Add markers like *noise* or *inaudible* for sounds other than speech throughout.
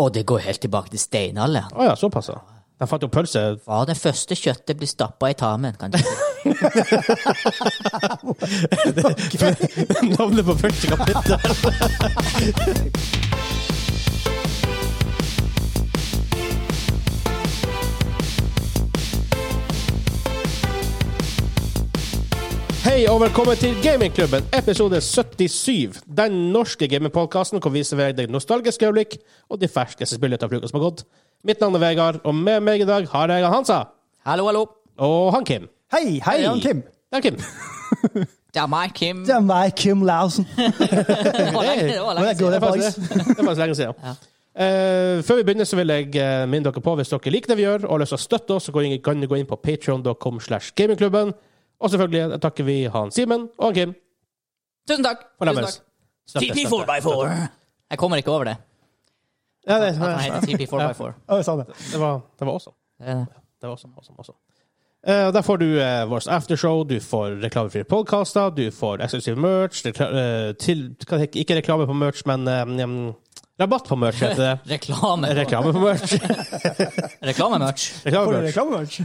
Og det går helt tilbake til steinalderen. Å ja, såpass. ja. Den fant jo pølse *laughs* Var det første kjøttet blir stappa i tarmen, kan du si. Navnet på første kapittel. Hei og velkommen til Gamingklubben, episode 77. Den norske gamingpodkasten hvor vi serverer deg nostalgiske øyeblikk og de ferskeste spillene til uka som har gått. Mitt navn er Vegard, og med meg i dag har jeg han Hansa *laughs* Hallo, hallo. og han Kim. Hei, hei, Hei. Jan Kim. Det er Kim. Det er meg, Kim. Det er meg, Kim Lausen. Det var lenge- det var lenge Det siden. går Det er boys. faktisk det. Det er faktisk lenge *laughs* siden. Eh, før vi begynner, så vil jeg eh, minne dere på hvis dere liker det vi gjør og har lyst til å støtte oss, så gå inn- kan dere gå inn på patreon.com slash gamingklubben. Og selvfølgelig takker vi han Simen og han Kim. Tusen takk. For Tusen lemmes. takk. Støtte, støtte. Jeg kommer ikke over det. Ja, det, At han heter TP4x4. Å, jeg sa det. Det var, det var awesome. Det er det. Det var awesome, awesome, awesome. Eh, og der får du eh, vårt aftershow, du får reklamefrie podkaster, du får eksklusiv merch rekla eh, til, hva heter- Ikke reklame på merch, men eh, mm, rabatt på merch, heter *laughs* det. Reklame. Reklame på merch. Reklamemerch. Reklame på Får du merch. reklamemerch?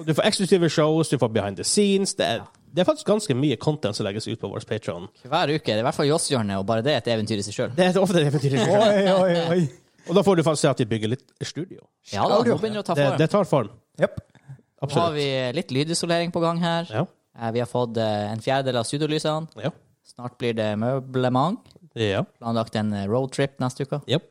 Og Du får eksklusive shows, du får behind the scenes. Det er, det er faktisk ganske mye content som legges ut på vår Patreon. Hver uke. Det er i hvert fall Joss-hjørnet, og bare det er et eventyr i seg sjøl. Det er ofte det *laughs* betyr ikke. Oi, oi, oi. Og da får du faktisk se at vi bygger litt studio. Ja da, nå begynner det å ta Det, form. det tar form. Yep. Nå har Absolutt. vi litt lydisolering på gang her. Ja. Eh, Vi har fått eh, en fjerdedel av studiolysene. Ja. Snart blir det møblement. ja. Planlagt en eh, roadtrip neste uke. Jep.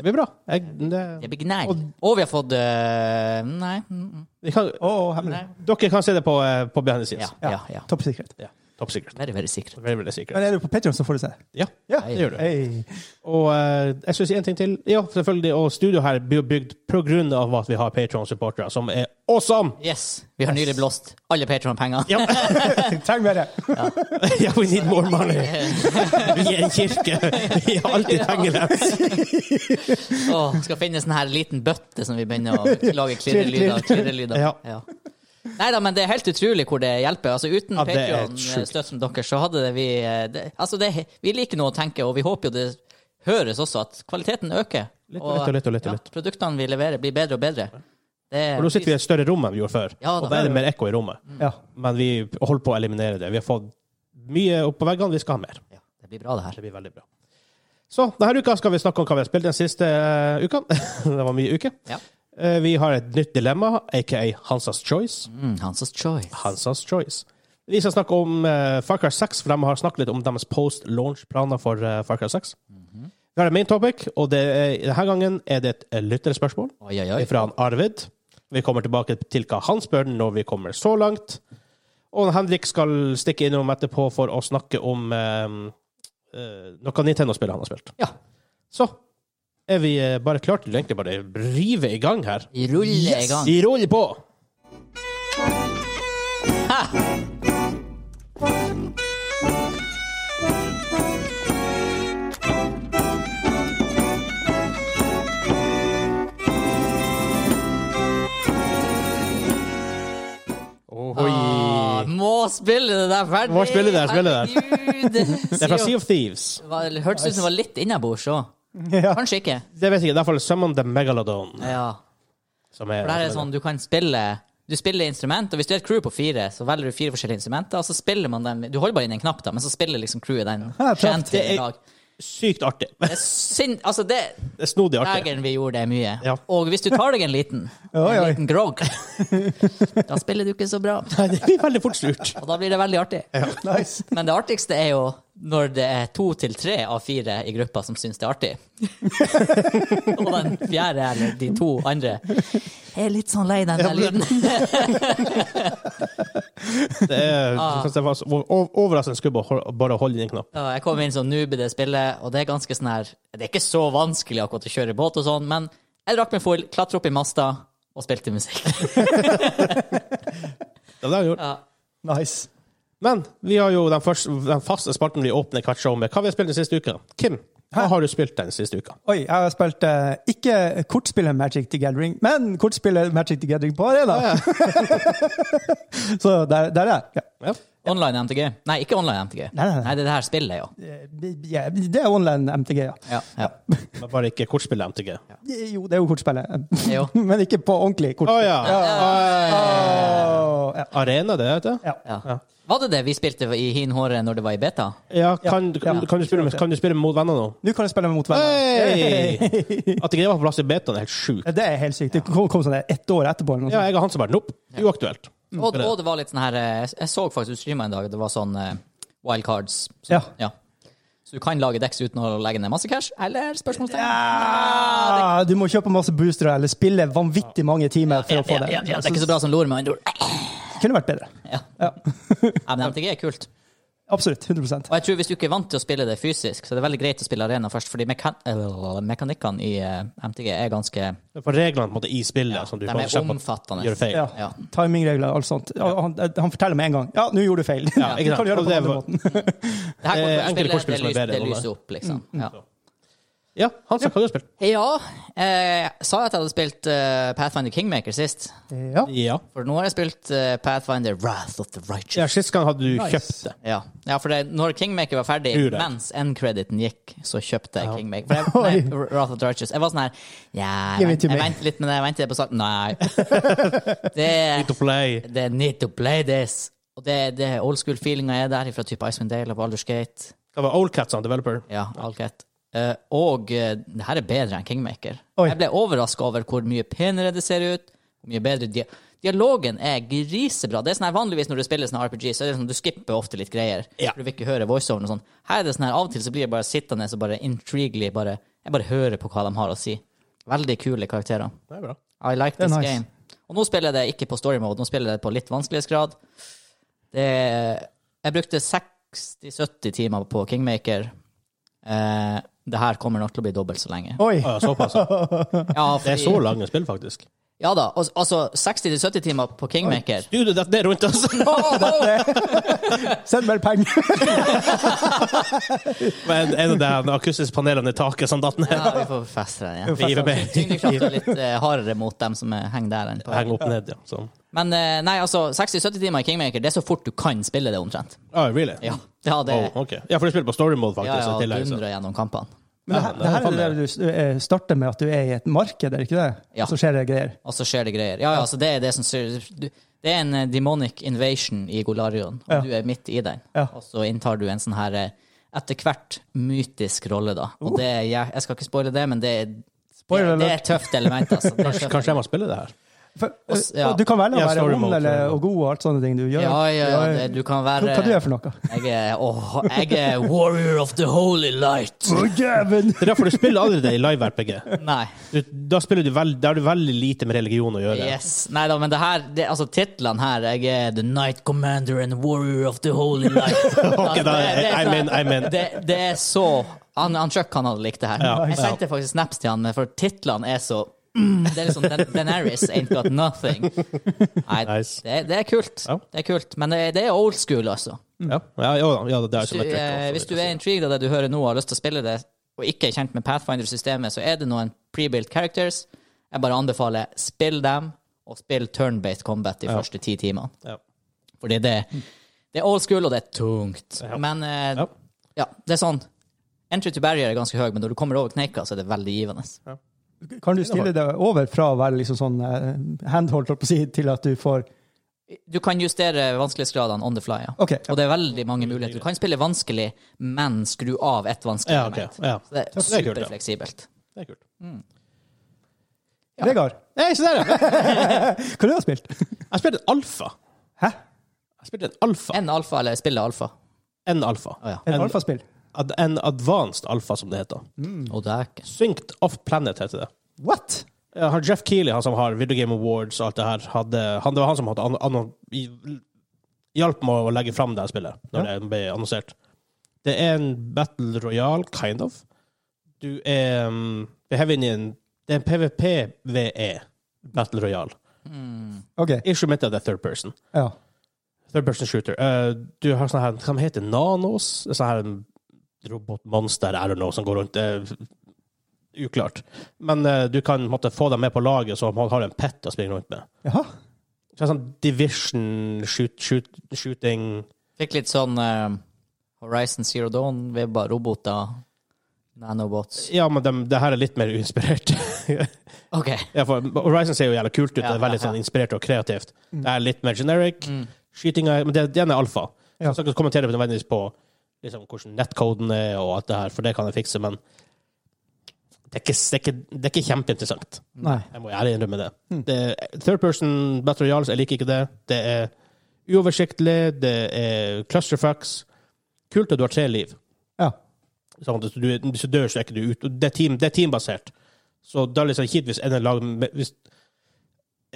Det blir bra. Jeg, det, Det blir gnei. Og vi har fått eh, Nei. mm, mm, vi kan, Å, hemmelig. dere kan se det på, eh, på behind the Ja, scenes. ja, ja. Topp sikkerhet. Ja. Top secret. Veldig, veldig sikker. Veldig, veldig sikkert. Men er du på Patreon, så får du se. Ja, Ja. det gjør du. *laughs* Hei. Og eh, jeg skal si en ting til. Ja, selvfølgelig. Og studio her blir jo bygd på grunn av at vi har Patreon-supportere, som er awesome! Yes. Vi har nylig blåst alle Patron-pengene. *laughs* Ja. Trenger mer. *laughs* Ja, we need more money. *laughs* Vi er en kirke. Vi er alltid pengeløse. Åh, skal finne sånn her liten bøtte som vi begynner *laughs* å lage klirrelyder klirrelyder. Ja. Ja. Nei da, men det er helt utrolig hvor det hjelper. Altså Uten Ja, det er sjukt. Patrion-støtten deres, så hadde det vi eh, det, Altså, det, vi liker nå å tenke, og vi håper jo det høres også, at kvaliteten øker. Litt og litt og litt og litt og ja, litt. Produktene vi leverer, blir bedre og bedre. Det, Og nå sitter vi i et større rom enn vi gjorde før, Ja, da. og da er det mer ekko i rommet. Ja. Men vi holder på å eliminere det. Vi har fått mye opp på veggene, vi skal ha mer. ja, det blir bra, det her. Det blir veldig bra. Så denne uka skal vi snakke om hva vi har spilt den siste eh, uka. *laughs* det var mye uke. Ja. Eh, vi har et nytt dilemma, aka Hansas Choice. Mm, Hansas Choice. Hansas Choice. Vi skal snakke om eh, Far Cry 6, for de har snakket litt om deres post-launch-planer for eh, Far Cry 6. Vi har en main topic, og det er, denne gangen er det et eh, lytterspørsmål Oi, oi, oi. fra han Arvid. Vi kommer tilbake til hva han spør når vi kommer så langt. Og Henrik skal stikke innom etterpå for å snakke om eh, eh, noe Nintendo-spill han har spilt. Ja. Så er vi eh, bare klare til å egentlig bare rive i gang her. Vi ruller i gang. Vi ruller på! Ah, må spille det der ferdig! Må spille det der, spille det Herregud! Det er fra Sea of Thieves. Var- Hørtes ut som det var litt innabords òg. *laughs* Ja. Kanskje ikke. Det vet jeg ikke. Det er iallfall Summon the Megalodon. Ja. Som er, For der er det sånn, du kan spille Du spiller instrument, og hvis du er et crew på fire, så velger du fire forskjellige instrumenter, og så spiller man dem Du holder bare inn en knapp, da, men så spiller liksom crewet den Ja, det er chanten Det er- i lag. Sykt artig. Det er sin... Altså, det *laughs* Det er snodig artig. Dagen vi gjorde det mye. Ja. Og hvis du tar deg en liten, Oi, en oi. liten *laughs* grog, da spiller du ikke så bra. Nei, det blir veldig fort slurt. Og da blir det veldig artig. Nice. Men det artigste er jo når det er to til tre av fire i gruppa som syns det er *laughs* artig. og den fjerde, eller de to andre, er litt sånn lei den der lyden. Det er Ah. jeg synes det var så- o- overraskende skummelt å hol- bare holde inn en knapp. Ja, Jeg kom inn som noob i det spillet, og det er ganske sånn her Det er ikke så vanskelig akkurat å kjøre båt og sånn, men jeg drakk meg full, klatra opp i masta og spilte *laughs* musikk. Det var det jeg gjorde. Ja. Nice. Men vi har jo den, første, den faste spalten vi åpner hvert show med. Hva har vi spilt den siste uka? Kim, hva har du spilt den siste uka? Oi, jeg har spilt eh, ikke kortspillet Magic the Gathering, men *laughs* kortspillet Magic the Gathering på Arena. Så der, der er jeg. Ja. Ja. Online MTG? Nei, ikke online MTG. Nei, nei, nei. det er det her spillet, jo. Ja, det er online MTG, ja. Ja, ja. Men bare ikke kortspill MTG. Å Jo, det er jo kortspillet. Jo. *laughs* Men ikke på ordentlig kortspill. ja. Åh, ja. Arena, det heter det? Ja. Ja. Var det det vi spilte i hin håre når det var i beta? Ja, kan, Ja. kan, kan, du spille med, kan du spille mot venner nå? Nå kan jeg spille mot venner. Hei! At ikke det var på plass i betaen, er helt sjukt. Ja, Det er helt sykt. Det kom, kom sånn der ett år etterpå. Eller noe Ja, sånt. jeg og han som bare Nope, uaktuelt. Og, og det var litt sånn her eh, Jeg så faktisk streama en dag, det var sånn eh, wildcards. Så, Ja. Så du kan lage deks uten å legge ned masse cash? Eller spørsmålstegn? Ah, du må kjøpe masse boostere eller spille vanvittig mange timer for å få det. Ja, ja, det er ikke så bra som lor, med andre ord. Det kunne vært bedre. Ja. Ja. Ja, men MTG er kult. Absolutt. 100 Og jeg tror hvis du ikke er vant til å spille det fysisk, så er det veldig greit å spille arena først, fordi mekan øh, mekanikkene i eh, MTG er ganske For reglene på en måte, i spillet som de du kan er slippe å omfattende. gjøre feil. Ja. Ja. Timingregler og alt sånt. Og Han, han forteller med en gang Ja, nå gjorde du feil. Ja, du ikke sant. *laughs* kan gjøre Og det på det andre var- måten. Det her Eh, kortspillet, enkelte kortspill som er det, lys, bedre Mm. det enn lyser det. opp, liksom. Ja, Ja, Hansa, hva har du spilt? ja eh, sa jeg at jeg hadde spilt eh, Pathfinder Kingmaker sist? Ja. Ja. For nå har jeg spilt eh, Pathfinder Wrath of the Righteous. ja Sist gang hadde du Nice. kjøpt det. Ja, ja for det, når Kingmaker var ferdig, Tror det. mens end-crediten gikk, så kjøpte jeg Kingmaker. *laughs* For jeg, nei, Wrath of the Righteous. Jeg var sånn her Ja, jeg, Give it vent, to jeg me. venter litt med det, jeg venter litt på starten. Nei. *laughs* Det, To play. det er need to play this. Og det, det old school-feelinga er der, fra type Icewind Dale og Baldur's Gate. Det var Oldcats on developer. Ja, Alcat. Eh, og eh, det her er bedre enn Kingmaker. Oi. Jeg ble overraska over hvor mye penere det ser ut. Hvor mye bedre dia Dialogen er grisebra. Det er sånn her Vanligvis når du spiller sånne RPG, så er det sånn du skipper ofte litt greier. Ja. For du vil ikke høre voiceoveren og sånn. Her er det sånn her, Av og til så blir jeg bare sittende og bare intriguely bare Jeg bare hører på hva de har å si. Veldig kule karakterer. Det er bra. I like Det er this nice. game. Og nå spiller jeg det ikke på story mode, nå spiller jeg det på litt vanskelighetsgrad. Det Jeg brukte 60-70 timer på Kingmaker. Eh, det her kommer nok til å bli dobbelt så lenge. Oi. Ja, såpass. ja. Ja, *laughs* Det er så fordi- lange spill, faktisk. Ja da. al- Altså 60-70 timer på Kingmaker. Du, det det er rundt oss. *laughs* Send mer penger. *laughs* Men en av de akustiske panelene i taket som datt ned. Ja, vi får feste den igjen. Vi gir meg. *laughs* Tyngdekraften er litt eh, hardere mot dem som eh, henger der. Enn på. Heng opp ned, ja. Sånn. Men eh, nei, altså 60-70 timer i Kingmaker, det er så fort du kan spille det, omtrent. Ah, really? Ja, ja det Oh, ok. Ja, for du spiller på story mode, ja, faktisk. ja, i tillegg, så. dundrer gjennom kampene. Men det, her- det her er det der du eh, starter med at du er i et marked, er det ikke det? Ja. Så skjer det greier. Og så skjer det greier. Ja, ja, altså det er det som ser- du- Det er en eh, demonic invasion i Golarion, og Ja. du er midt i den. Ja. Og så inntar du en sånn her eh, etter hvert mytisk rolle, da. Og det er, jeg, jeg skal ikke spoile det, men det er, det, Spoiler det er alert. et tøft element, altså. Det er tøft. Kanskje jeg må spille det her. For, eh, Også- ja. og Du kan velge å Ja, være story ond mode, eller ja. og god og alt sånne ting du gjør. Ja, ja, ja, det, du kan Hva være hva du gjør for noe? Jeg er, åh, jeg er warrior of the holy light. Å, djæven! Det er derfor du spiller aldri det i live-RPG. Nei. Du, da spiller du vel, da har du veldig lite med religion å gjøre. Yes. Nei da, men det her det, Altså, titlene her Jeg er The Night Commander and Warrior of the Holy Light. Ok, da, Det- det er I'm in, I'm in. Det, det er så han, han Chuck han hadde likt det her. Ja, jeg ja. sendte faktisk snaps til han, men for titlene er så mm, Det er liksom Dan Daenerys ain't got nothing. Nei, Nice. det, det er kult. Ja. Det er kult. Men det, det er old school, altså. Ja, ja, jo da, ja, det er Hvis du, som et trick, eh, også, hvis du vil er jeg intrigued av det du hører nå og har lyst til å spille det, og ikke er kjent med Pathfinder-systemet, så er det noen pre-built characters. Jeg bare anbefaler spill dem, og spill turn-based combat de første ti timene. si. Ja. Fordi det, det er old school, og det er tungt. Ja. Men eh, Ja. ja, det er sånn Entry to barrier er ganske høy, men når du kommer over kneika, så er det veldig givende. Kan du stille deg over fra å være liksom sånn eh, handholdt, holdt på å si, til at du får Du kan justere vanskelighetsgradene on the fly, ja. OK. Og det er veldig mange muligheter. Du kan spille vanskelig, men skru av et vanskelig Ja, ok, ja. element. Så det er Det er kult, ja. superfleksibelt. Det er kult. Vegard, Hei, se der, ja! *laughs* hva har du spilt? Jeg spilte en alfa. Hæ? Jeg spilte en alfa. En alfa, eller spille alfa. En alfa. Å ja. Et En- alfaspill? Ad, en advanced alfa, som det heter. Og det er ikke Synced Off Planet heter det. What? Ja, han Jeff Keeley, han som har Video Game Awards og alt det her, hadde, han, det var han som hadde an, an, i- hjalp med å legge fram det her spillet når det ble annonsert. Det er en battle royal, kind of. Du er um, vi hever inn i en Det er en PVP-VE E, battle royal. Mm. OK. Issue mitt er det third person. Ja. Third person shooter. Eh, du har sånne her, hva de heter Nanos? Sånne her robotmonster, I don't know, som går rundt. eh, uklart. Men eh, du kan måtte, få dem med på laget, så man har en pet å springe rundt med. Jaha. Så det er sånn division, shoot, shoot, shooting Fikk litt sånn eh, Horizon Zero Dawn, vibba roboter, nanobots. Ja, men dem- det her er litt mer uinspirert. *laughs* OK. ja, for Horizon ser jo jævla kult ut. Ja, det er veldig ja, ja. sånn inspirert og kreativt. Det er litt mer generic. Skytinga er- Men det, den er alfa. Så Ja. Jeg skal ikke kommentere nødvendigvis på liksom, hvordan nettkoden er, og alt det her, for det kan jeg fikse, men det er ikke, det er ikke, det er ikke kjempeinteressant. Nei. Jeg må ærlig innrømme det. det er third person Battle Royals, jeg liker ikke det. Det er uoversiktlig, det er clusterfucks. Kult at du har tre liv. Ja. Sånn at du, hvis du dør, så er ikke du ute. Det er, team, det er teambasert. Så da er det liksom kjipt hvis en er lag med hvis,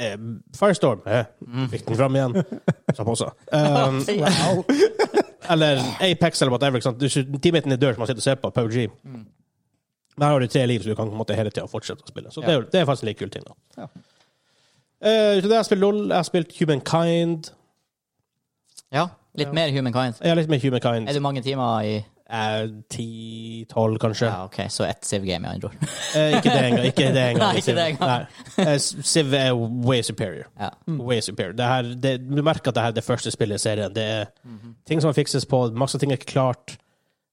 eh, Firestorm eh, fikk den fram igjen. Sa på også. Um, eller Apex eller whatever. Ikke sant? Du, teammaten din dør, som man sitter og ser på. PUBG. Der har du tre liv, så du kan på en måte hele tida fortsette å spille. Så det, er, jo- det er faktisk en litt kul ting. da. Ja. Eh, utover det har jeg spilt LOL, jeg har spilt Humankind. *laughs* Ja, litt mer humankind. Jeg er litt mer Humankind. Er du mange timer i Ti-tolv, kanskje. Ja, OK, så ett Siv-game, med andre ord. Eh, ikke det engang. Ikke det engang. Nei, ikke det engang. Mm. Nei. Eh, Civ er way superior. Ja. Way superior. Det her, det, du merker at det her er det første spillet i serien. Det er Mhm. ting som må fikses på, masse ting er ikke klart.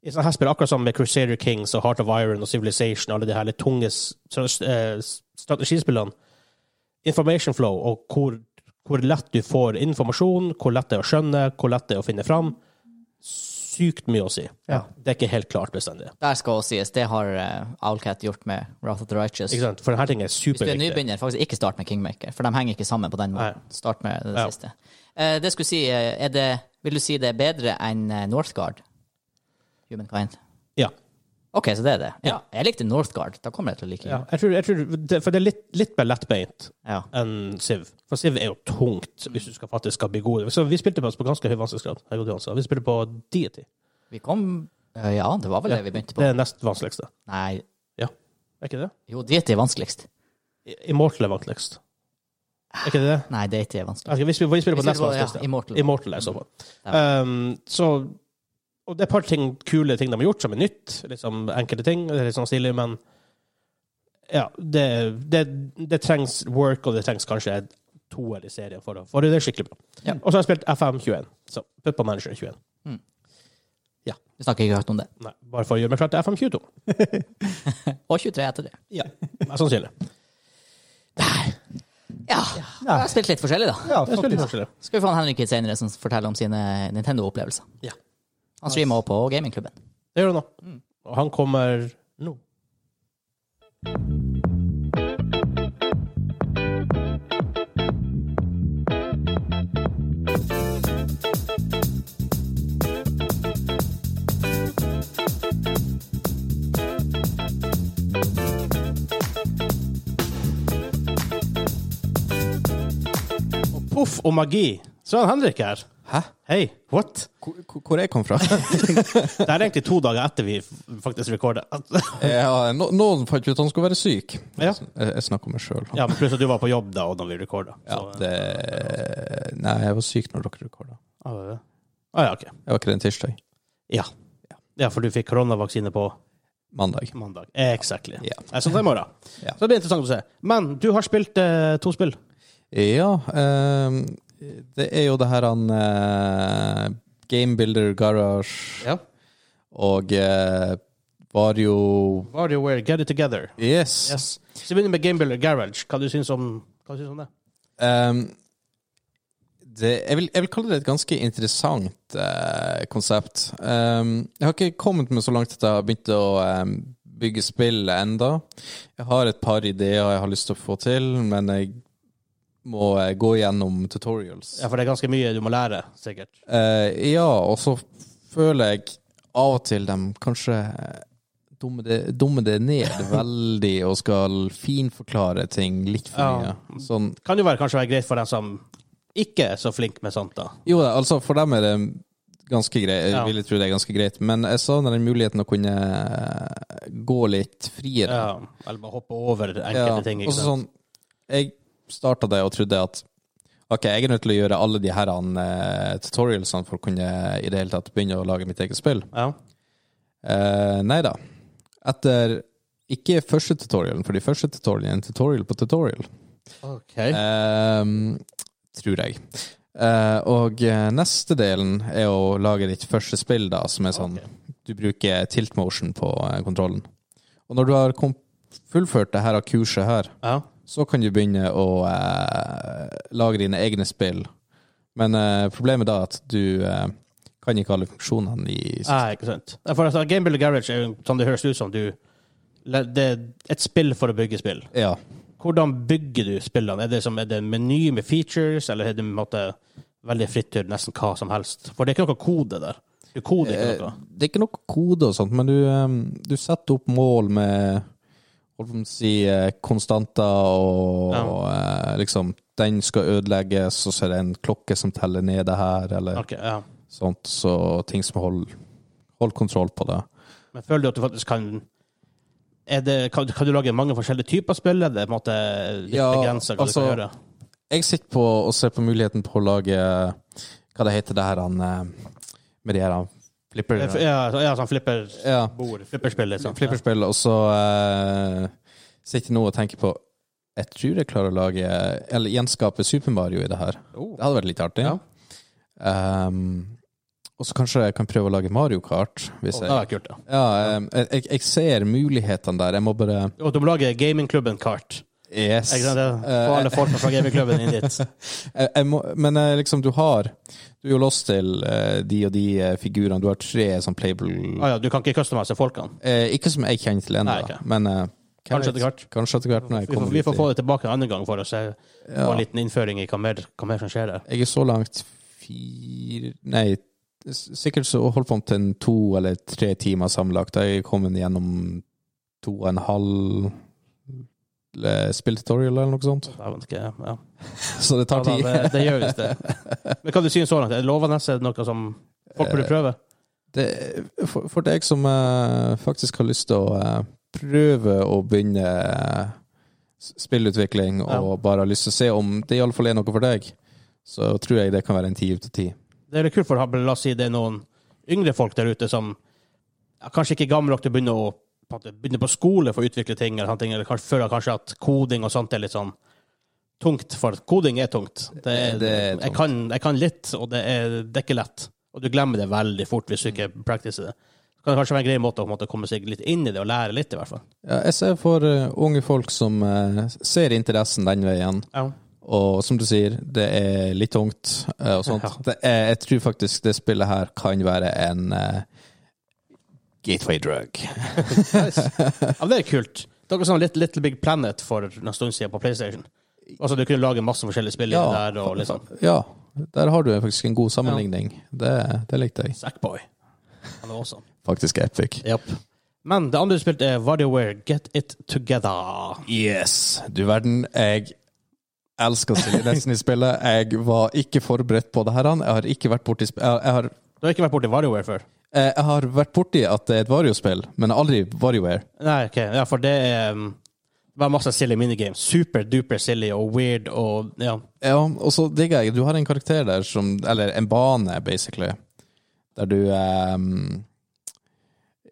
I sånne her spill, akkurat som med Crusader Kings og Heart of Iron og Civilization, alle de her litt tunge s- stra- eh, strategispillene, information flow og hvor, hvor lett du får informasjon, hvor lett det er å skjønne, hvor lett det er å finne fram, sykt mye å si. Ja. Det er ikke helt klart bestandig. *laughs* Der skal også sies, det har eh, Owlcat gjort med Wrath of the Righteous. Ikke sant? For denne ting er Hvis du er superviktig. nybegynner, faktisk ikke start med Kingmaker, for de henger ikke sammen på den måten. Nei. Start med det Ja. siste. Eh, det skulle si, eh, er det, vil du si det er bedre enn eh, Northgard? Humankind. Ja. OK, så det er det. Ja, jeg likte Northgard. Da kommer jeg til å like Ja, den. jeg tror, jeg tror det, For det er litt, litt mer lettbeint Ja. enn Siv. For Siv er jo tungt hvis du skal faktisk skal bli god. Så vi spilte på, på ganske høy vanskelighetsgrad. jeg og du, Hansa. Vi spilte på deity. Vi kom eh, Ja, det var vel det vi begynte på. Det er nest vanskeligste. Nei, Ja. Er ikke det? jo, Deity er vanskeligst. I- Immortal er vanskeligst. Er ikke det det? Nei, Deity er vanskelig. Ok, vi spiller, vi spiller på Vi spiller nest på- ja, vanskeligste. Immortal. Immortal er så på. Um, så Og det er et par ting, kule ting de har gjort som er nytt. Liksom enkelte ting. Det er litt sånn stilig, men ja, det, det, det trengs work, og det trengs kanskje toer i serien for å for det. er skikkelig bra. Ja. Og så har jeg spilt FM21. Så Puppa Manager 21. Vi snakker ikke høyt om det. Nei, bare for å gjøre meg klar til FM22. Og 23 etter det. Ja, mest sannsynlig. Ja. Ah. Jeg har spilt litt forskjellig, da. ja Jeg spiller faktisk. forskjellig. Skal vi få han Henrik hit senere, som forteller om sine Nintendo-opplevelser. Ja. Han streamer også på gamingklubben. Det gjør han nå. Og han kommer nå. Og Poff og magi. Så er han Henrik her. Hæ? Hei. What? Hvor, hvor- hvor jeg kom fra? Det er egentlig to dager etter vi faktisk rekorder. Eh, ja, no, noen fant ut at han skulle være syk. Ja. Jeg, jeg snakker om meg sjøl. Ja, men pluss at du var på jobb da, og da vi rekorda. Så- eh, det... Nei, jeg var syk når dere rekorda. Ja, det er det. Ah, ja, ok. Jeg var ikke den tirsdag. Ja. ja, for du fikk koronavaksine på Mandag. mandag. Exactly. Ja. Nei, Sånn i morgen. Ja. Så det blir interessant å se. Men du har spilt eh, to spill. Ja, ehm, det er jo det her han eh, Game Builder Garage Ja. og eh, var jo WarioWare Get It Together. Yes. Yes. Så vi begynner med Gamebuilder Garage. Hva du syns om, hva du syns om det? Ehm, det, jeg, vil, jeg vil kalle det et ganske interessant eh, konsept. Ehm, jeg har ikke kommet meg så langt at jeg har begynt å ehm, bygge spill enda. Jeg har et par ideer jeg har lyst til å få til, men jeg må eh, gå gjennom tutorials. Ja, For det er ganske mye du må lære, sikkert. Eh, ja, og så føler jeg av og til dem kanskje eh, dummer det, dummer det *laughs* ned veldig og skal finforklare ting litt for Ja. mye. Sånn, Kan jo være, kanskje være greit for deg som ikke er så flink med sånt, da. Jo, da, altså for dem er det ganske greit. Jeg Ja. vil tro det er ganske greit, men jeg savner den muligheten å kunne eh, gå litt friere. Ja. Eller bare hoppe over enkelte Ja, ting. og Ikke så sant? sånn, jeg starta det og trodde at ok, jeg er nødt til å gjøre alle de her eh, tutorialsene for å kunne i det hele tatt begynne å lage mitt eget spill. Ja. Eh, nei da. Etter ikke første tutorialen, for de første Eh, tutorialene er en tutorial på tutorial. OK. Ehm, tror jeg. Eh, og eh, neste delen er å lage ditt første spill, da, som er sånn Du bruker tilt motion på eh, kontrollen. Og når du har kom fullført det her av kurset her, Ja. så kan du begynne å eh, lage dine egne spill. Men eh, problemet da er at du eh, kan ikke alle funksjonene i Nei, Ah, ikke sant. Nei, For altså, Game Builder Garage er jo sånn det høres ut som du Det er et spill for å bygge spill. Ja. Hvordan bygger du spillene? Er det, som, er det en meny med features, eller er det på en måte veldig fritt til nesten hva som helst? For det er ikke noe kode der. Du koder ikke Eh, noe. Det er ikke noe kode og sånt, men du, eh, du setter opp mål med holdt på å si, eh, konstanter og, Ja. og eh, liksom Den skal ødelegges, og så er det en klokke som teller ned det her, eller Ok, ja. sånt. Så ting som holder hold kontroll på det. Men føler du at du faktisk kan er det, kan, kan du lage mange forskjellige typer spill? Er det på en måte litt Ja, begrenset hva du altså- kan gjøre? Jeg sitter på og ser på muligheten på å lage Hva det heter det her han eh, Med de her han flipper... Eh, Ja, så- ja, sånn flipper Ja. bord, flipperspill, liksom. flipperspill, og så eh, sitter jeg nå og tenker på Jeg tror jeg klarer å lage Eller gjenskape Super Mario i det her. Oh. Det hadde vært litt artig. Ja. Ehm, og så kanskje jeg kan prøve å lage Mario Kart. Hvis Ja, jeg, det er kult, ja. ja, ehm, jeg, jeg, jeg ser mulighetene der. Jeg må bare Og du må lage gamingklubben Kart. Yes. Ikke sant? Det Eh, er- Få alle folka fra gamingklubben inn dit. *laughs* Jeg, jeg må, men eh, liksom, du har Du er jo låst til eh, de og de eh, figurene. Du har tre sånn playable Ah, *laughs* ja, du kan ikke customize folkene. eh, Ikke som jeg kjenner til ennå, Nei, ok. men eh, hvem Kanskje vet? etter hvert. Kanskje etter hvert når jeg Vi får, kommer vi får dit. få det tilbake en annen gang for å se, Ja. få en liten innføring i hva mer, hva mer som skjer der. Jeg er så langt fire Nei, s- sikkert så holdt på om til en to eller tre timer sammenlagt. Jeg er kommet gjennom to og en halv eh, spilltutorial eller noe sånt. *laughs* Jeg vet ikke, ja. Så det tar Ja, tid. da, det, det gjør visst det. Men hva du synes så langt? Er det lovende? Er det noe som folk Eh, burde prøve? Det, for, for deg som eh, faktisk har lyst til å eh, prøve å begynne eh, s- spillutvikling, Ja. og bare har lyst til å se om det iallfall er noe for deg, så tror jeg det kan være en ti ut av ti. Det er litt kult, for la oss si det er noen yngre folk der ute som ja, kanskje ikke er gamle nok til å begynne, å, på en måte begynne på skole for å utvikle ting, eller, sånne ting, eller kanskje, føler kanskje at koding og sånt er litt sånn tungt, for koding er tungt. Det er, Det er tungt. Jeg, kan, jeg kan litt, og det er, det er ikke lett. Og du glemmer det veldig fort hvis du ikke Mm. practicer det. Det kan kanskje være en grei måte å på en måte, komme seg litt inn i det, og lære litt, i hvert fall. Ja, jeg ser for eh, unge folk som eh, ser interessen den veien, Ja. og som du sier, det er litt tungt eh, og sånt. Det er, jeg tror faktisk det spillet her kan være en eh, gateway drug. Ja, men det er kult. Det er noe sånn Little, Little Big Planet for en stund siden på PlayStation. Altså, du kunne lage masse forskjellige spill i det der, og liksom ja, der har du faktisk en god sammenligning. Det, det likte jeg. Sackboy. Han er awesome. Faktisk epic. Men det andre du spilte, er WarioWare Get It Together. Yes! Du verden, jeg elsker Silje Nelson i spillet. Jeg var ikke forberedt på det her. han. Jeg har ikke vært borti sp- jeg, jeg har Du har ikke vært borti WarioWare før? Eh, Jeg har vært borti at det er et Vario-spill, men aldri WarioWare. Nei, ok. Ja, for det er um, det var masse silly minigames. Super-duper silly og weird og ja. Ja, og så digger jeg Du har en karakter der som Eller en bane, basically, der du ehm,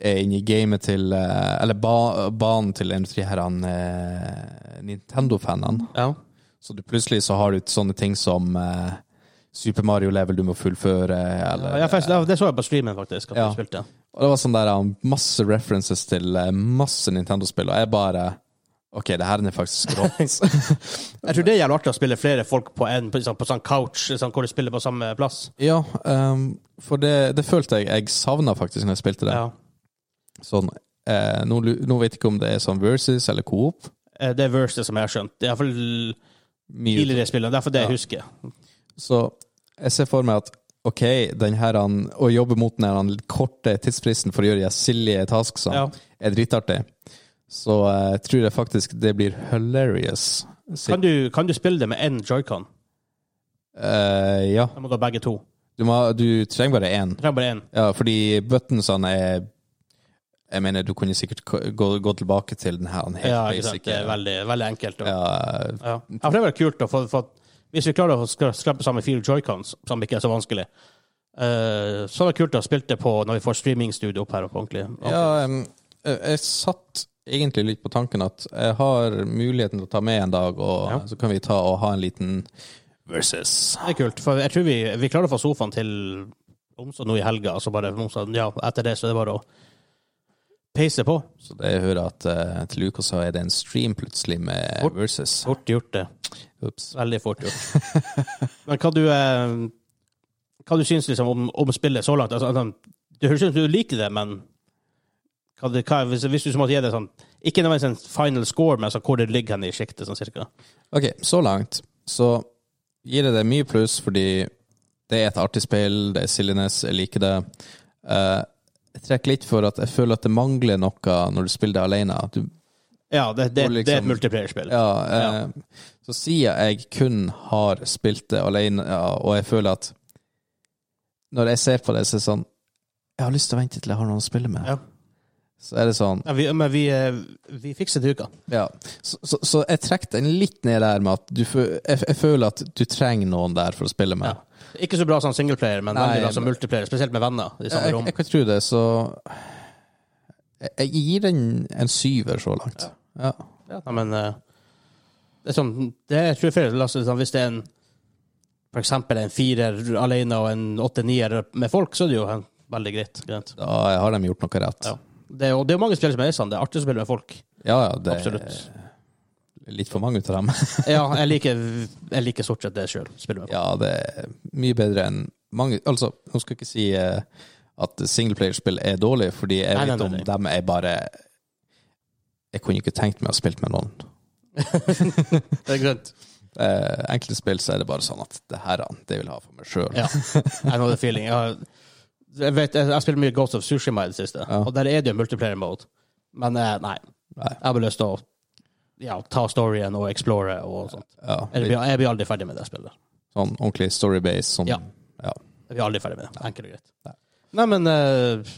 er inne i gamet til eh, Eller ba, banen til en av de her eh, Nintendo-fanene. ja. Så du plutselig så har du sånne ting som eh, Super Mario-level du må fullføre, eller ja faktisk, det, det så jeg på streamen, faktisk. At Ja. du spilte. Og det var sånn der um, masse references til eh, masse Nintendo-spill, og jeg bare OK, det her er faktisk *laughs* rått. Jeg tror det er jævlig artig å spille flere folk på en, på, sånn- på sånn couch, sånn, hvor de spiller på samme plass. Ja, ehm, for det, det følte jeg jeg savna faktisk når jeg spilte det. Ja. Sånn, eh, nå, lu- nå vet jeg ikke om det er sånn versus eller coop. Eh, Det er verset som jeg har skjønt. Det er Iallfall Mye- tidligere spillere. Derfor det Ja. jeg husker. Så jeg ser for meg at OK, den her han, å jobbe mot den her han, litt korte tidsfristen for å gjøre de her sillige tasksene, Ja. er dritartig. Så eh, jeg tror jeg faktisk det blir hilarious. Så, Kan, du, kan du spille det med én joycon? eh, ja. Jeg må da begge to. Du, må, du trenger bare én. Jeg trenger bare én. Ja, fordi buttonsene er Jeg mener, du kunne sikkert k- gå, gå tilbake til den her han helt Ja, ikke sant. basic. Det er veldig, veldig enkelt. Og, ja. Ja, Ja, for det var kult, da. For, for at hvis vi klarer å skra- skrape sammen fire joycons, som ikke er så vanskelig, eh, så var det kult å spille det på når vi får streamingstudio opp her opp ordentlig. ja em, jeg, jeg satt egentlig litt på tanken at jeg har muligheten til å ta med en dag, og Ja. så kan vi ta og ha en liten versus. Det er kult, for jeg tror vi, vi klarer å få sofaen til onsdag nå i helga. Og så bare onsdag, ja, etter det så er det bare å peise på. Så det jeg hører at eh, til uka så er det en stream plutselig med Fort. versus. Fort gjort det. Ups. Veldig fort gjort. *laughs* Men hva du, eh, hva du syns liksom, om, om spillet så langt? Altså, sånn, det høres ut som du liker det, men hva, du- hva, hvis, hvis du måtte gi det sånn Ikke nødvendigvis en final score, men altså, hvor det ligger hen i sjiktet, sånn cirka. Ok, så langt så gir jeg det mye pluss fordi det er et artig spill, det er silliness, jeg liker det. Eh, jeg trekker litt for at jeg føler at det mangler noe når du spiller det alene. Du, Ja, det, det, Og det er liksom- et multiplierspill. ja, eh, Så siden jeg kun har spilt det alene, ja, og jeg føler at når jeg ser på det, så er det sånn Jeg har lyst til å vente til jeg har noen å spille med. Ja. Så er det sånn Ja, vi, men vi, eh, vi fikser det til uka. Ja. Så, så, så jeg trekker den litt ned der med at du, fø- jeg, jeg føler at du trenger noen der for å spille med. Ja. Ikke så bra som singleplayer, men Nei, veldig bra som men- Eh, multiplayer, spesielt med venner i Ja, samme jeg, rom. jeg kan tro det, så Jeg, jeg gir den en syver så langt. Ja. Ja, men eh, det er sånn, det er, tror jeg flere, la oss si sånn, hvis det er en for eksempel en firer alene og en åtte-nier med folk, så er det jo en, veldig greit. greit. Da har de gjort noe rett. Ja. Det, er jo- det er jo mange spill som er sånn, det er artig å spille med folk. Ja, ja, det Absolutt. er litt for mange ut av dem. Ja, jeg liker, jeg liker stort sett det sjøl, spille med folk. ja, det er mye bedre enn mange Altså, nå skal jeg ikke si eh, at singleplayerspill er dårlig, fordi jeg Nei, nei, vet nei, om nei. dem er bare Jeg kunne ikke tenkt meg å spille med noen. Det er grønt. Eh, enkelte spill så er det bare sånn at det her det vil jeg ha for meg sjøl. Ja. I know the feeling. Jeg, har- jeg, vet, jeg, jeg spiller mye Ghost of Sushima i det siste, Ja. og der er det jo multiplayer mode. Men eh, nei, Nei. jeg har bare lyst til å ja, ta storyen og explore og sånt. Ja, Jeg blir, jeg blir aldri ferdig med det spillet. sånn ordentlig storybase. Sånn, Ja. ja. Jeg blir aldri ferdig med det. Enkelt og greit. Nei. Nei, men eh,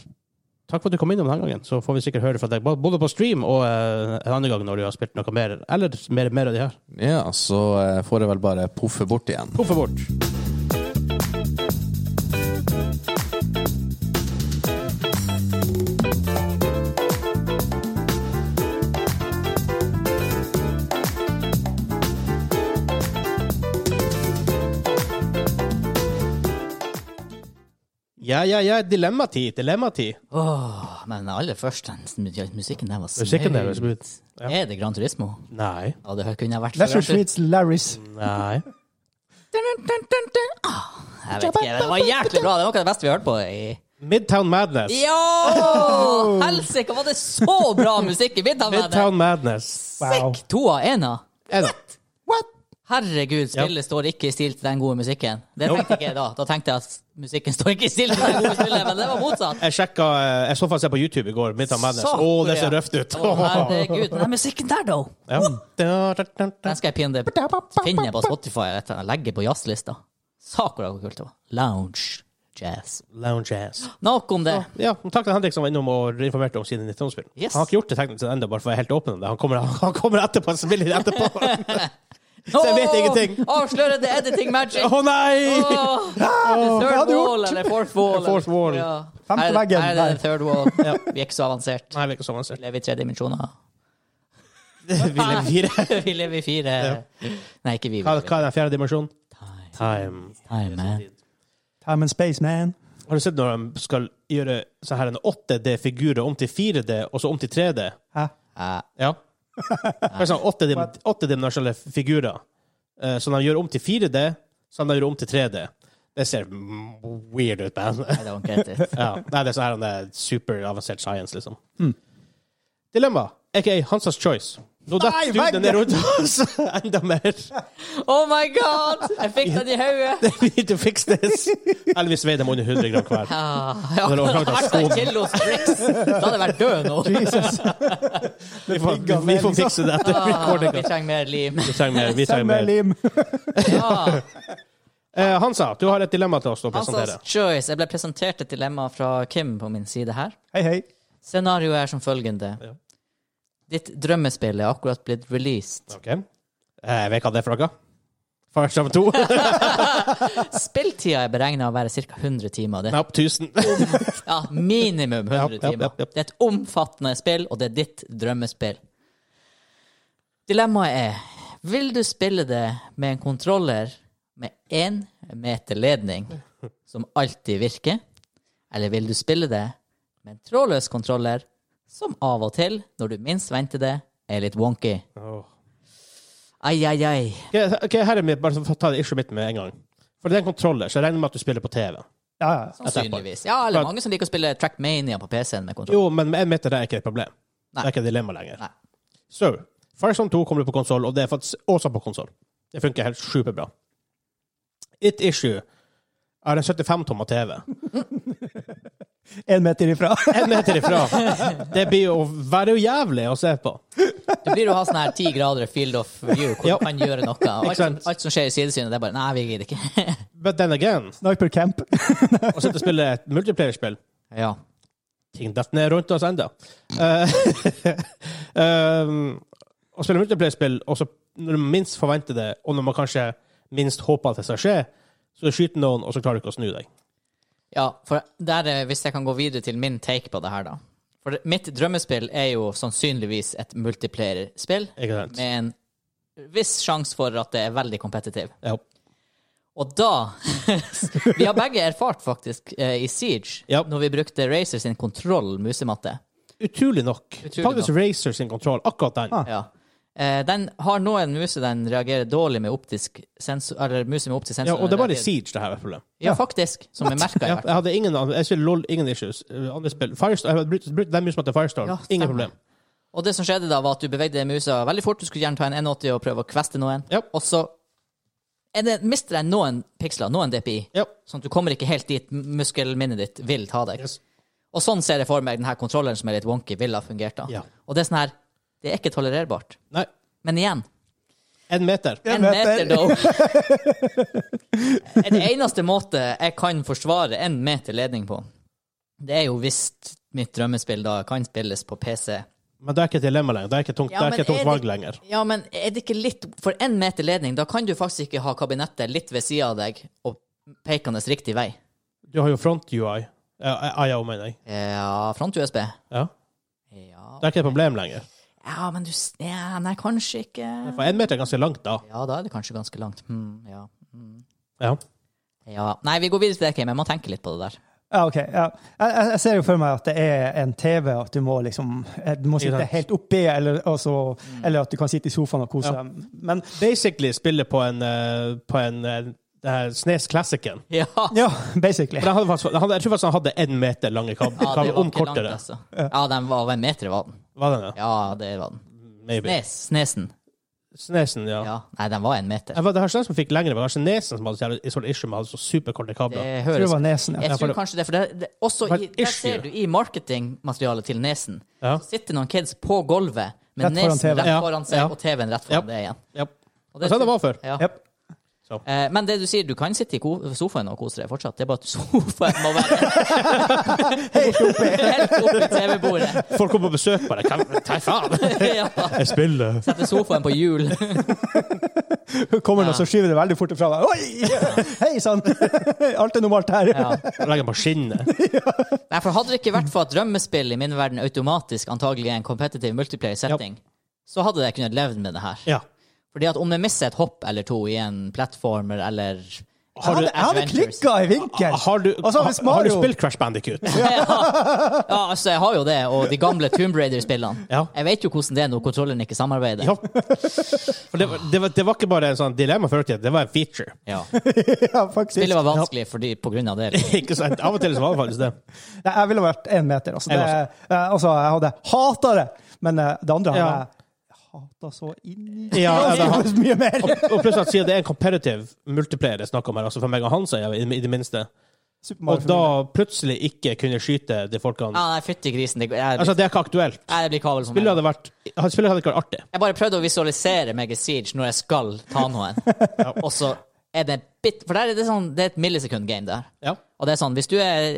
takk for at du kom innom denne gangen. Så får vi sikkert høre fra deg bo- både på stream og eh, en annen gang når du har spilt noe mer, eller mer, mer av de her. Ja, så eh, får jeg vel bare poffe bort igjen. Hvorfor bort? Ja, ja, ja. Dilemmatid. Dilemmatid. Åh, men aller først, den musikken der var smooth. Musikken der var smooth, Er det Gran Turismo? Nei. Ja, det kunne jeg vært for Leisure Gran Tur- Streets Larrys. Nei. Dun, dun, dun, dun, dun. Ah, Jeg vet ikke, men det var jæklig bra. Det var noe av det beste vi har hørt på. i... Midtown Madness. Ja! *laughs* Helsike, var det så bra musikk i Midtown? Madness? Midtown Madness. Wow. Sick! To av ena. Er det? Herregud, spillet står ikke i stil til den gode musikken. Det tenkte ikke jeg da. Da tenkte jeg at musikken står ikke i stil til den gode spillet, men det var motsatt. Jeg sjekka eh, Jeg så faktisk det på YouTube i går. Midtown Madness. Å, det ser røft ut! Å, herregud, den der musikken der, da. *laughs* Ja. Den skal jeg pinne finne på Spotify og etter- legge på jazzlista. Sakura hvor kult det var. Lounge jazz. Lounge ass. Nok om det. Ja, men takk til Henrik som var innom og informerte om sine 19-årsspill. Yes. Han har ikke gjort det teknisk ennå, bare for å være helt åpen om det. Han kommer, han kommer etterpå og spiller etterpå. *laughs* Så jeg vet ingenting. Åh, Avslører the editing magic. Å nei! Åh, third hadde du wall eller fourth wall. Fourth eller- wall. Ja. Femte Her- veggen, Her er der. det third wall. Vi er ikke så avansert. Nei, vi er ikke så avansert. Vi lever i tre dimensjoner. *laughs* Vi lever fire. *laughs* Vi lever i fire Nei, ikke vi. vi Hva, lever hva er den fjerde dimensjonen? i Time. Time, man. Time and Space, man. Har du sett når de skal gjøre sånn her en 8D-figur om til 4D, og så om til 3D? Hæ? Eh, Ja. Bare sånn åtte- åttedimensjonale figurer. eh, Som de gjør om til 4D, som de gjør om til 3D. Det ser m- weird ut, man. I don't get it. ja. *laughs* Nei, det er sånn her om det er superavansert science, liksom. Dilemma, aka Hansas Choice. Nå Nei, detter veggen! studien ned rundt oss *laughs* enda mer. *laughs* *laughs* Oh my god! Jeg fikk den i hodet. Det need to fix this. Eller vi svei dem under 100 gram hver. Ah, ja, Det det var klart at hadde vært en kilo striks. Da hadde jeg vært død *laughs* nå. Jesus. Vi får, vi får fikse det etter Ah, recordinga. vi trenger mer lim. Vi trenger mer. Vi trenger Samme mer. lim. *laughs* Ja. Eh, Hansa, du har et dilemma til oss å presentere. Hansas choice. Jeg ble presentert et dilemma fra Kim på min side her. Hei, hei. Scenarioet er som følgende. Ja. Ditt drømmespill er akkurat blitt *laughs* released. Ok. Eh, Jeg vet hva det er for noe. Far Cry 2. *laughs* Spilltida er beregna å være ca. 100 timer. Det er, Knapp 1000. ja, minimum 100 Ja, ja, ja, timer. ja. Det er et omfattende spill, og det er ditt drømmespill. Dilemmaet er vil du spille det med en kontroller med én meter ledning som alltid virker? Eller vil du spille det med en trådløs kontroller som av og til, når du minst venter det, er litt wonky? Åh. Ai, ai, ai. Ok, ok, her er mitt, bare for å ta det issue mitt med en gang. For det er en kontroller, så jeg regner med at du spiller på TV. Sånn. Ja, ja. Sannsynligvis. Ja, eller For at- mange som liker å spille Trackmania på PC-en med kontroll. Jo, men med en meter det er ikke et problem. Nei. Det er ikke et dilemma lenger. Nei. Så, Firestone 2 kommer på konsoll, og det er faktisk også på konsoll. Det funker helt superbra. It issue er en 75-tommer TV. En meter ifra. *laughs* En meter ifra. Det blir jo være jo jævlig å se på. Det blir å ha sånn her ti grader field of view hvor Ja. du kan gjøre noe. Og *laughs* Ikke alt, som, sant? alt som skjer i sidesynet, det er bare Nei, vi gidder ikke. But then again, Sniper camp. å sitte og spille et multiplayer-spill Ja. ting detter ned rundt oss enda. *laughs* Eh, um, å spille multiplayer-spill, og så når man minst forventer det, og når man kanskje minst håper at det skal skje, så skyter noen, og så klarer du ikke å snu deg. ja, for der, eh, hvis jeg kan gå videre til min take på det her, da. For det- mitt drømmespill er jo sannsynligvis et multiplayer-spill Ikke sant? med en viss sjanse for at det er veldig kompetitiv. Ja. Og da *laughs* Vi har begge erfart, faktisk, eh, i Siege, Ja. når vi brukte Razer sin kontroll-musematte. Utrolig nok. Utrolig Faktisk Racer sin kontroll, akkurat den. Ah. Ja. Eh, Den har noen muser den reagerer dårlig med optisk sensor, eller muser med optisk sensor. Ja, og det var i reagerer- Siege det her var problemet. Ja, faktisk. Som er merka, i Ja, hvert jeg hadde ingen, andre- jeg spiller LOL, ingen issues. Eh, Andre spill. Firestorm, jeg brukte brukte den mye som heter Firestorm. Ja, stemmer. ingen problem. Og det som skjedde da, var at du bevegde musa veldig fort. Du skulle gjerne ta en 180 og prøve å kveste noen. Ja. Og så er det, mister jeg noen piksler, noen DPI. Ja. Sånn at du kommer ikke helt dit m- muskelminnet ditt vil ta deg. Yes. Og sånn ser jeg for meg den her kontrolleren som er litt wonky, ville ha fungert da. Ja. Og det er sånn her Det er ikke tolererbart. Nei, Men igjen, en meter. en En meter. meter, *laughs* dog. Den eneste måte jeg kan forsvare en meter ledning på, det er jo hvis mitt drømmespill da kan spilles på PC. Men det er ikke et dilemma lenger. Det er ikke et tungt, Ja, det er men ikke et tungt er det- valg lenger. Ja, men er det ikke litt For én meter ledning, da kan du faktisk ikke ha kabinettet litt ved sida av deg og pekende riktig vei. Du har jo front-UI. Ja, IO, mener jeg. Ja, front-USB. Ja. Ja. Det er ikke et problem lenger. ja, men du s- ja, Nei, kanskje ikke For en meter er ganske langt, da. Ja, da er det kanskje ganske langt. Hmm, ja. Ja. ja. Nei, vi går videre til det, Kim. Jeg må tenke litt på det der. *laughs* Ja, ok. Ja. Jeg, jeg- jeg ser jo for meg at det er en TV, at du må liksom eh, Du må Ikke sitte sant? Mm. helt oppi, eller, og så- eller at du kan sitte i sofaen og kose Ja. deg. Men Basically spiller på en, eh, på en eh, det her Snes Classicen. Ja, ja, basically. For den hadde faktisk, han, jeg tror faktisk han hadde én meter lange kab ja det kabler, var om ikke langt, kortere. altså. Ja, den var over en meter, var den. Var den det? Ja, det var den. Maybe. Snes, snesen. Snesen, ja. Ja. Nei, den var en meter. Jeg var, det har den som fikk lengre, men det var ikke Nesen som hadde så jævlig- sånn issue med å ha så superkorte Det kabler. Jeg tror høres det var nesen. Ja. Jeg tror kanskje det, for det, det også For i, et der issue. ser du i marketingmaterialet til Nesen, Ja. så sitter noen kids på gulvet med Rett foran nesen TV. rett Ja, foran seg ja. og TV-en rett foran Ja. det igjen. Ja. Og Det er sånn det var før. Ja. Jep. Eh, men det du sier, du kan sitte i ko sofaen og kose deg fortsatt, det er bare at sofaen må være *laughs* helt oppe i TV-bordet. *laughs* Folk kom på besøk bare Hva hva faen? ja. Jeg *laughs* spiller. Sette sofaen på hjul. Kommer noen Ja. som skyver det veldig fort ifra deg. Oi! *laughs* Hei sann! *laughs* Alt er normalt her. Ja. Legger den på skinnet. Nei, for hadde det ikke vært for at drømmespill i min verden automatisk antagelig er en competitive multiplayer setting, så hadde jeg kunnet levd med det her. Ja. Fordi at om jeg misser et hopp eller to i en plattformer eller Jeg hadde, jeg hadde Adventures. *laughs* klikka i vinkel! Har du, Og så har, hvis har du Mario- spilt Crash *laughs* Bandicoot? Ja, altså, jeg har jo det, og de gamle Tomb Raider-spillene. Ja. Jeg vet jo hvordan det er når kontrolleren ikke samarbeider. Ja. For det, var- det, var, det var ikke bare en sånn dilemma før i tiden, det var en feature. Ja. Ja, faktisk. Spillet var vanskelig fordi, på grunn av det. liksom. *laughs* Ikke sant? Av og til så var det faktisk det. Nei, jeg ville vært én meter. Altså, Jeg det, eh, altså, jeg hadde hata det! Men eh, det andre hadde Ja. jeg hata så inni Ja, ja, *laughs* det har- mye mer. Og pluss at siden det er en competitive multiplayer det er snakk om her, altså for meg og han, så er jeg i, i det minste, Super og Mario da for min plutselig ikke kunne skyte de folkene Ja, nei, fytti grisen. Det, jeg, Altså, det er ikke aktuelt. jeg blir kabel som jeg. Spillet hadde vært Spillet hadde ikke vært artig. Jeg bare prøvde å visualisere meg i Siege når jeg skal ta noen, og så er det en bit For der er det sånn, det er et millisekund-game der. Ja. Og det er sånn, hvis du er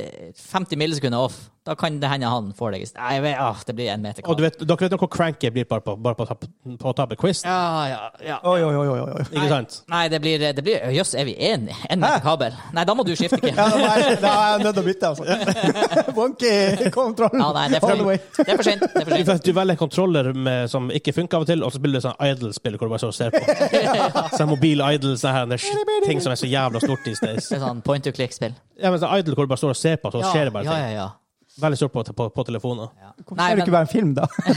50 millisekunder off, da kan det hende han får deg i st- Nei, jeg vet, ah, det blir en meter Og du vet, dere vet jo hvor cranky jeg blir bare på, bare på, å ta- på å tape quiz. Ja, ja, ja. Oi, oi, oi, oi, oi. Ikke sant? Nei, det blir, det blir Jøss, er vi én en meter kabel? Nei, da må du skifte, *laughs* Kim. Ja, da må jeg- da er jeg nødt til å *laughs* bytte, altså. Wonky kontroll. Ja, nei, det er for all the way. sent. Det er for sent. Det *laughs* er for Du, sent. vet, du velger kontroller med, som ikke funker av og til, og så spiller du sånn Idle-spill hvor du bare står og ser *laughs* på. Sånn mobil Idle, sånne her, ting som er så jævla stort these days. Det er sånn point to click-spill. Ja, men sånn Idle hvor du bare står og ser på, så skjer det bare ja, ja, ting. ja. Veldig stort på, på, på telefoner. ja. Hvorfor Nei, er men, det ikke bare en film, *laughs* da?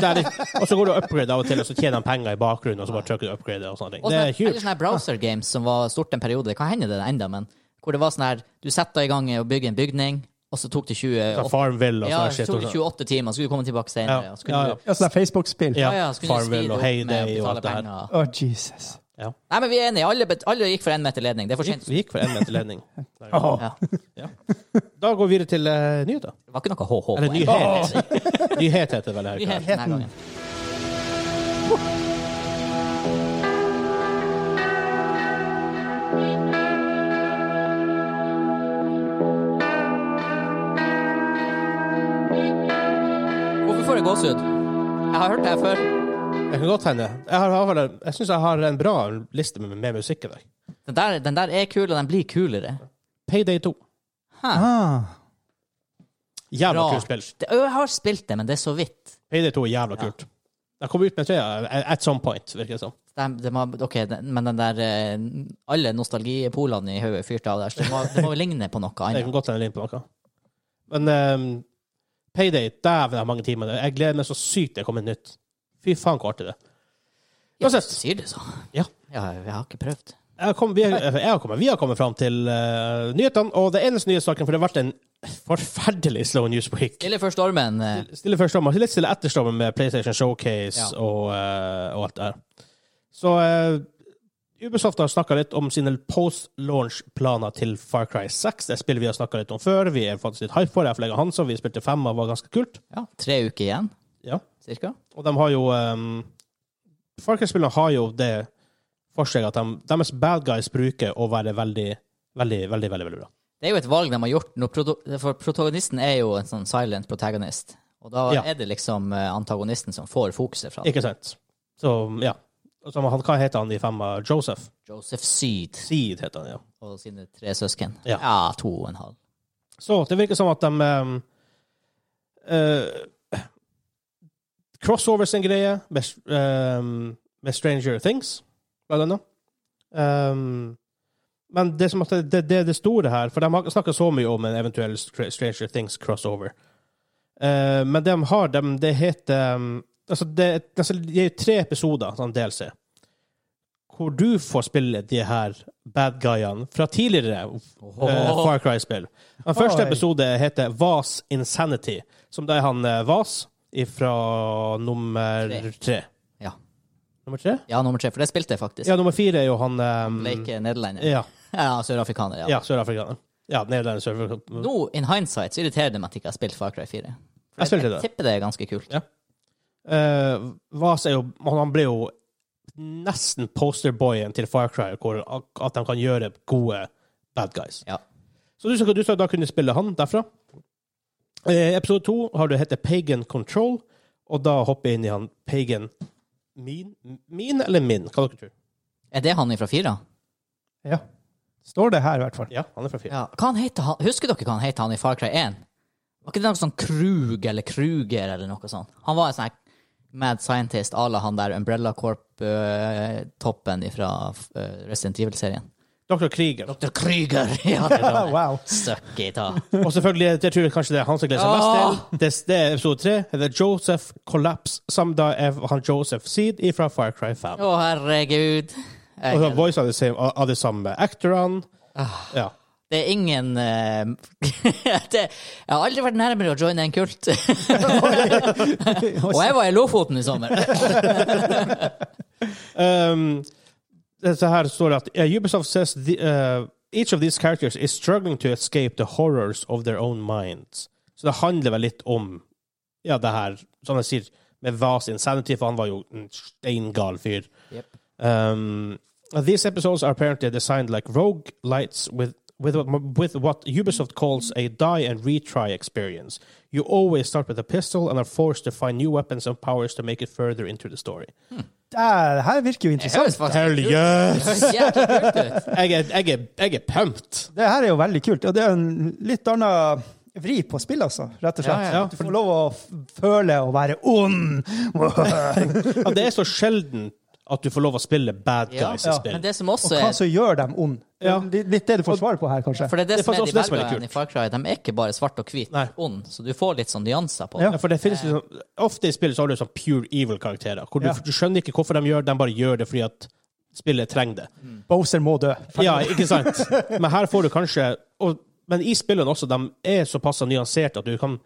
Der, og så går du og upgrader av og til, og så tjener han penger i bakgrunnen, og så bare trykker du upgrade og sånne ting. og Det sånne, er eller huge. sånne her browser games som var stort en periode. Det kan hende det er enda, men hvor det var sånn her Du setter i gang og bygger en bygning, og så tok det 28, Sånn Farmville og ja, sånn så shit. tok det og sånn. 28 timer, så skulle du komme tilbake senere. Ja, og så kunne ja, du- ja. Ja, sånn der Facebook-spill. Ja, Ja, ja, så kunne du Farmville speede og opp med å Heyday og betale alt det her. penger. Å, Jesus. Nei, men vi er enige. Alle, bet- alle gikk for en meter ledning. Det er for sent. Vi gikk for én meter ledning. Åh. Ja. Da går vi videre til uh, nyheter. Det var ikke noe HH. på Eller en. nyhet. Nyhet *laughs* heter det vel her. Nyheten Nyhet. denne gangen. Hvorfor får jeg gåsehud? Jeg har hørt det her før. Det kan godt hende. Jeg, har- har, vel- jeg syns jeg har en bra liste med, med musikk i dag. Den der, den der er kul, og den blir kulere. Payday 2. Hæ? Ah. Jævla Bra. kult spill. Det, jeg har spilt det, men det er så vidt. Payday 2 er jævla kult. Jeg kom ut med tre eh, at some point, virker det som. Det, det må, ok, den, men den der eh, Alle nostalgipolene i hodet er fyrt av der, så det må, det må jo ligne på noe Det annet. kan godt hende jeg ligner på noe. Men ehm, Payday, dæven, jeg har mange timer. Jeg gleder meg så sykt til det kommer nytt. Fy faen, hvor artig det er. Ja, Uansett. sier du så? Ja. Jeg har ikke prøvd. Jeg har kommet- vi, har- jeg har kommet, vi har kommet fram til eh, nyhetene, og det eneste nyhetssaken, for det har vært en forferdelig slow news week. Stille før stormen. eh, Stille først om, litt stille etter stormen med PlayStation Showcase Ja. og, eh, og alt det der. Så eh, Ubisoft har snakka litt om sine post-launch-planer til Far Cry 6. Det spillet vi har snakka litt om før. Vi er faktisk litt hype for det. Jeg og Hansa, vi spilte fem og var ganske kult. Ja, tre uker igjen, Ja. cirka. Og de har jo um, Far Cry-spillene har jo det for seg at de, deres bad guys bruker å være veldig, veldig, veldig veldig, veldig bra. Det er jo et valg de har gjort, når proto- for protagonisten er jo en sånn silent protagonist. Og da Ja. er det liksom eh, antagonisten som får fokuset fra Ikke sant? Så, ja. Og så han, hva heter han i femma? Joseph? Joseph Seed Seed heter han, ja. og sine tre søsken. Ja. to og en halv. Så det virker som at de um, eh, Crossovers er en greie med, um, med Stranger Things, blant annet. Um, men det som at det, det, det er det store her, for de har snakka så mye om en eventuell Str- Stranger Things crossover. Eh, men det de har, de, det heter um, altså det, altså det er tre episoder, sånn DLC, hvor du får spille de her bad guyene fra tidligere eh, Far Cry-spill. Den første Oi. episode heter Vas Insanity, som det er han eh, Vas fra nummer Tre. tre. Ja. Nummer tre? ja, nummer tre, for det spilte jeg faktisk. Ja, nummer fire er jo han um, Blake er nederlender. Ja, Ja, sørafrikaner. Ja. ja sørafrikaner. Ja, nederlender, sørafrikaner. Nå, in hindsight, så irriterer det meg at jeg ikke har spilt Far Cry 4. For Jeg spilte det. tipper det er ganske kult. Ja. Eh, Vas er jo Han han ble jo nesten posterboyen til Far Cry, hvor at de kan gjøre gode bad guys. Ja. Så du skal, du skal da kunne spille han derfra. Eh, episode to har du hette Pagan Control, og da hopper jeg inn i han Pagan Min, min eller min? Hva dere tror? Er det han fra fire? Ja. Står det her, i hvert fall. Ja, han er fra fire. Ja. Hva han heter han? Husker dere hva han het han i Far Cry 1? Var ikke det noe sånn Krug eller Kruger eller noe sånt? Han var en sånn her mad scientist à la han der Umbrella eh, Corp-toppen fra eh, Resident Evil-serien. Dr. Krieger. Dr. Krüger! *laughs* Ja, det var det. Wow. Søkk i ta. Og selvfølgelig, det tror jeg kanskje det er han som gleder seg mest til. Det, det er episode tre. Det er Joseph Collapse, som da er han Joseph Seed fra Far Cry 5. Å, herregud. Eh, Og så Jeg, voice av de same- av de samme actorene. Ja. det er ingen eh, *laughs* det, Jeg har aldri vært nærmere å joine en kult. *laughs* Og jeg var i Lofoten i sommer. Um, så her står det at uh, Ubisoft says the, uh, each of these characters is struggling to escape the horrors of their own minds. Så det handler vel litt om ja, det her, som jeg sier, med Vas Insanity, for han var jo en steingal fyr. Yep. Um, these episodes are apparently designed like rogue lights with with what, with what Ubisoft calls a die and retry experience. You always start with a pistol and are forced to find new weapons and powers to make it further into the story. Der, her virker jo Det interessant. høres faktisk Hell yes! Det høres jævlig kult ut. Jeg er, jeg er, jeg er pumped. Det her er jo veldig kult, og det er en litt annen vri på spill, altså, rett og Ja, slett. ja. Du får lov å f- føle å være *laughs* ond. Ja, det er så sjelden at du får lov å spille bad Ja. guys i Ja, spill. Men det som også Og hva er som gjør dem ond. Det Ja. er litt- litt det du får svar på her, kanskje. For det er det, Det er som er faktisk de også det som er litt velgerne i Far Cry. De er ikke bare svart og hvit Nei. ond, så du får litt sånn nyanser på Ja. det. Ja, for det finnes liksom, Ofte i spill så har du sånn pure evil-karakterer. hvor du, Ja. du skjønner ikke hvorfor de gjør det, de bare gjør det fordi at spillet trenger det. Bowser må dø. Ja, ikke sant? Men her får du kanskje og, Men i spillene også, de er såpass nyanserte at du kan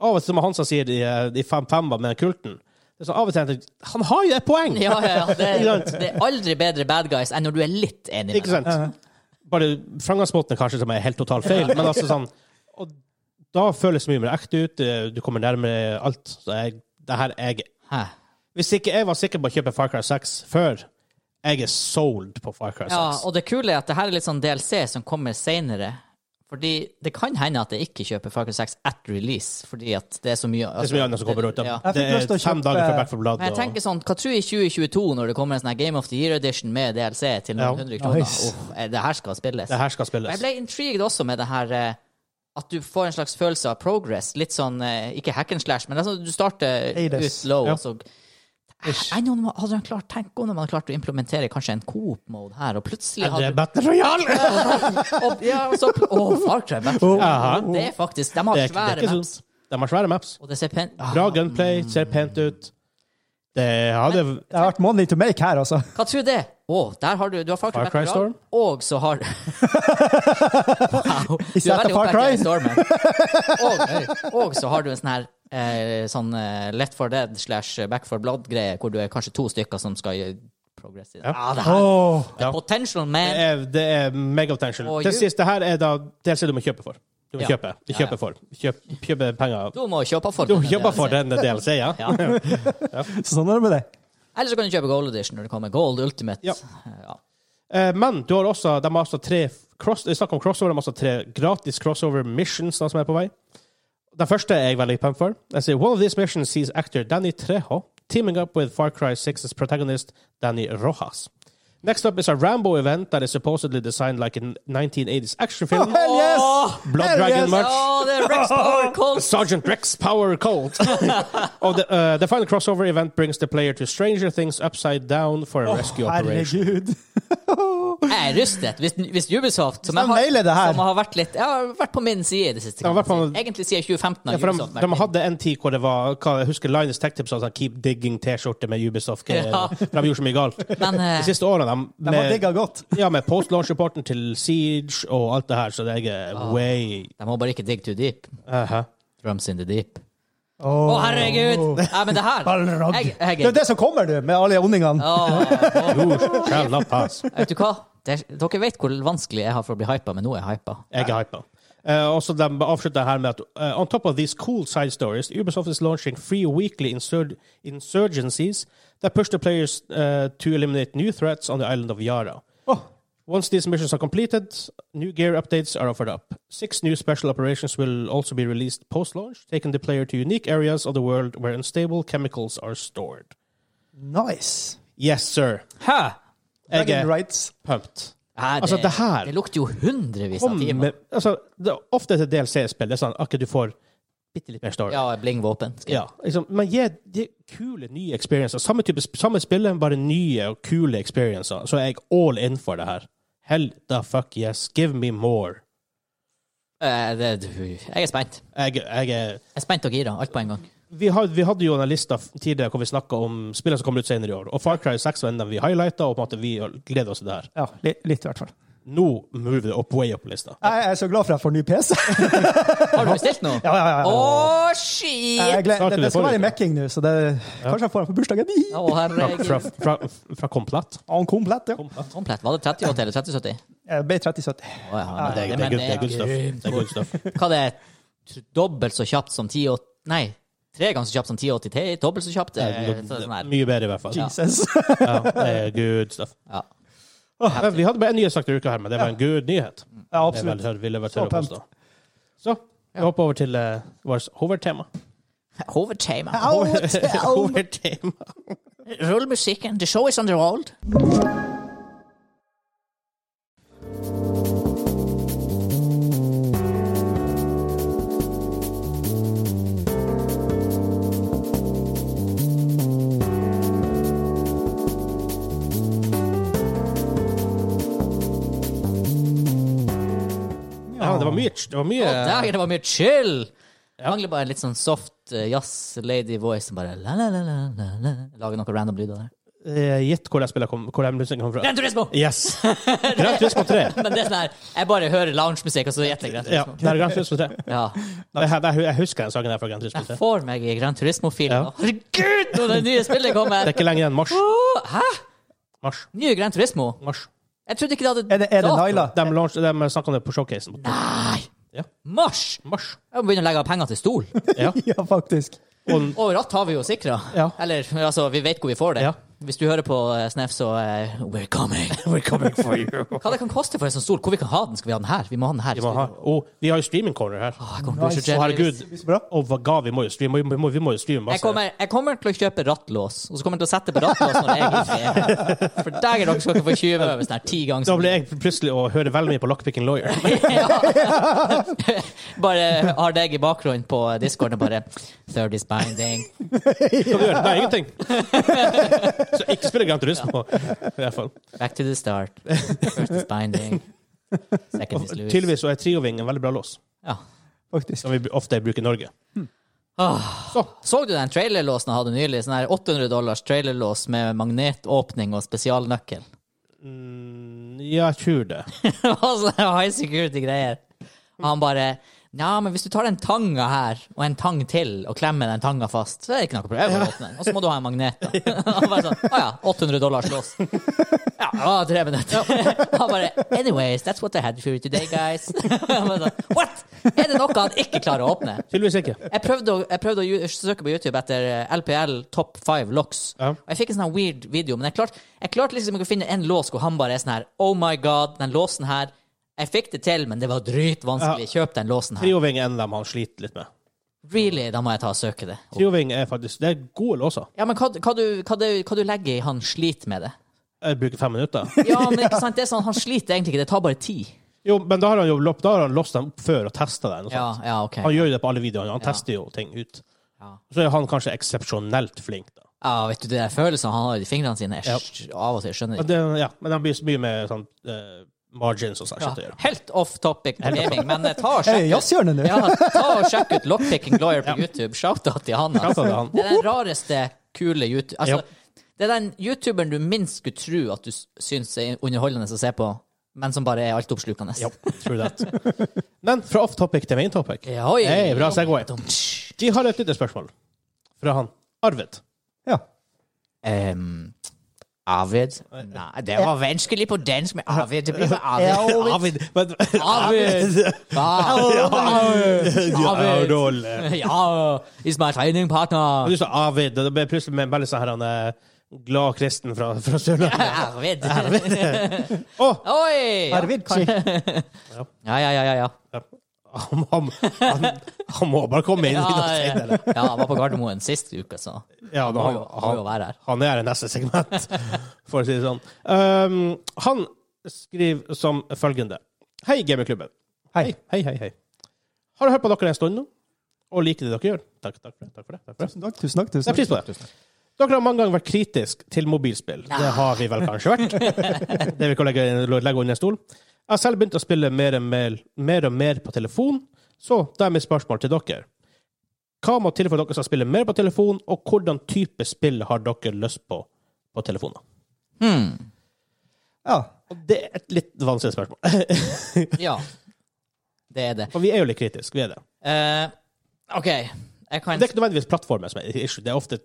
Av og til, som Hansa sier, de, de fem femma med kulten det er så Av og til tenker jeg, Han har jo et poeng! Ja, ja, ja. Det, *laughs* *laughs* Ikke sant? det er aldri bedre bad guys enn når du er litt enig med Ikke sant? Bare framgangsmåten er kanskje som er helt total feil, men altså sånn Og da føles det mye mer ekte ut, eh, du kommer nærmere alt. Så jeg, det her jeg dem. Hæ? Hvis ikke jeg var sikker på å kjøpe Far Cry 6 før, jeg er sold på Far Cry 6. Ja, og det kule er at det her er litt sånn DLC som kommer senere. Fordi det kan hende at jeg ikke kjøper Far Cry 6 at release, fordi at det er så mye det er så mye annet som kommer ut. Ja. da. Det Jeg fikk lyst er til å fem kjøpe- dager før Back for Blood. Men jeg tenker sånn, hva tror jeg i 2022 når det kommer en sånn her Game of the Year edition med DLC til noen Ja. hundre kroner? Nice. Uff, eh, det her skal spilles. Det her skal Og Jeg spilles. ble intrigued også med det her eh, at du får en slags følelse av progress. Litt sånn, eh, ikke hack and slash, men det er sånn, at du starter Hades. ut low, Ja. og så Eh, enn om- Hadde han klart, Tenk om de hadde klart å implementere kanskje en coop-mode her, og plutselig Er det hadde *laughs* Battle Royale? og, ja, og så, Å, Far Cry! Battle Royale. Aha. Det er faktisk De har Det er ikke- det er svære ikke så- maps. De har svære maps. Og det ser pent ah, Bra gunplay, ser pent ut. Det hadde Det har vært money to make her, altså. Hva tror du det? Å, der har du Du har Far Cry, Far Cry Battle Royale, Storm? Og så har Wow. Du setter Far opphengt i Cry. den stormen. Og, og så har du en sånn her eh, sånn eh, Left for dead slash Back for blood-greie, hvor du er kanskje to stykker som skal gjøre progress i det. Ah, det her Åh. Ja. Eh, Potential man! Det er, det er megapotential. Og Til you- sist, det her er da DLC du må kjøpe for. Du må Ja. kjøpe. Du Ja, ja. kjøper for. Kjøp, kjøpe penger. Du må kjøpe for Du den, kjøper det for jeg ser. *laughs* den DLC, ja. Ja. Så sånn er det med det. Eller så kan du kjøpe Gold Edition når det kommer. Gold Ultimate. Ja. Eh, ja. Eh, Men du har også, de har også tre cross, det er snakk om crossover, de har også tre gratis crossover missions da, som er på vei. Den første er jeg veldig pumped for. Jeg sier, One of these missions sees actor Danny Trejo teaming up with Far Cry 6's protagonist Danny Rojas. Next up is a Rambo event that is supposedly designed like a 1980s action film. Oh, Oh, Hell yes! Blood hell Dragon yes! March. Å, det er Rex Power Cold! Sergeant Rex Power *laughs* Cold. oh, the, uh, the final crossover event brings the player to Stranger Things upside down for a rescue operation. Oh, Herregud. *laughs* Jeg er rustet. Hvis, hvis Ubisoft, som, Hvis de nailer det her. som har vært litt Jeg har vært på min side i det siste. Ja, kan i hvert man fall- si. Egentlig siden 2015 har Ja, for de, Ubisoft vært de min. hadde en tid hvor det var hva, Jeg husker Linus Tech Tips hadde sånn 'Keep digging T-skjorte' med Ubisoft. Eh, Ja. For de gjorde så mye galt. Men eh, De siste årene de, De har med, digga godt. ja, med post-launch-rapporten til Siege og alt det her, så det er way de må bare ikke dig too deep. Aha. Drums in the deep. Å, Å, herregud! Nei, men det her Balrog. Jeg, Det er jeg, det som kommer, du, med alle ondingene. Å, You shall not pass. vet du hva? Det, dere vet hvor vanskelig jeg har for å bli hypa, men nå er jeg hypa. Jeg er hypa. Uh, også de avslutter her med at eh, On top of these cool side stories, Ubisoft is launching free weekly insur insurgencies that push the players eh, to eliminate new threats on the island of Yara. Åh. Once these missions are completed, new gear updates are offered up. Six new special operations will also be released post launch, taking the player to unique areas of the world where unstable chemicals are stored. Nice. Yes, sir. Hæ? Jeg Dragon er rights. pumped. Nei, Altså, det her- det lukter jo hundrevis av Kom timer. med altså, det, er Ofte til DLC-spill det er sånn at du får bitte litt mer story. Ja, bling-våpen. skal jeg- Ja, liksom, men gi, gi kule, nye experiencer. Samme type samme spillet, bare nye og kule experiencer. Så er jeg all in for det her. Hell the fuck yes. Give me more. Eh, det- Jeg er spent. Jeg, jeg er Jeg er spent og gira. Alt på en gang. vi, had, vi hadde jo en lista f- tidligere hvor vi snakka om spillene som kommer ut senere i år. Og Far Cry 6 var en av dem vi highlighta, og på en måte vi gleder oss til det her. Ja, li- litt i hvert fall. Nå move det opp way up på lista. Jeg er så glad for at jeg får *laughs* ny PC. Har du bestilt noe? Ja, ja, ja. Å, ja. shit! Jeg gled, Starter det, det det skal være forrige. i mekking nå, så det, kanskje jeg får den på bursdagen. Å, Fra, herregud. fra, fra komplett. En komplett, ja. Komplett. Sånn Var det 3080 eller 3070? *laughs* Jeg ble 3070. Å, ja, men Det, er- det, er good- det er good stuff. Det er good *laughs* stuff. Hva det er t- dobbelt så kjapt som 1080 Nei, tre ganger så kjapt som 1080 Ti, dobbelt så kjapt? eh, så- Sånn her. Mye bedre, i hvert fall. Jesus. Ja, det er good stuff. Ja. Ja, Vi hadde bare en nyhetssak til uka her, men det var en good nyhet. Ja, Det er vel, absolutt. tørre- ville vært Så tørre å påstå. Så vi hopper over til eh, vårt hovedtema. Hovedtema. *laughs* Hovedtema. Rull musikken. The show is on the roll. Ja, det var mye Det var mye Å, der, det var mye chill! Det mangler bare en litt sånn soft eh, jazz-lady voice som bare la, la, la, la, la, la. Lager noen random lyder der. eh, Gjett hvor jeg spiller kom, hvor den musikken kom fra. Gran Turismo! Yes! Grand Turismo 3. Men det er sånn her, jeg bare hører loungemusikk, og så gjetter jeg Gran Ja, Turismo. det er Grand Turismo 3. Ja. Det her- det her- Jeg husker den sangen der fra Grand Turismo Jeg 3. får meg i Gran Turismo-filen. Ja. Herregud, når det nye spillet Det kommer! er ikke lenge igjen. Mars. Åh, hæ? Mars. Nye Gran Turismo? Mars. Jeg trodde ikke det hadde Er det, er det dato. Naila? De, launch- de snakka om det på showcasen. Nei! Ja. Mars! Mars. Jeg må begynne å legge av penger til stol. Ja. *laughs* Ja, faktisk. Og Og ratt har vi jo sikra. Ja. Eller altså, vi vet hvor vi får det. Mm. Ja. Hvis du hører på eh, Snef, så eh, We're coming. *laughs* We're coming for you. *laughs* Hva det kan koste for en sånn stol? Hvor vi kan ha den? Skal vi ha den her? Vi må ha den her. Vi, må ha, og vi har jo streaming corner her. Åh, jeg kommer til å bli så Å, jealous. herregud. Så bra. Og hva ga vi? må jo streame, vi må, vi må jo streame Jeg masse. kommer, jeg kommer til å kjøpe rattlås, og så kommer jeg til å sette på rattlås når jeg er i fred. *laughs* For dæger, dere skal ikke få 20 øver sånn her ti ganger. Da så ble jeg plutselig å høre veldig mye på Lockpicking Lawyer. mye. *laughs* Bare har deg i bakgrunnen på discorden og bare 30 is binding. Hva du gjør? Nei, ingenting. *laughs* Så ikke spille Grand Turismo, i hvert fall. Back to the start. First is binding. Second is loose. Tydeligvis så er trioving en veldig bra lås, Ja. Faktisk. som vi ofte bruker i Norge. Så. så Ah. du den trailerlåsen jeg hadde nylig? Sånn her 800 dollars trailerlås med magnetåpning og spesialnøkkel. Mm, ja, jeg tror det. *laughs* Og så high security-greier. Og han bare Ja, men hvis du tar den tanga her, og en tang til, og klemmer den tanga fast, så er det ikke noe problem å åpne den. Og så må du ha en magnet, da. *laughs* Han bare sånn Å ja, 800 dollars lås. Ja, det var tre minutter. *laughs* Han bare Anyways, that's what I had for you today, guys. *laughs* Han bare sånn What?! Er det noe han ikke klarer å åpne? Tydeligvis ikke. Jeg prøvde å, jeg prøvde å ju- søke på YouTube etter eh, LPL Top 5 locks. Ja. Og jeg fikk en sånn her weird video, men jeg klarte, jeg klarte liksom ikke å finne en lås hvor han bare er sånn her Oh my god, den låsen her Jeg fikk det til, men det var dritvanskelig. Kjøp den låsen her. Trioving er en av dem han sliter litt med. Really, da må jeg ta og søke det. Trioving er faktisk Det er gode låser. Ja, men hva, hva, du, hva, du, hva du legger i 'han sliter med det'? Jeg bruker fem minutter. Ja, men *laughs* ikke sant, det er sånn, han sliter egentlig ikke, det tar bare tid. Jo, men da har han jo lopp- da har han låst dem opp før og testa den. Og Ja, sånt. ja, ok. Han gjør jo det på alle videoene. Han Ja. tester jo ting ut. Ja. Så er han kanskje eksepsjonelt flink, da. Ja, vet du, det der følelsen han har i fingrene sine, jeg, skj- av og til skjønner jeg Men, det, ja, men han blir så mye med sånn eh, margins og sånt. Ja, shit å gjøre. helt off topic med gaming, men eh, *laughs* ta og Er det sjekk ut, jazzhjørnet nå? ja, ta og sjekk ut Lockpicking Lawyer på YouTube. Shout-out til han. Shout Altså. out til han. Det er den rareste kule YouTube... Altså, Ja. det er den youtuberen du minst skulle tro at du s- syns er underholdende å se på, men som bare er altoppslukende. Ja, true *laughs* that. Men fra off topic til main topic. Ja, oi. Hey, bra segway. Dum, tsch. Vi har et lite spørsmål fra han. Arvid. Ja. Em, Arvid? Nei, det var vanskelig på dansk med Arvid. Det blir med *laughs* Arvid. Arvid. Men, *laughs* Arvid. Ja, Arvid. Arnold. Ja, is my training partner. Og du sa Arvid, og det ble plutselig med en veldig sånn her han eh, glad kristen fra, fra Sørlandet. *laughs* Arvid. *laughs* Å! Oi! Arvid, si. Ja, ja, ja. ja, ja. Han, han, han, han må bare komme inn i noe Ja, senere. ja. ja, han var på Gardermoen sist uke, så Ja, men må han, jo, må jo han, være her. han er i neste segment, *laughs* for å si det sånn. Um, han skriver som følgende. Hei, Gamingklubben. Hei. Hei, hei, hei. Har jeg hørt på dere en stund nå, og liker det dere gjør. Takk, takk for det. Takk for det. Takk for det. Tusen takk. Tusen Jeg takk. Tusen setter pris takk. på det. Dere har mange ganger vært kritisk til mobilspill. Det har vi vel kanskje vært. *laughs* Det vi kan legge, legge under en stol. Jeg har selv begynt å spille mer og mer, mer og mer på telefon, så da er mitt spørsmål til dere. Hva må til for at dere skal spille mer på telefon, og hvordan type spill har dere lyst på på telefoner? Hmm. Ja. Og Det er et litt vanskelig spørsmål, *laughs* Ja. Det er det. for vi er jo litt kritiske. Vi er det. Eh, OK. Jeg Men kan det er ikke nødvendigvis plattformen som er issue, det er ofte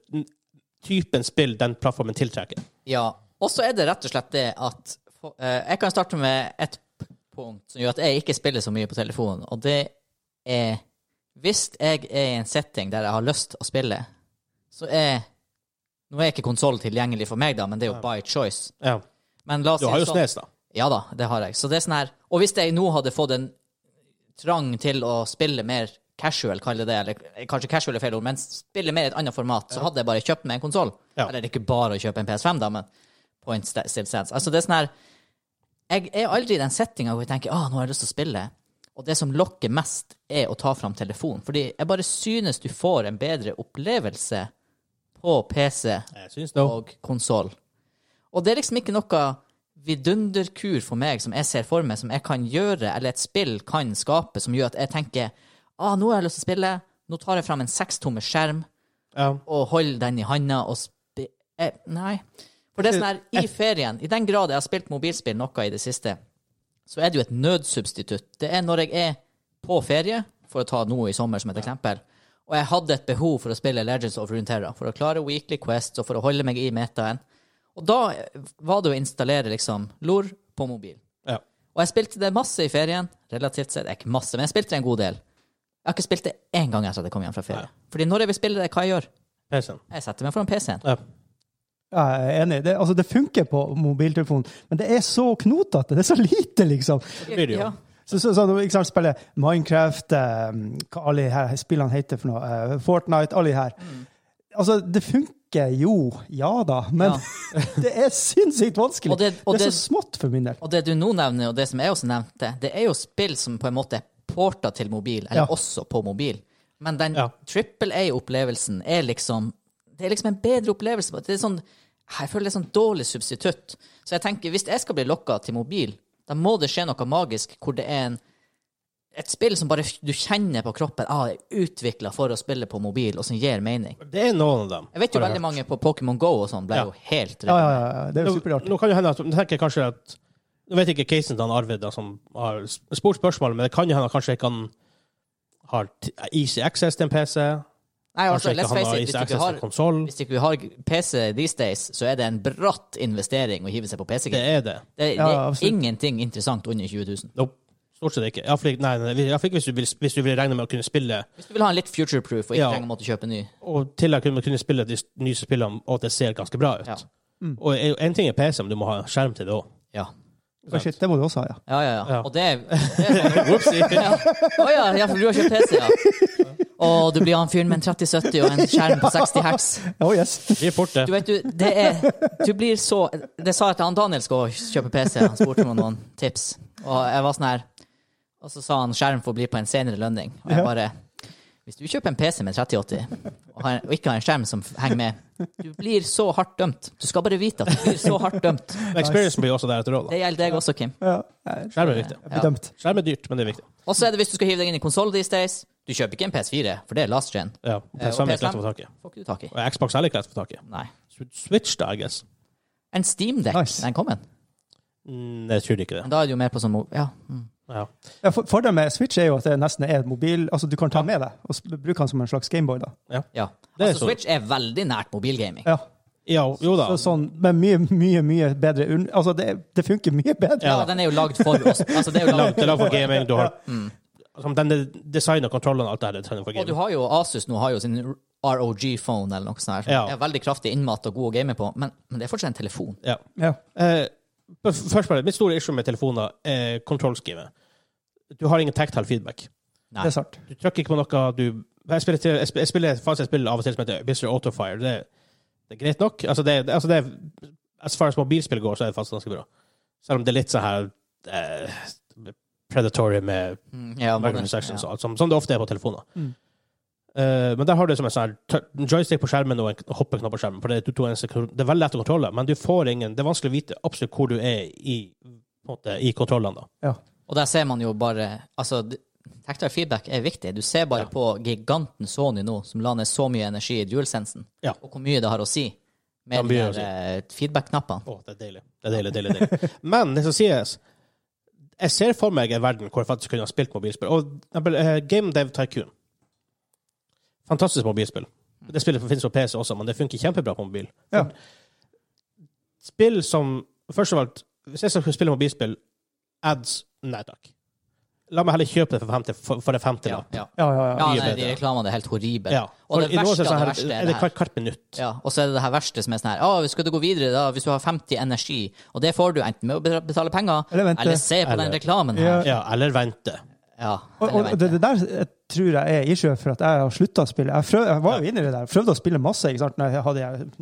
typen spill den plattformen tiltrekker. Ja. Og så er det rett og slett det at eh, Jeg kan starte med et p- punkt som gjør at jeg ikke spiller så mye på telefonen, og det er Hvis jeg er i en setting der jeg har lyst å spille, så er Nå er ikke konsoll tilgjengelig for meg, da, men det er jo by choice. Ja. Men la oss Du si har det jo sånn. Snes, da. Ja da, det har jeg. Så det er sånn her Og hvis jeg nå hadde fått en trang til å spille mer casual, kall det det, eller kanskje casual er feil ord, men spille mer i et annet format, så hadde jeg bare kjøpt meg en konsoll. Ja. Eller ikke bare å kjøpe en PS5, da, men point st- still stands. Altså, det er sånn her Jeg er aldri i den settinga hvor jeg tenker ah, nå har jeg lyst til å spille. Og det som lokker mest, er å ta fram telefonen. Fordi jeg bare synes du får en bedre opplevelse på PC Jeg syns det òg. og konsoll. Og det er liksom ikke noe vidunderkur for meg som jeg ser for meg, som jeg kan gjøre, eller et spill kan skape, som gjør at jeg tenker ah, nå har jeg lyst til å spille, nå tar jeg fram en sekstomme skjerm Ja. og holder den i handa og spi... Eh, nei. For det er sånn her, i ferien, i den grad jeg har spilt mobilspill noe i det siste, så er det jo et nødsubstitutt. Det er når jeg er på ferie, for å ta noe i sommer som et eksempel, og jeg hadde et behov for å spille Legends of Runeterra, for å klare Weekly Quest og for å holde meg i metaen. Og da eh, var det å installere liksom LOR på mobil. Ja. Og jeg spilte det masse i ferien, relativt sett, ikke masse, men jeg spilte det en god del. Jeg har ikke spilt det én gang etter at jeg kom hjem fra ferie. Fordi når jeg vil spille det, hva jeg gjør? PC-en. Jeg setter meg foran PC-en. Ja. Jeg er enig. Det, altså, det funker på mobiltelefonen, men det er så knotete. Det er så lite, liksom. blir det jo. Ja. Så, så, så, ikke sant, spiller Minecraft, eh, hva alle de her spillene heter for noe, eh, Fortnite, alle de her. Mm. Altså, det funker jo, ja da, men *laughs* det er sinnssykt vanskelig. Og det- og det er det- så smått for min del. Og det du nå nevner, og det som jeg også nevnte, det er jo spill som på en måte er porta til mobil, eller Ja. også på mobil. Men den Ja. trippel A-opplevelsen er liksom Det er liksom en bedre opplevelse. Det er sånn, jeg føler det er sånn dårlig substitutt. Så jeg tenker, hvis jeg skal bli lokka til mobil, da må det skje noe magisk hvor det er en et spill som bare f- du kjenner på kroppen ah, er utvikla for å spille på mobil, og som gir mening. Det er noen av dem. Jeg vet jo har veldig hørt. mange på Pokémon Go og sånn ble Ja. jo helt Ja, ja, ja. Det er jo Nå, superartig. nå kan jo hende at, nå tenker jeg kanskje at Nå vet jeg ikke casen til han Arvid da, som har s- spurt spørsmålet, men det kan jo hende at kanskje ikke han har t- easy access til en PC. Nei, altså, Kanskje ikke let's han face har it, hvis easy du ikke access til har konsoll. Hvis ikke du har PC these days, så er det en bratt investering å hive seg på PC. Det Det, er det. det er Ja, absolutt. ingenting interessant under 20 000. Nope. Stort sett ikke. Iallfall ikke, nei, nei, nei, i hvert fall ikke hvis, du vil, hvis du vil regne med å kunne spille Hvis du vil ha en litt future-proof og ikke Ja. trenger å måtte kjøpe ny. og til å kunne, kunne spille de s- nye spillene, og at det ser ganske bra ut. Ja. Og en ting er PC, men du må ha skjerm *laughs* til det òg. Ja, Å, Shit, det må du også ha, ja. ja, ja. ja. Ja. Og det Å ja. Å ja, ja, for du har kjøpt PC, ja. Og du blir han fyren med en 3070 og en skjerm på 60 hertz. Oh, yes. *laughs* Vi er fort Du det. vet, du, det er Du blir så Det sa jeg til han Daniel skal kjøpe PC. Han spurte meg om noen tips, og jeg var sånn her Og så sa han skjerm får bli på en senere lønning. Og jeg bare Hvis du kjøper en PC med 3080, og, har, og ikke har en skjerm som henger med, du blir så hardt dømt. Du skal bare vite at du blir så hardt dømt. Men Experience blir jo også deretter òg, da. Det gjelder deg også, Kim. Ja, jeg Skjerm er viktig. Ja. bedømt. Skjerm er dyrt, men det er viktig. Og så er det hvis du skal hive deg inn i konsoll these days. Du kjøper ikke en PS4, for det er last gen. Ja, PC er ikke lett å få tak i. Får ikke du tak i. Og Xbox er heller ikke lett å få tak i. Nei. Switch, da, I guess. En Steamdeck, Nice. den kom en. Mm, jeg tror ikke det. Men da er det jo mer på sånn mo- Ja. Mm. Ja. Ja, for- Fordelen med Switch er jo at det nesten er et mobil Altså, du kan ta med deg og s- bruke den som en slags Gameboy, da. ja. Det er Altså, sånn. Switch er veldig nært mobilgaming. Ja. Ja, jo da. Så, sånn, men mye, mye, mye bedre un- Altså, det, det funker mye bedre. Ja, den er jo lagd for oss. Altså, det er jo Langt lagd. til lag for gaming. Du har som den design og kontrollen og alt det her. er designet for Og du gaming. har jo Asus nå har jo sin ROG-phone eller noe sånt. her. Ja. Det er veldig kraftig innmat og god å game på, men, men det er fortsatt en telefon. Ja. Ja. Eh, f- først bare, Mitt store issue med telefoner er kontrollskrivet. Du har ingen tactile feedback. Det er sant. Du trykker ikke på noe du Jeg spiller, til, jeg spiller, jeg spiller faktisk et spill av og til som heter Mr. Autofire. Det, det er greit nok. Altså, det, det- altså det, er- as far as mobilspill går, så er det faktisk ganske bra. Selv om det er litt sånn her eh, predatory med Mm, ja, modern- microtransactions ja. og alt, som, som det ofte er på telefoner. Mm. Eh, men der har du som en sånn her tør- joystick på skjermen og en hoppeknapp på skjermen. For det, er to- to eneste kro- det er veldig lett å kontrolle, men du får ingen, det er vanskelig å vite absolutt hvor du er i, på en måte, i kontrollene. da. Ja. Og der ser man jo bare Altså, d- tactile feedback er viktig. Du ser bare på giganten Sony nå, som la ned så mye energi i DualSensen, Ja. og hvor mye det har å si med Det har de mye å der eh, feedback-knappene. Å, det er deilig. Det er deilig, deilig, deilig. *laughs* men det som sies Jeg ser for meg en verden hvor jeg faktisk kunne ha spilt mobilspill. Og for eksempel, eh, Game Dev Tycoon. Fantastisk mobilspill. Det spillet finnes på PC også, men det funker kjempebra på mobil. Ja. spill som Først av alt, hvis jeg skal spille mobilspill, ads Nei takk. La meg heller kjøpe det for 50, for, for det 50 Ja, da. ja. Ja, ja, ja. ja mye nei, de bedre. reklamene er helt horrible. Ja. Og det For i noen verste sånn av det her- verste er det hvert, hvert minutt. Ja, og så er det det her verste som er sånn her Å, skal du gå videre da hvis du har 50 energi? Og det får du enten med å beta- betale penger, Eller vente. se på Eller- den reklamen her. Ja, eller vente. Ja, Og, eller og det, vente. det der eh, tror jeg er issue for at jeg har slutta å spille. Jeg, prøv, jeg var jo inne i det der. Prøvde å spille masse ikke sant? Når jeg hadde jeg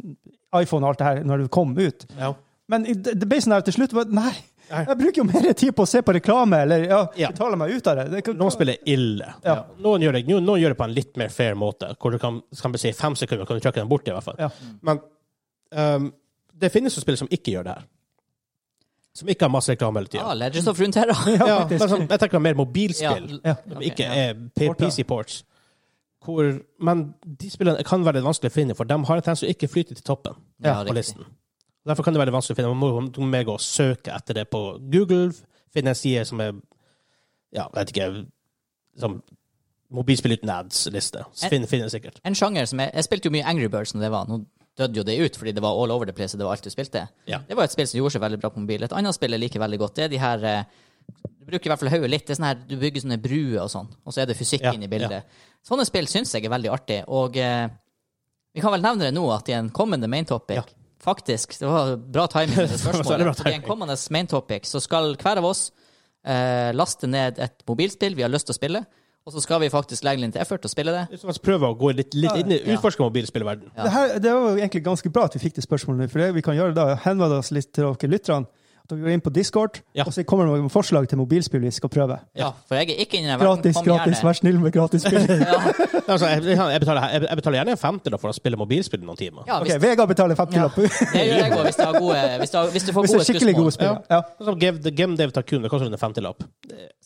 iPhone og alt det her når det kom ut. Ja. Men i- det det ble sånn her til slutt var, Nei, Nei. jeg bruker jo mer tid på å se på reklame eller ja, Ja. betale meg ut av det. det kan, Noen spiller ille. Ja. Noen, gjør det, noen, noen gjør det på en litt mer fair måte, hvor du kan, kan vi si fem sekunder kan du trykke den bort, i hvert fall. Ja. Men ehm, det finnes jo spill som ikke gjør det her. Som ikke har masse reklame hele Ja, tida. Legends of Runeterra. Ja, Ja, men faktisk. sånn, jeg tenker mer mobilspill, Ja, som ok, ikke ja. er P- Porter. PC-ports. Hvor, men de spillene kan være litt vanskelig å finne, for de har en tendens til å ikke flyte til toppen Ja, på riktig. listen. Derfor kan det være litt vanskelig å finne. Man må, man må gå og søke etter det på Google, finne en side som er Ja, jeg vet ikke som Mobilspill uten ads-liste. Eh. Så Finn, finner det sikkert. En sjanger som jeg, jeg spilte jo mye Angry Birds når det var. Nå døde jo det ut fordi det var all over the place, og det var alt du spilte. Ja. Det var et spill som gjorde seg veldig bra på mobil. Et annet spill jeg liker veldig godt, det er de her eh, Du bruker i hvert fall hodet litt. Det er sånn her, du bygger sånne bruer og sånn, og så er det fysikk Ja, inne i bildet. Sånne spill syns jeg er veldig artig, og eh, vi kan vel nevne det nå at i en kommende main topic Ja. Faktisk, det var bra timing med *laughs* det veldig bra spørsmålet. for I en timing. kommende main topic så skal hver av oss eh, laste ned et mobilspill vi har lyst til å spille, og så skal vi faktisk legge litt effort og spille det. Det er som å prøve å gå litt, litt inn i Ja. utforske mobilspillverden. Ja. Det, her, det var jo egentlig ganske bra at vi fikk det spørsmålet nå, for det vi kan gjøre da, er å henvende oss litt til dere lytterne. At dere går inn på Discord, Ja. og så kommer dere med forslag til mobilspill vi skal prøve. Ja, for jeg er ikke inne i den verden. Gratis, Kom gratis, gjerne. vær snill med gratis *laughs* spill. Altså, jeg, jeg, betaler, jeg, jeg betaler gjerne en femtilapp for å spille mobilspill i noen timer. Ja, Ok, hvis, Vegard betaler 50 ja. lapp. Hvis Det gjør jeg òg, hvis, du har *laughs* gode- hvis, du har- hvis du får det gode er skikkelig gode skussmål. spill. Ja. Sånn som Game, Game Dev Tycoon, det koster rundt en femtilapp.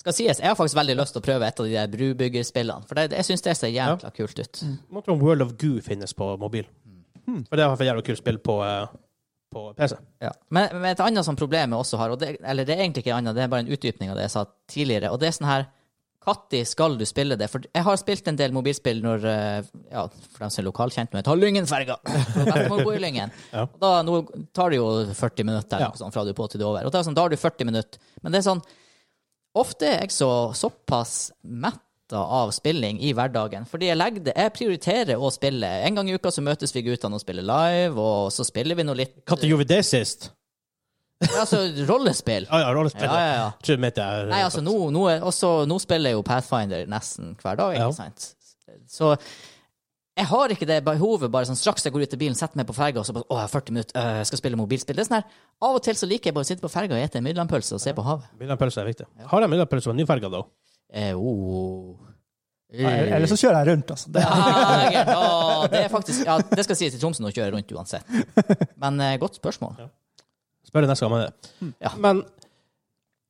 Skal sies, jeg har faktisk veldig lyst til å prøve et av de der brubyggerspillene, for det, jeg syns det ser jævla kult ut. Må tro om World of Goo finnes på mobil. For det er i hvert fall jævlig kult spill på, eh, på PC. Ja. Men, men et annet sånn problem jeg også har, og det, eller det er egentlig ikke et annet, det er bare en utdypning av det jeg sa tidligere, og det er sånn her Når skal du spille det? For jeg har spilt en del mobilspill når eh, Ja, for dem som er lokalkjent med Ta Lyngenferga! *laughs* For Derfor må du bo i Lyngen. Ja. Og da nå tar det jo 40 minutter eller noe sånt, fra du er på til du er over. Og da, er det sånn, da har du 40 minutter. Men det er sånn Ofte er jeg så, såpass metta av spilling i hverdagen, fordi jeg legger det Jeg prioriterer å spille. En gang i uka så møtes vi guttene og spiller live, og så spiller vi nå litt Når gjorde vi det sist? Altså, rollespill. Ja, ja, rollespill. Ja, ja, ja. Tror jeg mente jeg- Nei, altså, nå, nå, er, også, nå spiller jeg jo Pathfinder nesten hver dag, Ja. ikke sant? Så jeg har ikke det behovet bare sånn straks jeg går ut av bilen, setter meg på ferga og så bare Å, jeg har 40 minutter, øh, jeg skal spille mobilspill. Det er sånn her, Av og til så liker jeg bare å sitte på ferga og ete en middelandpølse og se på havet. Middelpølse er viktig. Har de middelpølse på nyferga, da? Eh, oh. Eller eller så kjører jeg rundt, altså. Det, Ah, greit. Å, det er faktisk Ja, det skal sies til Tromsø nå kjører jeg rundt uansett. Men eh, godt spørsmål. Spør jeg neste gang om det. Mm, Ja. Men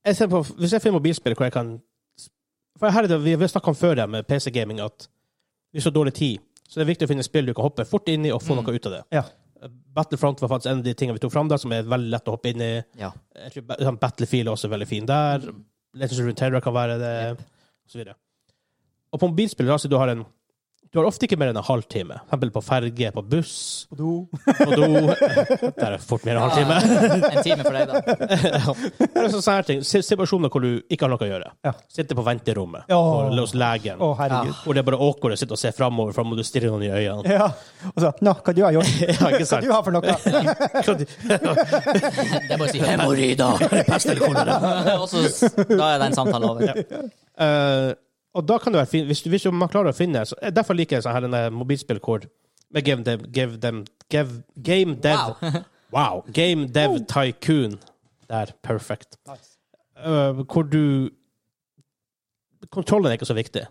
jeg ser på, hvis jeg finner mobilspill hvor jeg kan For her er det, Vi har snakka om før det med PC-gaming at vi har så dårlig tid, så det er viktig å finne spill du kan hoppe fort inn i og få Mm. noe ut av det. Eh, ja. Battlefront var faktisk en av de tingene vi tok fram der, som er veldig lett å hoppe inn i. Ja. Mm. Jeg tror ba- sånn Battlefield er også veldig fin der. Legends of Terror kan være det, og så videre. Og på mobilspill altså, du har en du har ofte ikke mer enn en halvtime. For eksempel på ferge, på buss, På do. på do. Der er det fort mer enn en halvtime. En time for deg, da. Det er sånne sånne ting. Si- Situasjoner hvor du ikke har noe å gjøre. Ja. Sitter på venterommet Ja. for- hos legen. Å, herregud. Hvor det er bare awkward å sitte og se framover, for da må du stirre noen i *laughs* øynene. Ja. Og så Nå, hva du *laughs* har gjort? Ja, ikke Hva *laughs* sant? du har for noe? Det er bare å si *laughs* 'hemoroider'! Pest eller kolera. *laughs* Og så s- Da er den samtalen over. Eh, og da kan det være fint, hvis, hvis man klarer å finne så, eh, Derfor liker jeg sånn her denne mobilspillkord med Game Dev, give them, give, game dev wow. Game Dev Tycoon. Der. Perfect. Eh, hvor du Kontrollen er ikke så viktig,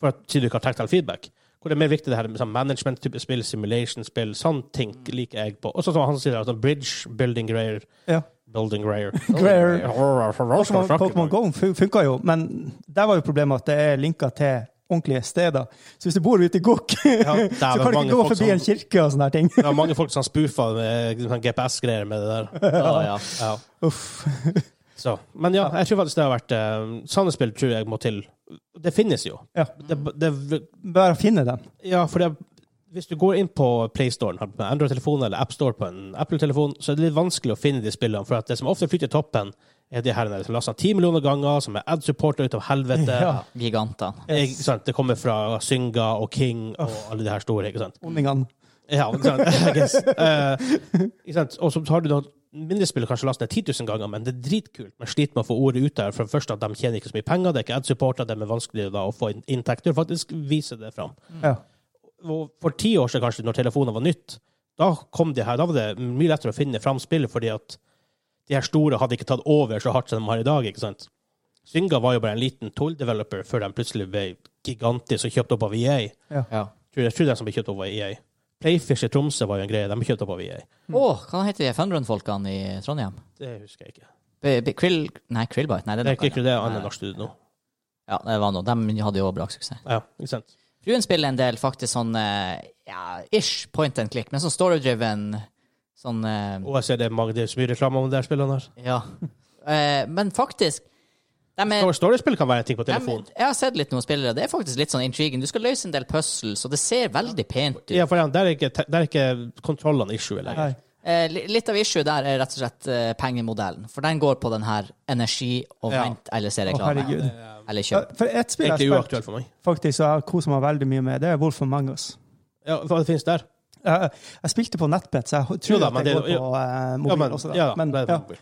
for at siden du ikke har tactile feedback. Hvor det er mer viktig det her med sånn management-type spill, simulation-spill, sånne ting liker jeg på. Og sånn som han sier, altså bridge building greier. Ja. Building *laughs* greier. Greier. Pokémon Pokémon Go fun- funka jo, men der var jo problemet at det er linka til ordentlige steder. Så hvis du bor ute i Gokk, *laughs* Ja, så kan du mange ikke gå folk forbi som- en kirke og sånne her ting. Det var mange folk som spoofa med sånn GPS-greier med det der. *laughs* Å, ja. Ja. Uff. *laughs* Så. Men ja, jeg tror faktisk det har vært uh, Sånne spill tror jeg må til. Det finnes jo. Ja. Det, det, Bare finne dem. ja, for det Hvis du går inn på PlayStoren, har på Android-telefon eller AppStore på en Apple-telefon, så er det litt vanskelig å finne de spillene. For at det som ofte flyter i toppen, er de her som er lastet ti millioner ganger, som er ad-supporter ut av helvete. Ja. Gigantene. Ikke sant? Det kommer fra Synga og King og alle de her store. ikke sant? Ondingene. Ja, ikke sant? *laughs* I guess. Eh, ikke sant? Og så har du noen mindre spill kanskje lastet ned 10 000 ganger, men det er dritkult. Man sliter med å få ordet ut der. For det første at de tjener ikke så mye penger, det er ikke ad-supporter, det er vanskelig da å få inn- inntekter. Faktisk vise det fram. Ja. Og for ti år siden, kanskje, når telefonen var nytt, da kom de her, da var det mye lettere å finne fram spillet, fordi at de her store hadde ikke tatt over så hardt som de har i dag. ikke sant? Synga var jo bare en liten tool-developer før de plutselig ble gigantisk og kjøpt opp av EA. Ja. Tror- Jeg tror de som ble kjøpt opp av EA. Playfish i Tromsø var jo en greie. De ble kjøpt opp av E EA. Å, hva heter de Funrun-folkene i Trondheim? Det husker jeg ikke. B B Krill... Nei, Krillbite. Nei, det er Det er noe ikke annet. det annet norsk studio nå. Ja, det var noe. De hadde jo også braksuksess. Ja, ikke sant? Fruen spiller en del faktisk sånn eh, ja, ish point and click, men sånn story-driven sånn eh, Og jeg ser det er mange, det er så mye reklame om de her spillene her. Ja. Eh, men faktisk de er, Story- Storiespill kan være en ting på de, telefonen. Jeg har sett litt noen spillere, det er faktisk litt sånn intriguing. Du skal løse en del puzzles, og det ser veldig pent ut. Ja, for der er ikke, der er ikke kontrollene issue lenger. Nei. Eh, li- litt av issue der er rett og slett eh, pengemodellen, for den går på den her energi og Ja. vent eller se Å, reklame. herregud. eller Ja, kjøp. For ett Det spill er jeg egentlig har spilt uaktuelt for meg. faktisk, og jeg har koset meg veldig mye med, det er Wolf of Mangus. Ja, hva det finnes der? Jeg, jeg spilte på nettbrett, så jeg Jo tror da, at men det det- går på eh, mobil Ja, men, også. Da. ja, men det er ja, mobil.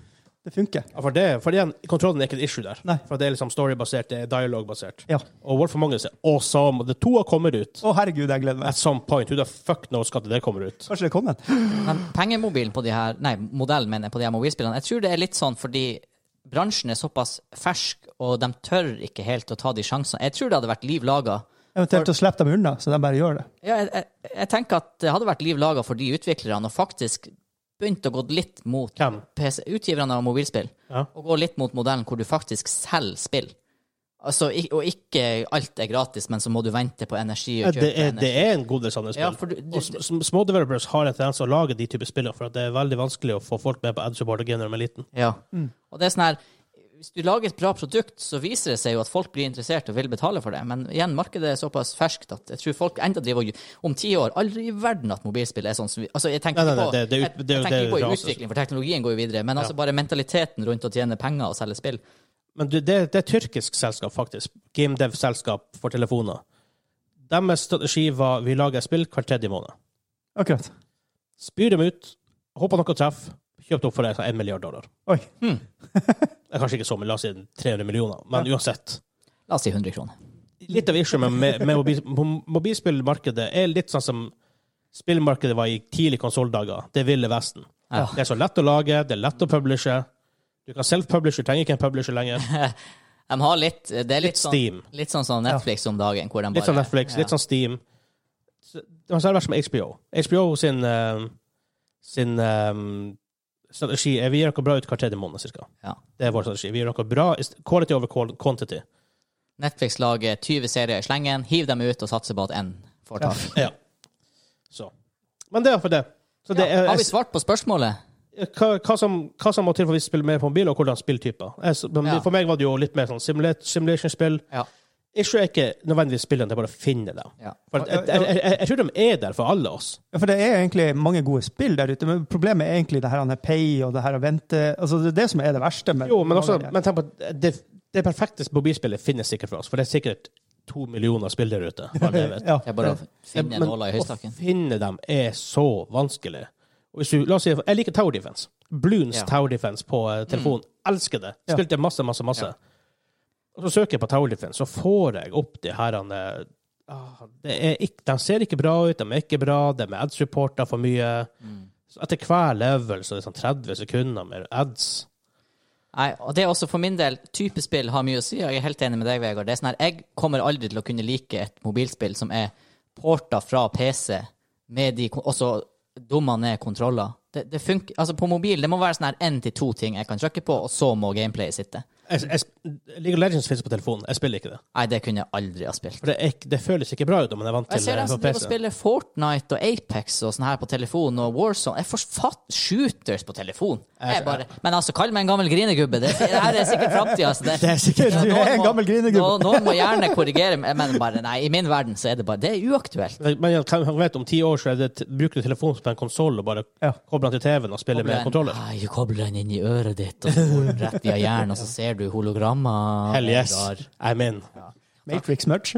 det funker. Ja, for, det, for igjen, kontrollen er ikke et issue der. Nei. For det er liksom storybasert, det er dialogbasert. Ja. Og Wolf of Magnus er awesome. og Det to har kommet ut. Å, herregud, jeg gleder meg. At some point. Who the fuck knows når det kommer ut? Kanskje det er kommet? Men pengemobilen på de her, nei, modellen mener jeg på de her mobilspillene, jeg tror det er litt sånn fordi bransjen er såpass fersk, og de tør ikke helt å ta de sjansene. Jeg tror det hadde vært liv laga. Eventuelt å slippe dem unna, så de bare gjør det. Ja, jeg, jeg, jeg tenker at det hadde vært liv laga for de utviklerne, og faktisk begynt å gå litt mot Hvem? PC, utgiverne av mobilspill, Ja. og gå litt mot modellen hvor du faktisk selger spill. Altså, ik- og ikke alt er gratis, men så må du vente på energi Ja, og Det kjøpe er, energi. det er en god del sånne spill. Ja, for du- du- og sm- sm- små developers har en tendens til å lage de typer spillene, for at det er veldig vanskelig å få folk med på ad support og gamer med liten. Ja. Og det er sånn her Hvis du lager et bra produkt, så viser det seg jo at folk blir interessert og vil betale for det. Men igjen, markedet er såpass ferskt at jeg tror folk enda driver og Om ti år Aldri i verden at mobilspill er sånn som vi Altså, jeg tenker Nei, ikke nei, nei, på, det- det er ut- jeg, det er jo jeg tenker det ikke på i raset. utvikling, for teknologien går jo videre. Men altså bare mentaliteten rundt å tjene penger og selge spill. Men du, det, det er tyrkisk selskap, faktisk. GameDev-selskap for telefoner. Deres strategi var vi lager spill hver tredje måned. Akkurat. Spyr dem ut, håper noe treffer, kjøpt opp for det, så 1 milliard dollar. Oi. Det er kanskje ikke så mye, la oss si 300 millioner, men uansett. La oss si 100 kroner. Litt av issue med, med, med mobil, mo- mobilspillmarkedet er litt sånn som spillmarkedet var i tidlige konsolldager. Det ville Vesten. Ja. Det er så lett å lage, det er lett å publishe. Du kan self-publishe, du trenger ikke en publisher *laughs* lenger. De har litt eh, Det er litt, Litt Steam. sånn Litt sånn som Netflix om dagen, hvor de bare Litt sånn Netflix, litt sånn Steam. Så- Det har vært som HBO. HBO sin, eh, sin eh, strategi er vi gjør noe bra ut hver tredje måned, cirka. Ja. Det er vår strategi. Vi gjør noe bra, quality over qual- quantity. Netflix lager 20 serier i slengen, hiv dem ut og satser på at én får tak. Ja. Så. Men det er for det. Så det Ja, er, har vi svart på spørsmålet? hva, hva, som, hva som må til for å spille mer på mobil, og hvordan spilltyper. Jeg s- men Ja. For meg var det jo litt mer sånn simula- simulation-spill. Ja. Ikke, ikke nødvendigvis spillene, det er bare å finne dem. ja. For jeg, jeg, jeg, jeg, jeg tror de er der for alle oss. Ja, for det er egentlig mange gode spill der ute, men problemet er egentlig det her han er pay og det her å vente Altså, det er det som er det verste. med- Jo, men, også, mange av de her. men tenk på at det, det perfekte mobilspillet finnes sikkert for oss, for det er sikkert to millioner spillere ute. for alt jeg vet. *laughs* ja. Det er bare å finne Men en nåla i høystakken. Å finne dem er så vanskelig. Og Hvis du, la oss si, jeg liker Tower Defense. Bloons Ja. Tower Defense på eh, telefonen. Mm. Elsker det. Spilte masse, masse, masse. Og så søker jeg på Tower Defense, så får jeg opp de her eh, ah, det er ikke, De ser ikke bra ut, de er ikke bra, de er ad-supporter for mye. Mm. Så etter hver level så er det sånn 30 sekunder med ads. Nei, og det er også for min del Type spill har mye å si, og jeg er helt enig med deg, Vegard. Det er sånn her, Jeg kommer aldri til å kunne like et mobilspill som er porta fra PC, med de kon- også dumma ned kontroller. Det, det funker, altså På mobil det må være sånn her én til to ting jeg kan trykke på, og så må gameplayet sitte. jeg, jeg, League of Legends finnes på telefonen. Jeg spiller ikke det. Nei, det kunne jeg aldri ha spilt. For det, er, ikke- det føles ikke bra ut om man er vant Jeg til ser det dem som på driver og PC. spiller Fortnite og Apex og sånn her på telefon, og Warzone. Jeg får fatt shooters på telefon. Jeg bare, men altså, kall meg en gammel grinegubbe. Det, det her er sikkert framtida. Altså, det, Det er sikkert du er en gammel grinegubbe. Noen, noen må gjerne korrigere meg, men bare nei, i min verden så er det bare Det er uaktuelt. Men jeg kan- jeg vet om ti år så er det, bruker du telefonen på en konsoll og bare Ja. kobler den Ah, til TV-en og spiller med kontroller. Nei, du kobler den inn i øret ditt, og så går den rett via hjernen, og så ser du hologrammer. Hell yes, Edgar. I'm in. Matrix-merch.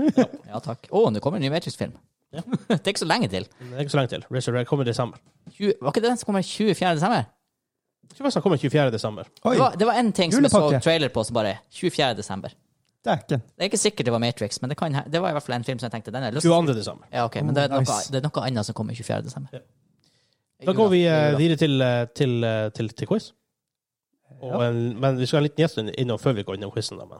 Ja, takk. Å, nå kommer en ny Matrix-film. *laughs* det er ikke så lenge til. Det er ikke så lenge til. Razor Red kommer i desember. 20, var ikke det den som kommer 24. desember? Jeg tror faktisk den kommer 24. desember. *laughs* Oi, Det var, det var en ting som jeg så Julepakke. trailer på som bare 24. desember. dæken. Det er ikke sikkert det var Matrix, men det, kan, he- det var i hvert fall en film som jeg tenkte den er lyst 22. desember. Ja, ok, men det er, Oh, noe, nice. det er noe annet som kommer 24. desember. Da går vi eh, videre til, eh, til, eh, til, til quiz. Og, Ja. en, men vi skal ha en liten gjest innom før vi går innom quizen. Da, men.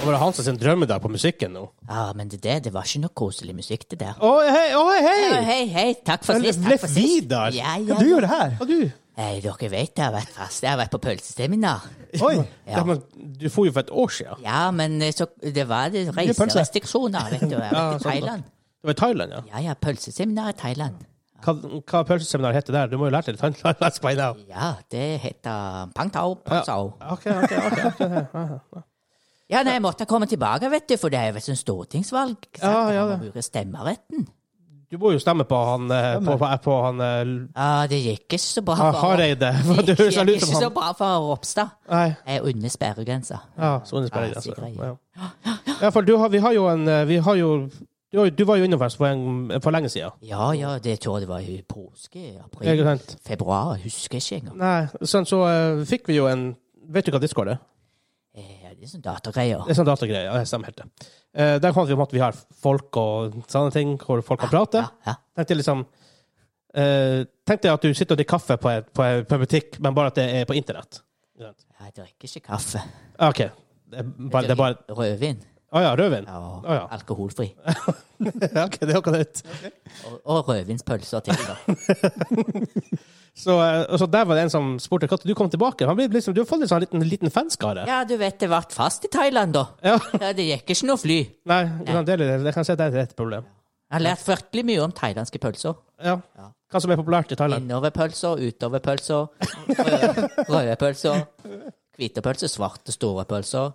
Det var Hansen sin drømmedag på musikken nå. Ja, men det, der, det var ikke noe koselig musikk, det der. Å, hei! å, Ja, hei! Hei, hei, takk for Men sist. ble Takk for sist. Vidar? Ja, Ja, ja. du gjør det her? Og du? Hei, dere vet jeg har vært fast. Jeg har vært på pølseseminar. Oi! Ja, Ja. men, du for jo for et år siden. ja, men eh, så, det var det reiserestriksjoner, vet du. Jeg *laughs* har sånn vært i Thailand. Det var i Thailand, ja. Ja, ja, pølseseminar i Thailand. Hva, hva pølseseminar heter det der? Du må jo lære deg det *laughs* thailandsk by now. Ja, det heter pang tao, pang sao. Ok, ok, ok. Ja, nei, jeg måtte komme tilbake, vet du, for det er jo et sånt stortingsvalg. ikke sant? Ja, ja, Man det. må bruke stemmeretten. Du må jo stemme på han, eh, på, på, på han eh, Ja, det gikk ikke så bra. Ah, for- *laughs* *laughs* Hareide. Det Du gikk høres ikke ut som så han. bra for Ropstad. Nei. Jeg er under sperregrensa. Ja, sånn er Ja, det så altså. grei. Ja. I hvert fall, du har, vi har jo en eh, Vi har jo Du, har jo- du var jo innom oss for, en- for lenge siden. Ja, ja, det tror jeg det var i påske, Ikke april, sant? februar, jeg husker ikke engang. Nei, sånn så eh, fikk vi jo en Vet du hva Discord er? Eh, Det er sånn datagreier. Det er sånn datagreie. Ja, det stemmer helt. det. Eh, der fant vi om at vi har folk og sånne ting, hvor folk kan prate. Ja, ja. Tenkte jeg liksom eh, Tenkte jeg at du sitter og drikker kaffe på, et- på, et- på en butikk, men bare at det er på internett. Ikke sant? Jeg drikker ikke kaffe. Ah, OK. Det er bare, det er bare Rødvin. Å ja, rødvin? *laughs* Ja, og Å ja. alkoholfri. OK, det er akkurat det. Og, og rødvinspølser til. *laughs* da. Så, eh, og så der var det en som spurte når du kom tilbake. Han ble liksom, du har fått en sånn liten, liten fanskare. Ja, du vet, det ble fast i Thailand, da. Ja. Ja, det gikk ikke noe fly. Nei, ikke sant, det, er litt- jeg kan si at det er et problem. Jeg har lært fryktelig mye om thailandske pølser. Ja. Hva som er populært i Thailand. Innoverpølser, utoverpølser, røde, røde pølser, hvite pølser, svarte, store pølser.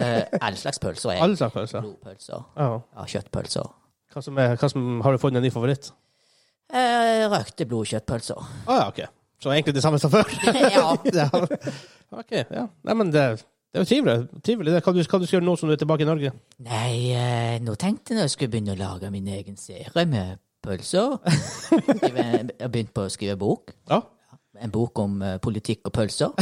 Eh, alle slags pølser. er Alle slags pølser. Blodpølser. Ja. Ja, kjøttpølser. Hva som er, hva som, har du funnet en ny favoritt? Eh, røkte blodkjøttpølser. Å ja, OK. Så egentlig det samme som før? ja. *laughs* ja. OK. Ja. Nei, men det, det er jo trivelig. trivelig. Det. Hva, du, hva du skal gjøre nå som du er tilbake i Norge? Nei, eh, nå tenkte jeg når jeg skulle begynne å lage min egen serie med pølser. Skrive- Jeg begynte på å skrive bok. Ja. En bok om eh, politikk og pølser.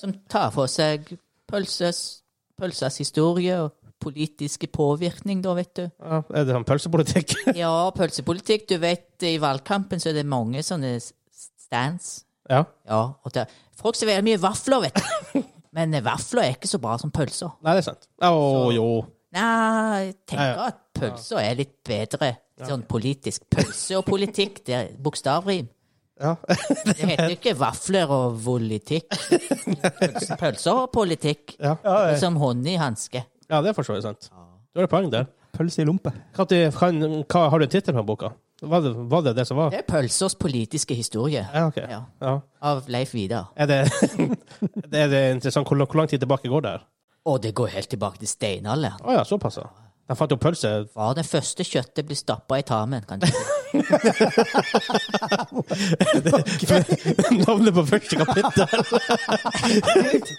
Som tar for seg pølses, pølsers historie og politiske påvirkning, da, vet du. ja. Er det sånn pølsepolitikk? *laughs* Ja, pølsepolitikk. Du vet, i valgkampen så er det mange sånne s- stands. ja. Ja, og det, folk serverer mye vafler, vet du. Men eh, vafler er ikke så bra som pølser. Nei, det er sant. Å jo. Nei, jeg Ja, tenker at pølser er litt bedre sånn politisk. Pølse og politikk, det er bokstavrim. Ja. *laughs* Det heter jo ikke vafler og volitikk. Pølse- Pølser og politikk. Ja. Ja, Det ja. er Som hånd i hanske. ja, det er for så vidt sant. Du har et poeng der. Pølse i lompe. Hva, til- kan, hva, har du en tittel på boka? Var det, var det det som var? Det er pølsers politiske historie Ja, ok. Ja. Ja. av Leif Vidar. Er det, *laughs* er det interessant hvor, lang- hvor lang tid tilbake går det her? Og det går helt tilbake til steinalderen. Å ja, såpass. ja. De fant jo pølse *laughs* Var det første kjøttet blir stappa i tarmen, kan du si. Navnet på første kapittel!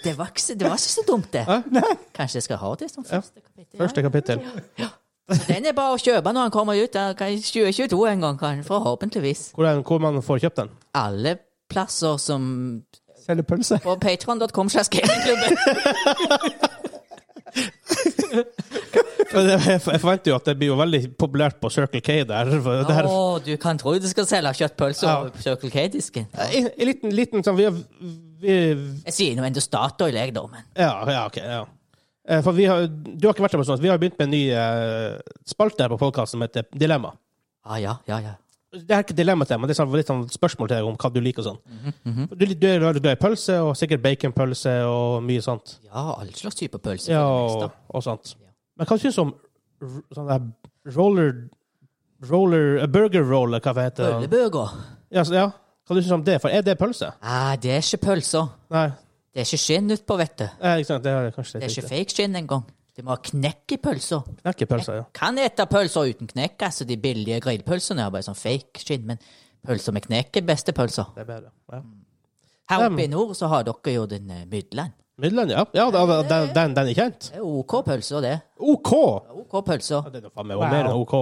Det var ikke, så- det var ikke så dumt, det. Kanskje jeg skal ha det som første kapittel. Første kapittel. Den er bare å kjøpe når han kommer ut. da kan- 2022 en gang, kan, forhåpentligvis. Hvor, er den- hvor man får kjøpt den? Alle plasser som Selger pølse. På *laughs* patreon.com slags gamingklubben. Jeg jeg forventer jo at det blir jo veldig populært på Circle K der. for det her- Å, du kan tro du skal selge kjøttpølser Ja. på Circle K-disken. En en liten, liten sånn vi har, vi, Jeg sier nå enda Statoil, jeg, da, men Ja, ja, ok. Ja. Eh, For vi har, du har ikke vært der på sånn, vi har begynt med en ny eh, spalte her på podkasten som heter Dilemma. ah, ja, ja, ja. Det er ikke dilemma til, men det er sånn, litt sånn spørsmål til deg om hva du liker og sånn. Du, du er veldig glad i pølse, og sikkert baconpølse og mye sånt. Ja, all slags type pølser. Ja, for det og, meste. og sånt. Ja. Men hva syns du om r- sånn der roller Roller eh, Burger roll, eller hva det heter det? Bøllebøger. Ja, så, ja. Hva du syns om det? For er det pølse? Nei, Ah, det er ikke pølser. Nei, Det er ikke skinn utpå, vet du. eh, ikke sant? det er kanskje Det er ikke riktig. fake skinn engang. De må ha knekk i pølser. Knekkepølse, ja. Kan ete pølser uten knekk. Altså, de billige grillpølsene er bare sånn fake skinn, men pølser med knekk er beste pølser. Det er bedre. Ja. Her oppe i Dem. nord så har dere jo den eh, Midland. Midland, ja. ja den, den, den, den er kjent. Det er OK pølser, det. OK! OK pølser. Ja, det er noe faen meg mer enn OK.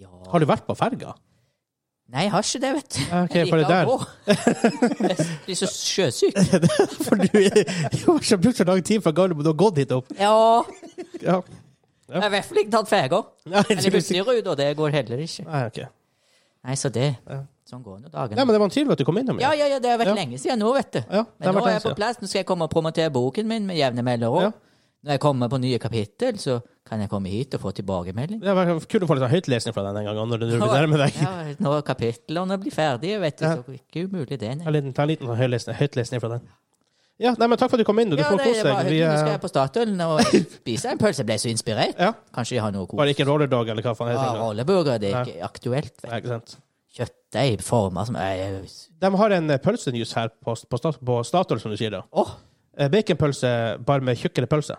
Ja. Har du vært på ferga? Nei, jeg har ikke det, vet du. Ja, ok, Jeg for det der. liker å gå. Jeg *laughs* blir så sjøsyk. For du *laughs* har ikke brukt så lang tid fra Gardermoen og gått hit opp. Ja. Ja. Jeg har i hvert fall ikke tatt ferga. Nei, Eller Buskerud, og det går heller ikke. Nei, ok. Nei, så det Ja. Sånn går nå Nei, dagene. men det var tydelig at du kom innom. Ja, ja. ja, ja, det har vært Ja. lenge siden nå, vet du. Ja, det Men nå er har vært lenge jeg på siden. plass. Nå skal jeg komme og promotere boken min med jevne mellomrom. Ja. Når jeg kommer på nye kapittel, så kan jeg komme hit og få tilbakemelding. Det var kult å få litt sånn høytlesning fra den en gang når du når du nærmer deg. Ja, når kapitlene blir ferdige, vet du, Ja. så er det ikke umulig det. Ta Nei. en liten, ta en liten sånn høytlesning, høytlesning fra den. Ja, nei, men takk for at du kom inn. Du, du Ja, får nei, kose det var deg. Vi, hyggelig. Nå skal eh, jeg på Statoil og spise en pølse. Jeg ble så inspirert. ja. Kanskje de har noe kos. Bare ikke roller dog, eller hva faen Ja, heter det. rolleburger, det er ikke aktuelt. vet du. Nei, ikke sant. Kjøttdeig former som Åh! De har en eh, pølsenews her på, på, Stat- på Statoil, som du sier. da. Eh, Baconpølse bare med tjukkere pølse.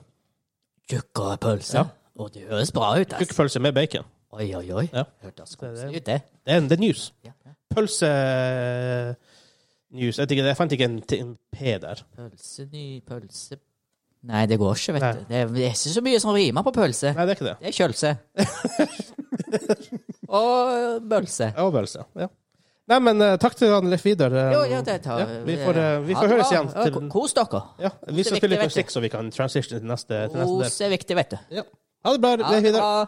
Tjukkere pølse. Ja. Å, det høres bra ut, Tjukk altså. pølse med bacon. Oi, oi, oi. Ja. Hørtes koselig ut, det. Det er, en- det er news. Ja, ja. Pølse-news. Jeg, vet ikke, jeg fant ikke en, t- en P der. Pølse, ny pølse Nei, det går ikke, vet Nei. du. Det er, det er ikke så mye som rimer på pølse. Nei, det er ikke det. Det er *laughs* kjølse. Og øh, bølse. Jeg overbeviser, ja. Nei, men eh, takk til han Leif Vidar. eh, Jo, ja, det tar ja, vi får, eh, vi Ha får det høres bra. igjen. Ja, Til, ko- Kos dere. ja, vi det er skal spille viktig, litt vet du. musikk, så vi kan transition til neste, til neste Kos er viktig, vet du. del. Ja. Ha det bra, Leif Vidar. Ha det bra.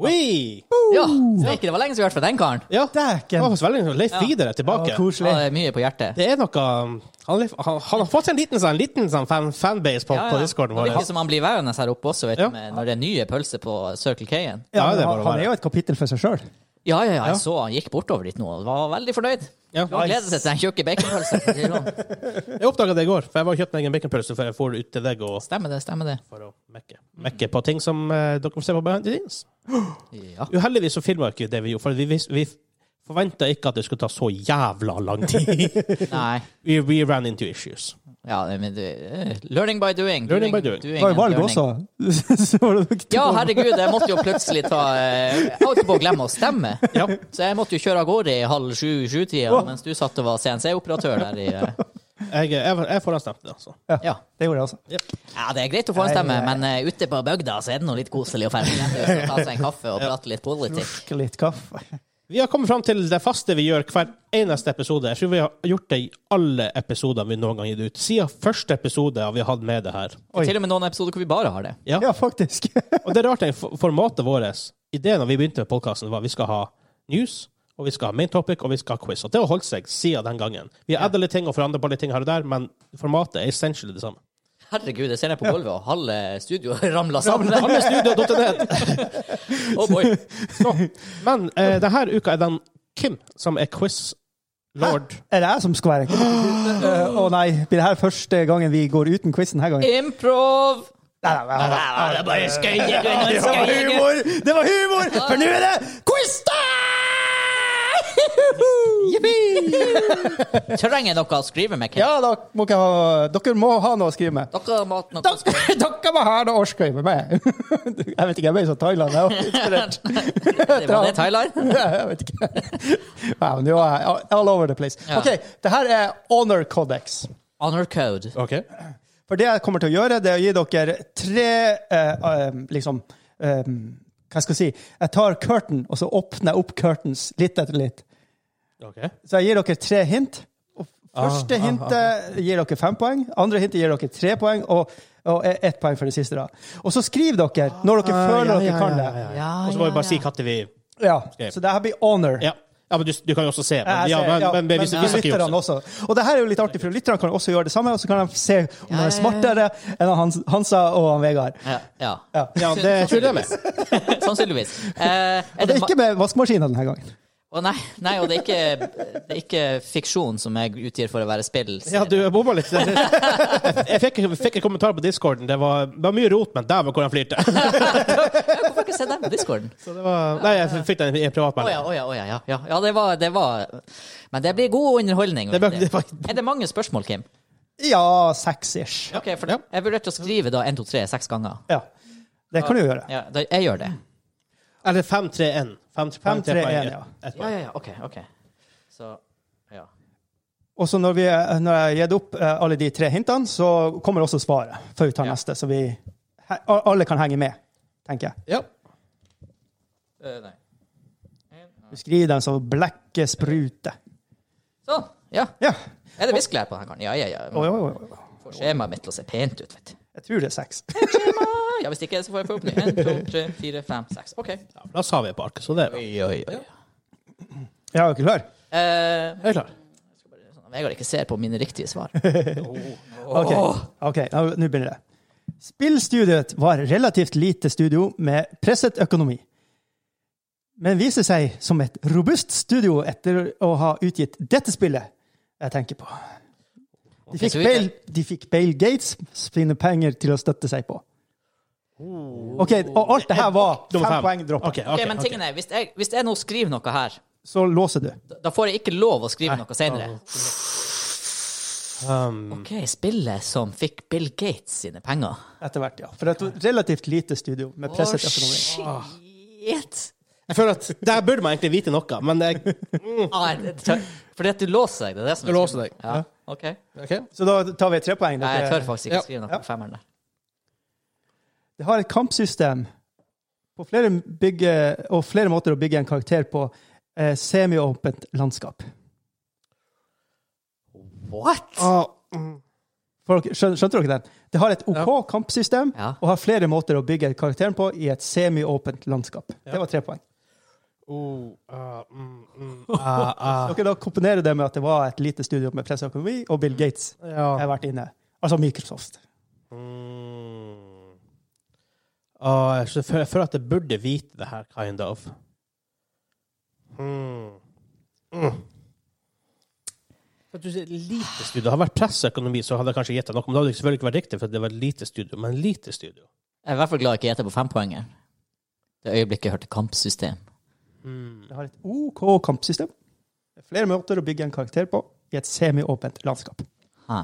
Oui! Ja, steike, det var lenge siden vi hørte fra den karen. Ja, det Dæken! var veldig Leif Vidar er Det var tilbake. Ja, koselig. det er mye på hjertet. Det er noe um, Han, Leif- han, han har fått seg en liten, sånn, liten sånn fan, fanbase på, på discorden Det vår. virker som han blir værende her oppe også, vet Ja. du, med, når det er nye pølser på Circle K-en. Ja, Ja, det er men bare å han, han være. er jo et kapittel for seg sjøl. Ja, ja, ja, jeg så han gikk bortover dit nå og var veldig fornøyd. Ja. Han gleder seg til den tjukke *laughs* baconpølsa. Jeg oppdaga det i går, for jeg var og kjøpte meg en baconpølse før jeg for ut til deg og Stemmer det, stemmer det. for å mekke, mekke på ting som eh, dere får se på behind the scenes. Ja. Uheldigvis så filma ikke det vi gjorde, for vi, vis- vi forventa ikke at det skulle ta så jævla lang tid. Nei. we, we ran into issues. Ja, men det, eh, learning by doing. Learning by doing. Det var jo and valg learning. også. *laughs* Så var det ikke- Ja, herregud, jeg måtte jo plutselig ta eh, Jeg holdt på å glemme å stemme, Ja. så jeg måtte jo kjøre av gårde i halv sju-sju-tida mens du satt og var CNC-operatør der i eh, Jeg, jeg, var- jeg forhåndsstemte, altså. Ja. Det gjorde jeg også. Ja, det er greit å få en stemme, men eh, ute på bygda så er det nå litt koselig å ferdig å ta seg en kaffe og prate litt politikk. Slurke litt kaffe. Vi har kommet fram til det faste vi gjør hver eneste episode. Jeg tror vi har gjort det i alle episoder vi noen gang har gitt ut. Siden første episode har vi hatt med det her. Det er Til og med noen episoder hvor vi bare har det. Ja. Ja, faktisk. Og det er rart, det for- formatet vårt, ideen da vi begynte med podkasten, var at vi skal ha news, og vi skal ha main topic, og vi skal ha quiz. Og det har holdt seg siden den gangen. Vi har edda litt ting og forandra på litt ting her og der, men formatet er essentially *laughs* det samme. Herregud, jeg ser ned på gulvet, og halve studioet *laughs* ramler sammen. Alle studio.net *laughs* Oh boy. Så, men eh, denne uka er den Kim som er quiz-lord. Er det jeg som skal være Eh, Å nei, blir det her første gangen vi går uten quiz denne gangen? Improv! Nei, nei, nei, nei. Ah, det er bare skøying. du er noen Det var skøying. humor! Det var humor! For nå er det Quiz-time! Trenger dere å skrive med? Kim? Ja, da må ikke ha, dere må ha noe å skrive med. Dere må ha noe å skrive Dere, dere må ha noe å skrive med! Jeg vet ikke, jeg ble så Thailand. *laughs* Jeg var inspirert. Det var det, *laughs* Thailand? Jeg vet ikke. Wow, nå er jeg all over the place. Ja. Ok, det her er Honor Codex. Honor code. Okay. For det jeg kommer til å gjøre, det er å gi dere tre eh, eh, liksom eh, hva skal jeg si, jeg tar curtain, og så åpner jeg opp curtains litt etter litt. Ok. Så jeg gir dere tre hint. Og første Ah, ah, hintet gir dere fem poeng, andre hintet gir dere tre poeng, og, og ett poeng for det siste. da. Og så skriver dere når dere føler dere kan det. Ah, ja, ja. Ja, Og så må vi ja, bare si ja. når vi Ja, Skrev. Så det her blir honor. Ja, ja men du, du kan jo også se. Men, Jeg ja, ser- men, ja, men, vi, vi men snakker jo lytterne også. også. Og det her er jo litt artig, for lytterne kan også gjøre det samme, og så kan de se om Ja, de ja, er ja. smartere enn han, Hansa og han Vegard. Ja, ja. Ja. Ja, det tror jeg det er med. *laughs* Sannsynligvis. Eh, er Og det det er ikke med vaskemaskiner denne gangen. Å, nei, nei, og det er, ikke, det er ikke fiksjon som jeg utgir for å være spill. Ja, du jeg bomma litt. *laughs* Jeg fikk, jeg fikk en kommentar på discorden. Det var, det var mye rot, men dæven hvor han flirte. Hvorfor har jeg ikke sett den på discorden? Så det var, nei, jeg fikk den Å i en ja, privatmelding. å ja, å ja, ja, ja. ja det, var, det var Men det blir god underholdning. Det vet var- du. det var- Er det mange spørsmål, Kim? Ja, seks-ish. Ok, for Jeg vurderte å skrive da 1, 2, 3 seks ganger. Ja. Det kan du gjøre. Ja, da, jeg gjør det. Eller 5-3-1. 5-3-1, ja. Ja, ja, ja, ok, ok. Så, ja. Og så når, vi, når jeg har gitt opp eh, alle de tre hintene, så kommer også svaret før vi tar Ja. neste. Så vi he, alle kan henge med, tenker jeg. Ja. Eh, nei. Du skriver den som blekke sprute. Sånn, ja. Ja. Er det viskelær på denne karen? Ja, ja, ja. Oi, Man oi, oi. får skjemaet mitt til å se pent ut, vet du. Jeg tror det er seks. *laughs* Ah, Ja, hvis ikke, så får jeg få opp ny. 1, 2, 3, 4, 5, 6. Ok. Da sa vi et par, så det er bra. Ja, er dere klar? Eh, Jeg er klar. sånn at Vegard ikke ser på mine riktige *laughs* svar. OK, Ok, nå nå begynner det. Spillstudiet var relativt lite studio med presset økonomi, men viser seg som et robust studio etter å ha utgitt dette spillet jeg tenker på. De fikk, så vi- Bale, de fikk Bale Gates sine penger til å støtte seg på. OK, og alt det her var Nummer fem. fem poeng dropp. Oh. Ok, ok, Ok, men ok. tingen er, hvis jeg, hvis jeg nå skriver noe her, Så låser du. da- da får jeg ikke lov å skrive noe senere. Um, Ok, spillet som fikk Bill Gates sine penger. Etter hvert, ja. For det er et relativt lite studio med Å, presset økonomi. shit! jeg føler at Der burde man egentlig vite noe, men jeg Ah, jeg- tør- fordi at du låser deg, det er det som er Du låser deg. Ja, ok. Så da tar vi tre poeng. Nei, jeg dere- tør faktisk ikke Ja. skrive noe Ja. på femmeren der. Det har et kampsystem på flere bygge, og flere måter å bygge en karakter på eh, semiåpent landskap. What?! Folk, skjøn- skjønte dere den? Det har et OK Ja. kampsystem Ja. og har flere måter å bygge karakteren på i et semiåpent landskap. Det var tre poeng. *laughs* oh, ah, mm, mm. *laughs* Dere da komponerer det med at det var et lite studio med presseøkonomi, og Bill Gates Ja. har vært inne. Altså Microsoft. Mm. Ah, jeg skjø- jeg føler at jeg burde vite det her, kind of. Mm. Mm. For at du sier lite studio. Hadde det vært presseøkonomi, så hadde jeg kanskje gitt deg noe. Men det hadde selvfølgelig ikke vært riktig, for det var et lite studio. Men lite studio. Jeg er i hvert fall glad jeg ikke gjetter på fempoenger. Det øyeblikket jeg hørte kampsystem. Mm. Det har et OK kampsystem. Det er flere måter å bygge en karakter på i et semiåpent landskap. Hæ.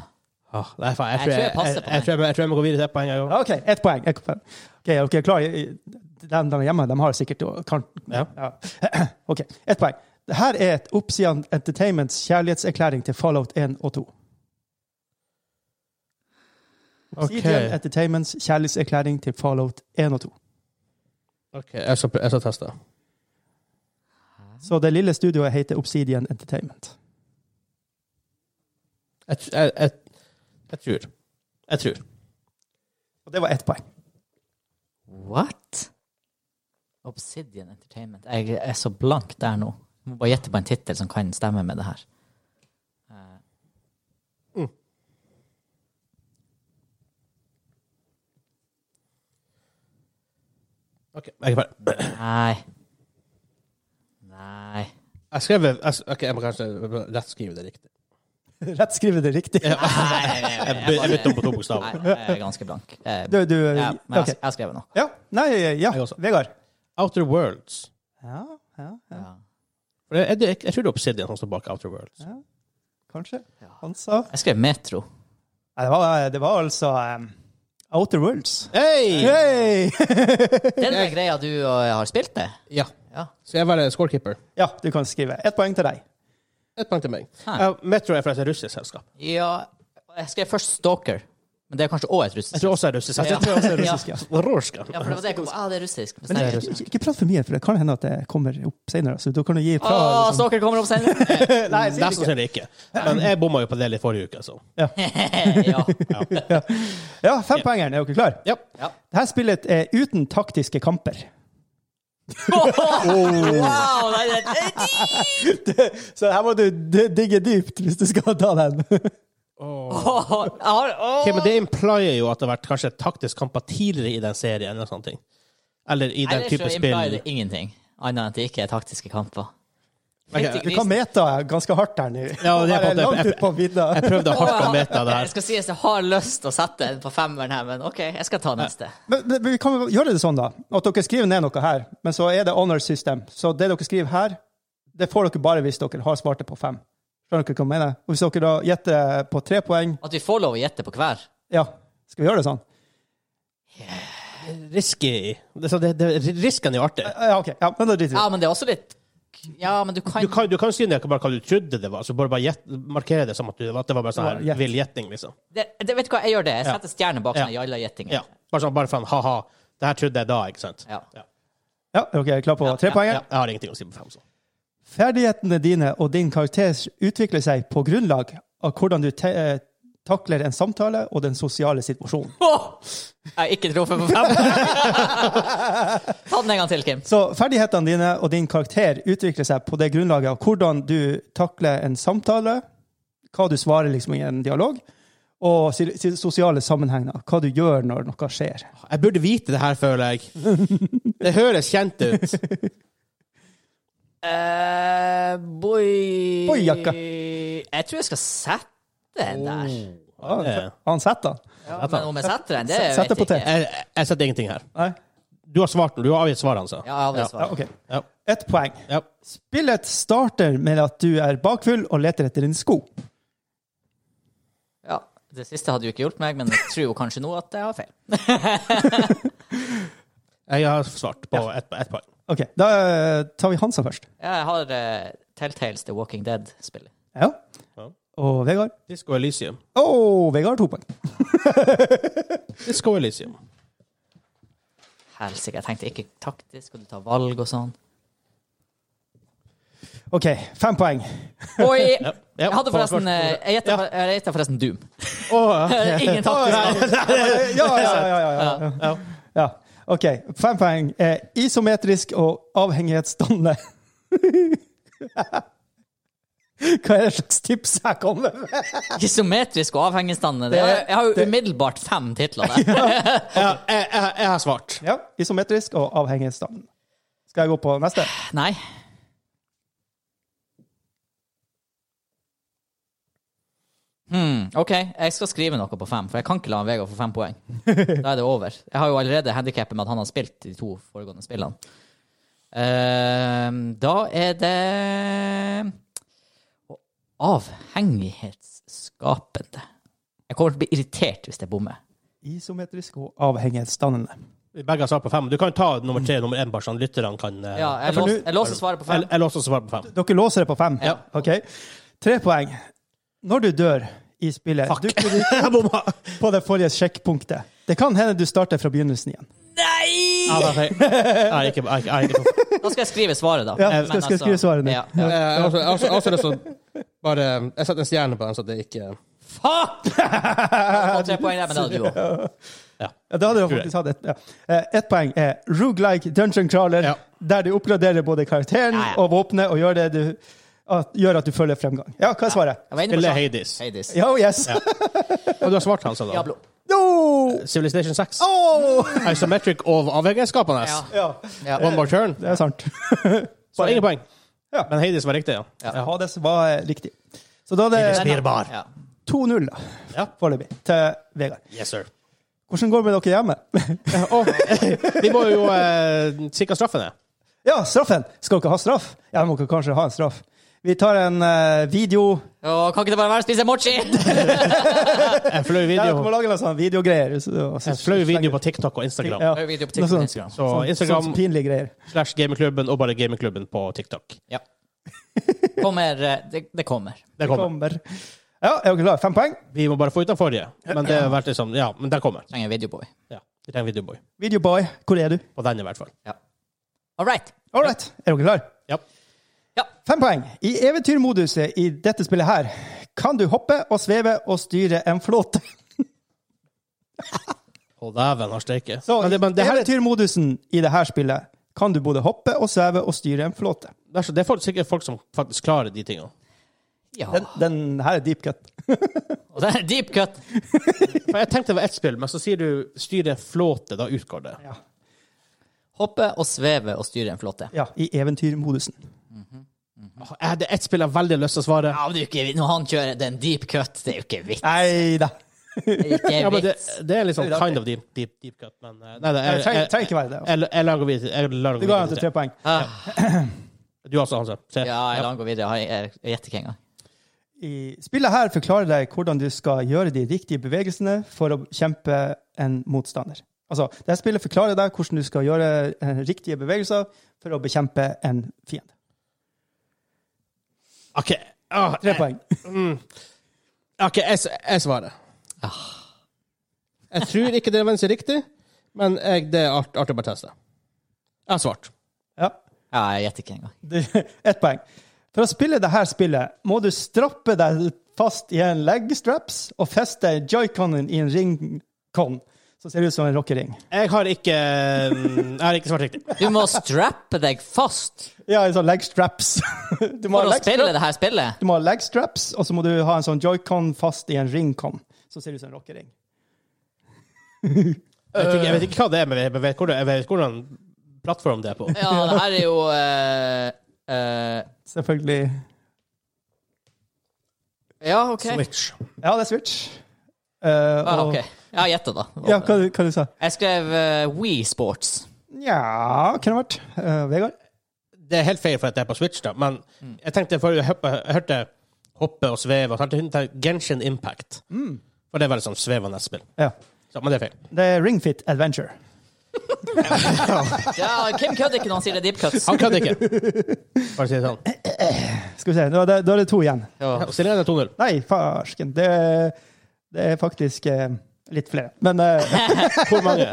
Ah, nei, faen, Jeg jeg, tror tror jeg, jeg passer jeg, på jeg, meg. tror jeg, jeg tror jeg må gå videre til et poeng. Jeg, OK, ett poeng. Ett poeng. Ok, er dere klare? De der hjemme de har sikkert kan, Ja. ja. *clears throat* OK, ett poeng. Dette er et Obsidian Entertainments kjærlighetserklæring til Fallout 1 og 2. Obsidian også. Entertainments kjærlighetserklæring til Fallout 1 og 2. Ok, ok, jeg skal, jeg skal teste. Så det lille studioet heter Obsidian Entertainment. Jeg, tr- jeg, jeg, jeg tror. Jeg tror. Og det var ett *laughs* poeng. What? Obsidian Entertainment. Jeg er så blank der nå. Jeg må bare gjette på en tittel som kan stemme med det her. Eh. Ok, jeg er ferdig. Nei. Nei. Jeg skrev jeg, s- Ok, jeg må kanskje rett skrive det riktig. Rett skriver det riktig. Jeg by- jeg bytter om på to Nei, bokstaver. jeg er ganske blank. Eh, Du, du, ja, men ok. jeg, jeg skrev noe. ja. Nei, ja. Jeg også. Vegard. Outer Worlds. Ja, ja, ja. Ja. For Jeg, jeg, jeg tror det er Obsidian som står bak Outer Worlds. Kanskje. Ja. Han sa Jeg skrev Metro. Nei, det, var, det var altså um, Outer Worlds. Hei! Yay! Den er greia du eh, har spilt det? Ja. Ja. Skal jeg være scorekeeper? *laughs* ja, du kan skrive. Ett poeng til deg. Ett poeng til meg. Hæ. Ja, Metro er forresten et russisk selskap. ja. Jeg skrev først Stalker. Men det er kanskje òg et russisk Jeg tror også det er russisk. Ja. Jeg tror også det er Ja. russisk, ja. Rorska. Ja, for det var det jeg kom på. Ah, det er russisk. Men Bestemmer. ikke, ikke prat for mye, for det kan hende at det kommer opp senere. Så da kan du gi Ah, fra Åh, liksom. Stalker kommer opp senere! Nei, Mest sannsynlig ikke. Men jeg bomma jo på det litt forrige uke, altså. så. *laughs* ja. Ja, fempoengeren, er dere klar? Ja. Dette spillet er uten taktiske kamper. Wow! Nei, det er Så her må du d- digge dypt hvis du skal ta den. Åh, jeg har- åh. Ok, men det implier jo at det har vært kanskje taktisk kamper tidligere i den serien, eller sånne ting. Eller i den Ellers så type implier spill. det ingenting, annet enn at det ikke er taktiske kamper. Ok, Fytti *laughs* Du grisen. kan meta ganske hardt her nå. Ja, det er på Her en måte- langt ut på vidda. Jeg prøvde hardt å meta det Jeg her. skal si at jeg har lyst til å sette en på femmeren her, men OK, jeg skal ta neste. Men, men men vi kan jo gjøre det sånn, da. At dere skriver ned noe her, men så er det honor system. Så det dere skriver her, det får dere bare hvis dere har svart det på fem. Skjønner dere hva jeg mener? Og hvis dere da gjetter på tre poeng, At vi får lov å gjette på hver. ja, skal vi gjøre det sånn? Risky. Det, så det, det, risken er jo artig. Ja, OK. Ja, men da driter vi i Ja, det. men det er også litt Ja, men du kan, Du kan, du kan si ned bare hva du trodde det var, så bare, bare gjett- markere det som at, du, at det var bare sånn Det var her gjett. vill gjetning, liksom. det, det, Vet du hva, jeg gjør det. Jeg Ja. setter stjerne bak sånn Ja. den jalla-gjettingen. Ja. Bare sånn, bare faen, ha-ha. Det her trodde jeg da, ikke sant? Ja. Ja, er dere klar på tre poeng? Ja, jeg har ingenting å si på fem, så. Ferdighetene dine og din karakter utvikler seg på grunnlag av hvordan du te eh, takler en samtale og den sosiale situasjonen. Åh! Jeg har ikke truffet på fem. *laughs* Ta den en gang til, Kim. Så ferdighetene dine og din karakter utvikler seg på det grunnlaget av hvordan du takler en samtale, hva du svarer liksom i en dialog, og si- si- sosiale sammenhenger. Hva du gjør når noe skjer. Jeg burde vite det her, føler jeg. *laughs* Det høres kjent ut. Eh, boy Boyjakka. Jeg tror jeg skal sette den der. Ja, det- Han setter den. Ja, men om jeg setter den, det Sett det vet på jeg te. ikke. Jeg, jeg setter ingenting her. Nei? Du har svart, du har avgitt svaret, altså. Ja, jeg har det Ja, svaret. OK. Ja. Ett poeng. Ja. Spillet starter med at du er bakfull og leter etter din sko. Ja. Det siste hadde jo ikke hjulpet meg, men jeg tror jo kanskje nå at jeg har feil. Jeg har svart på ett ett poeng. OK, da eh, tar vi Hansa først. Jeg har eh, Telltales The Walking Dead-spillet. Ja. Ja. Og Vegard? Disco Elysium. Å, Vegard har to poeng. Disco Elysium. Helsike, jeg tenkte ikke taktisk, og du tar valg og sånn. OK, fem poeng. Oi! ja, Jeg hadde forresten eh, Jeg gjetta for- jeg gjetta forresten Doom. Ingen taktisk. Ja, ja, ja. ja, ja, ja. ja. OK, fem poeng. Eh, isometrisk og avhengighetsdannende. *laughs* Hva er det slags tips jeg kommer med? Isometrisk og avhengigsdannende. Det er- Jeg har jo umiddelbart fem titler der. Ja, jeg, jeg, jeg har svart. Ja, isometrisk og avhengighetsdannende. Skal jeg gå på neste? *laughs* Nei. Hmm, OK, jeg skal skrive noe på fem, for jeg kan ikke la Vegard få fem poeng. Da er det over. Jeg har jo allerede handikappet med at han har spilt de to foregående spillene. Ehm, da er det avhengighetsskapende. Jeg kommer til å bli irritert hvis jeg bommer. Isometrisk og avhengighetsdannende. Vi begge har svart på fem. Du kan ta nummer tre nummer én, bare sånn lytterne kan eh, Ja, jeg for låser- nå- jeg låser svaret på fem. Jeg, jeg låser svaret på fem. Dere låser det på fem? Ja. OK. Tre poeng. Når du dør i spillet Fuck. dukker du *laughs* Jeg bomma! på det forrige sjekkpunktet. Det kan hende du starter fra begynnelsen igjen. Nei! Ja, da sier jeg- Nei, ikke- jeg- jeg- jeg- Da skal jeg skrive svaret, da. Men Ja, altså, skal- skal jeg skrive svaret nå? Ja, ja. Eh, altså- altså- altså det er så- bare, jeg setter en stjerne på den, så det ikke Fuck! *laughs* Jeg får tre poeng der, men det hadde du òg. Ja. Ja, da hadde du Tror jeg. faktisk hatt et, ja. Eh, Ett poeng er roguelike dungeon crawler, Ja. der du oppgraderer både karakteren Ja, ja. og våpenet og gjør, det du, at, gjør at du følger fremgang. Ja, hva er Jeg svaret? var inne på Eller sånn. Hades. Hades. Ja, yes! Og du har svart, Hansa, da? Diablo. *laughs* No! Civilization 6. Åh! Isometric og avhengighetsskapende. Ja. Ja, Ja. One more turn. det er sant. Så ingen poeng. Ja. Men Hades var riktig, ja. Hades var eh, riktig. Så da er det Hades. Spirbar. Ja. 2-0 da, Ja. foreløpig, til Vegard. Yes, sir. Hvordan går det med dere hjemme? *laughs* vi må jo eh, sikre straffene. Ja, straffen! Skal dere ha straff? Ja, må dere kanskje ha en straff. Vi tar en eh, video. Å, kan ikke det bare være å spise *laughs* mochi? En flau Ja, dere må video, lage noen sånne videogreier. så- og så- en flau video på TikTok og Instagram. Ja. Det er jo video på Noe TikTok og sånt. Instagram. Så Sånn- Instagram sånn pinlige greier. slash gamingklubben og bare gamingklubben på TikTok. Ja. Kommer, eh, det, det kommer. Det Kommer. kommer. Ja, er dere klare? Fem poeng. Vi må bare få ut den forrige. Men det har vært liksom, ja, men den kommer. Trenger en videoboy. Ja, Vi trenger Videoboy. Videoboy, hvor er du? På den i hvert fall. Ja. All right. All right, er dere klare? Ja. Fem poeng. I eventyrmoduset i dette spillet her kan du hoppe og sveve og styre en *laughs* flåte. Å, dæven har steike. Så Men det, men det, her, er- eventyrmodusen i dette spillet kan du både hoppe og sveve og styre en flåte. det er så- det er folk- sikkert folk som faktisk klarer de tingene. Ja. Den, den her er deep cut. Og det er deep cut. For jeg tenkte det var ett spill, men så sier du 'styre flåte', da utgår det. Ja, Hoppe og sveve og styre en flåte. ja I eventyrmodusen. Er det ett spill jeg har veldig lyst til å svare? Ja, men det er jo ikke, når han kjører den deep cut, det er jo ikke *laughs* vits. Nei da. Det er ikke Ja, men det, vits. det er liksom kind of deep, deep, deep cut, men eh, Nei, det Det er trenger jeg- trenger ikke være det. Jeg jeg lar gå videre. Jeg lar gå Det går an til videre. tre poeng. Ah, Du også, Hanse. Se. ja, jeg lar han gå videre. Jeg har- Jeg gjetter ikke engang. I spillet her forklarer deg hvordan du skal gjøre de riktige bevegelsene for å kjempe en motstander. Altså, det her spillet forklarer deg hvordan du skal gjøre eh, riktige bevegelser for å bekjempe en fiende. OK. Ah, Tre jeg, poeng. OK, jeg, s- jeg svarer. Jeg tror ikke det nødvendigvis er riktig, men jeg, det er art, artig å bare teste. Jeg har svart. Ja, Ja, jeg gjetter ikke engang. det, ett poeng. For å spille det her spillet må du strappe deg fast i en legstraps og feste joyconen i en ringcon, som ser ut som en rockering. Jeg har ikke Jeg har ikke svart riktig. Du må strappe deg fast Ja, en sånn legstraps. *laughs* Du må for ha å legstraps. spille det her spillet. Du må ha legstraps, og så må du ha en sånn joycon fast i en ringcon, som ser ut som en rockering. Jeg vet ikke, jeg vet Eh. ikke hva det er, men jeg vet hvordan, jeg vet hvordan plattform det er på. Ja, det her er jo eh, eh, Selvfølgelig. Ja, OK. Switch. Ja, det er Switch. Eh, Ah, og- ok. Ja, gjett det, da. Ja, hva, du- hva du sa du? Jeg skrev uh, We Sports. Nja, kunne vært. Eh, Vegard? Det er helt feil for at det er på Switch, da, men Mm. jeg tenkte forrige jeg, hørte- jeg hørte hoppe og sveve, og så tenkte jeg Genshin Impact. Mm. For det er veldig sånn svevende spill. Ja. Så, men det er feil. Det er Ringfit Adventure. Ja, Kim kødder ikke når han sier det er deep cuts. Han kødder ikke. Bare si det sånn. Skal vi se, nå er det, da er det to igjen. Ja. Stillingen er 2-0. Nei, farsken. Det, er- det er faktisk eh, litt flere. Men *laughs* eh, Hvor mange?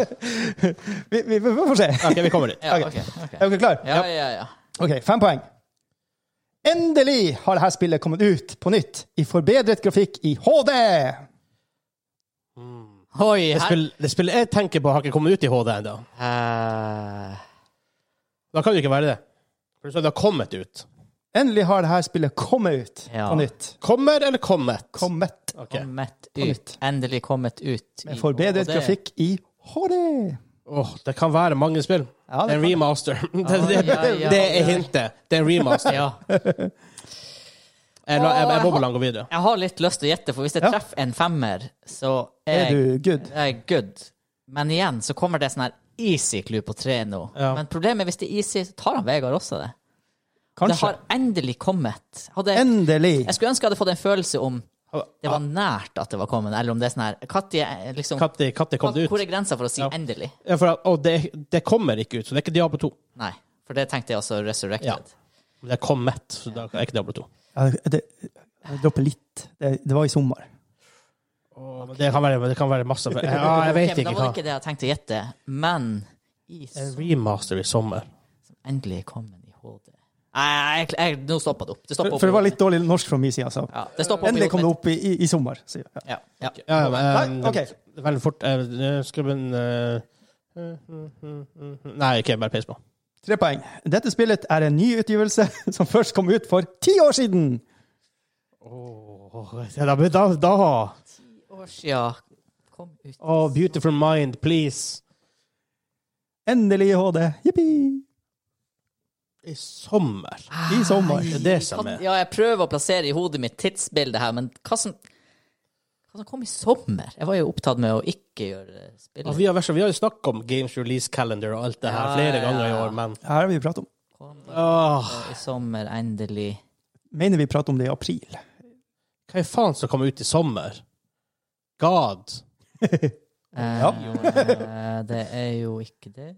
vi, vi, vi får se. Ok, vi kommer dit. Ja, Ok. ok, ok. Er dere klare? ja, ja, ja. OK, fem poeng. Endelig har dette spillet kommet ut på nytt i forbedret grafikk i HD! Oi, Det her spill- det spillet jeg tenker på, har ikke kommet ut i HD ennå. Eh, Da kan det ikke være det. For du sa det har kommet ut. Endelig har dette spillet kommet ut Ja. på nytt. Kommer eller kommet? Kommet. Ok. Kommet ut. nytt. Endelig kommet ut. i Med forbedret HD. grafikk i HD. Åh, det kan være mange spill. Ja, det det er en kan- remaster. *laughs* Det, det, ja, ja. det er hintet. Det er en *laughs* remaster. Ja. Jeg, la- jeg, jeg må bare la den gå videre. Jeg har litt lyst til å gjette, for hvis jeg Ja. treffer en femmer, så Er er jeg du good? jeg er good. Eh, Men igjen så kommer det sånn her easy clue på tre nå. Ja. Men problemet er hvis det er easy, så tar han Vegard også det. Det Kanskje. har endelig kommet. Hadde, Endelig. jeg skulle ønske jeg hadde fått en følelse om det var nært at det var kommet, eller om det er sånn her Katti, liksom, Katti, Katti kom det ut. Hvor er grensa for å si Ja. 'endelig'? Ja, for, at- og det, det kommer ikke ut, så det er ikke Diablo 2. Nei. For det tenkte jeg også Ja. resurrected. Men det er kommet, så det er ikke Diablo 2. Ja, det- det- Jeg dropper litt. Det, det var i sommer. Åh, men det, kan være, det kan være masse feil. Ja, jeg Ok, vet men ikke da var hva. Eh. det ikke det jeg tenkte å gjette. Men i En som remaster i sommer. endelig kom den i HD Nei, jeg, jeg, nå stoppa det opp. Det For, stoppa opp. for det i var hodet litt dårlig norsk fra min side. Så. mitt. ja, det stoppet opp i hodet Endelig kom det mitt. opp i, i, i sommer. sier jeg. Ja. Ja, ja. Ja, ja, men, Nei, ok. eh, Veldig fort. Uh, Skrubben Nei, ikke bare pis på. Tre poeng. Dette spillet er en ny utgivelse *laughs* som først kom ut for ti år siden. da, da, da. År sia kom ut. Oh, beautiful mind, please. Endelig i HD. Jippi! I sommer. I sommer. Det er det som er. Ja, jeg prøver å plassere i hodet mitt tidsbildet her, men hva som, hva som kom i sommer? Jeg var jo opptatt med å ikke gjøre Ja, spillet. Altså, vi har vært så- vi har jo snakket om Games Release Calendar og alt det her Ja, flere ja, ganger i ja. år, men Her har vi pratet om. Kom åh, ut I sommer, endelig. Mener vi pratet om det i april. hva i faen som kommer ut i sommer? God. Eh, Ja. eh, *laughs* det er jo ikke det.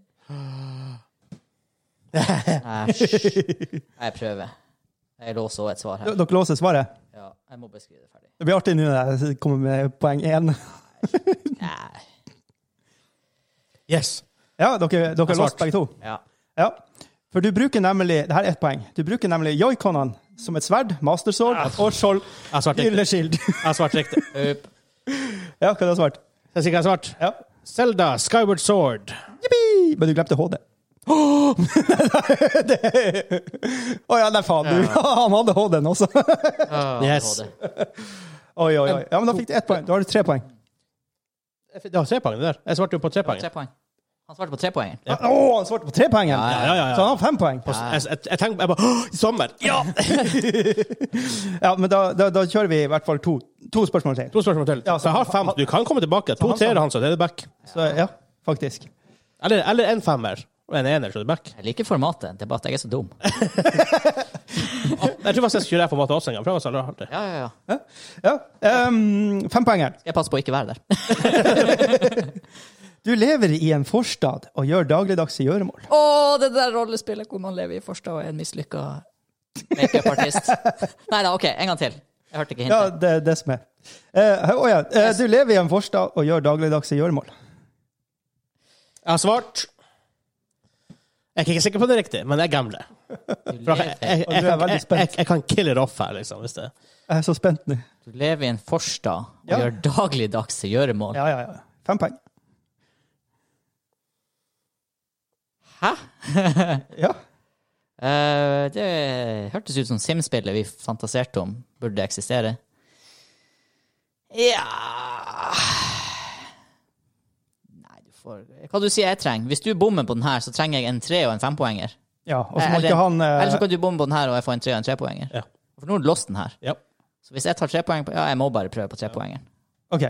Æsj. Jeg prøver. Jeg låser også et svar D- her. Dere låser svaret? Ja, jeg må beskrive det ferdig. Det blir artig nå når jeg kommer med poeng én. Nei. Yes. Ja, dere, dere har svart. låst begge to. Ja. Ja. For du bruker nemlig det her er ett poeng. Du bruker nemlig joikonene som et sverd, mastersword Ah. og skjold. Jeg svarte riktig. Gylleskild. Jeg har svart riktig. Øp. *laughs* Ja, hva er det du har svart? *laughs* Jeg sier hva jeg har svart. Ja. Zelda, Skyward Sword. Yippee! Men du glemte *gasps* HD. Å ja, nei, faen. Du. *laughs* Han hadde HD-en også. Ah, Yes. ADHD. Oi, oi, oi. Ja, men da fikk du ett poeng. Da har du tre poeng. Det var tre poeng, det der. Jeg svarte jo på tre Det var poeng. tre poeng. Han svarte på tre poeng. Å, han svarte på tre poeng! igjen. ja, ja, ja. Så han har fem poeng. Jeg, jeg, jeg tenkte jeg bare «Åh, i Sommer! Ja! Ja, men da, da, da kjører vi i hvert fall to, to spørsmål til. To spørsmål til. Ja, så- så jeg har fem. Du kan komme tilbake. To han- treere, han, så det er back. Så ja, faktisk. Eller, eller en femmer. Og en ener, så det er back. Jeg liker formatet. Det er bare at jeg er så dum. Jeg tror faktisk jeg skal kjøre her på matet også en gang. for det var så artig. Ja, ja, ja. Ja. Um, Fempoengeren. Skal jeg passe på å ikke være der? Du lever i en forstad og gjør dagligdagse gjøremål. Å, det der rollespillet hvor man lever i forstad og er en mislykka *laughs* makeupartist. Nei da, OK, en gang til. Jeg hørte ikke Ja, hintet. det er det som er. Eh, å ja. eh, du lever i en forstad og gjør dagligdagse gjøremål. Jeg har svart Jeg er ikke sikker på det er riktig, men jeg gambler. Du For lever, jeg, jeg, jeg, Du er jeg, veldig jeg, jeg, jeg kan kill it off her, liksom. Hvis det. Jeg er så spent nå. du lever i en forstad og Ja. gjør dagligdagse gjøremål. Ja, ja, ja. Fem poeng. Hæ? *laughs* Ja. Eh, det hørtes ut som Sim-spillet vi fantaserte om burde eksistere. Ja Nei, du får Hva du sier jeg trenger? Hvis du bommer på den her, så trenger jeg en tre og en fempoenger. ja. Og så må Eller, ikke han eh, eller så kan du bomme på den her, og jeg får en tre og en trepoenger. Ja. For nå har du låst den her. Ja. Så hvis jeg tar tre poeng på Ja, jeg må bare prøve på trepoengeren. OK.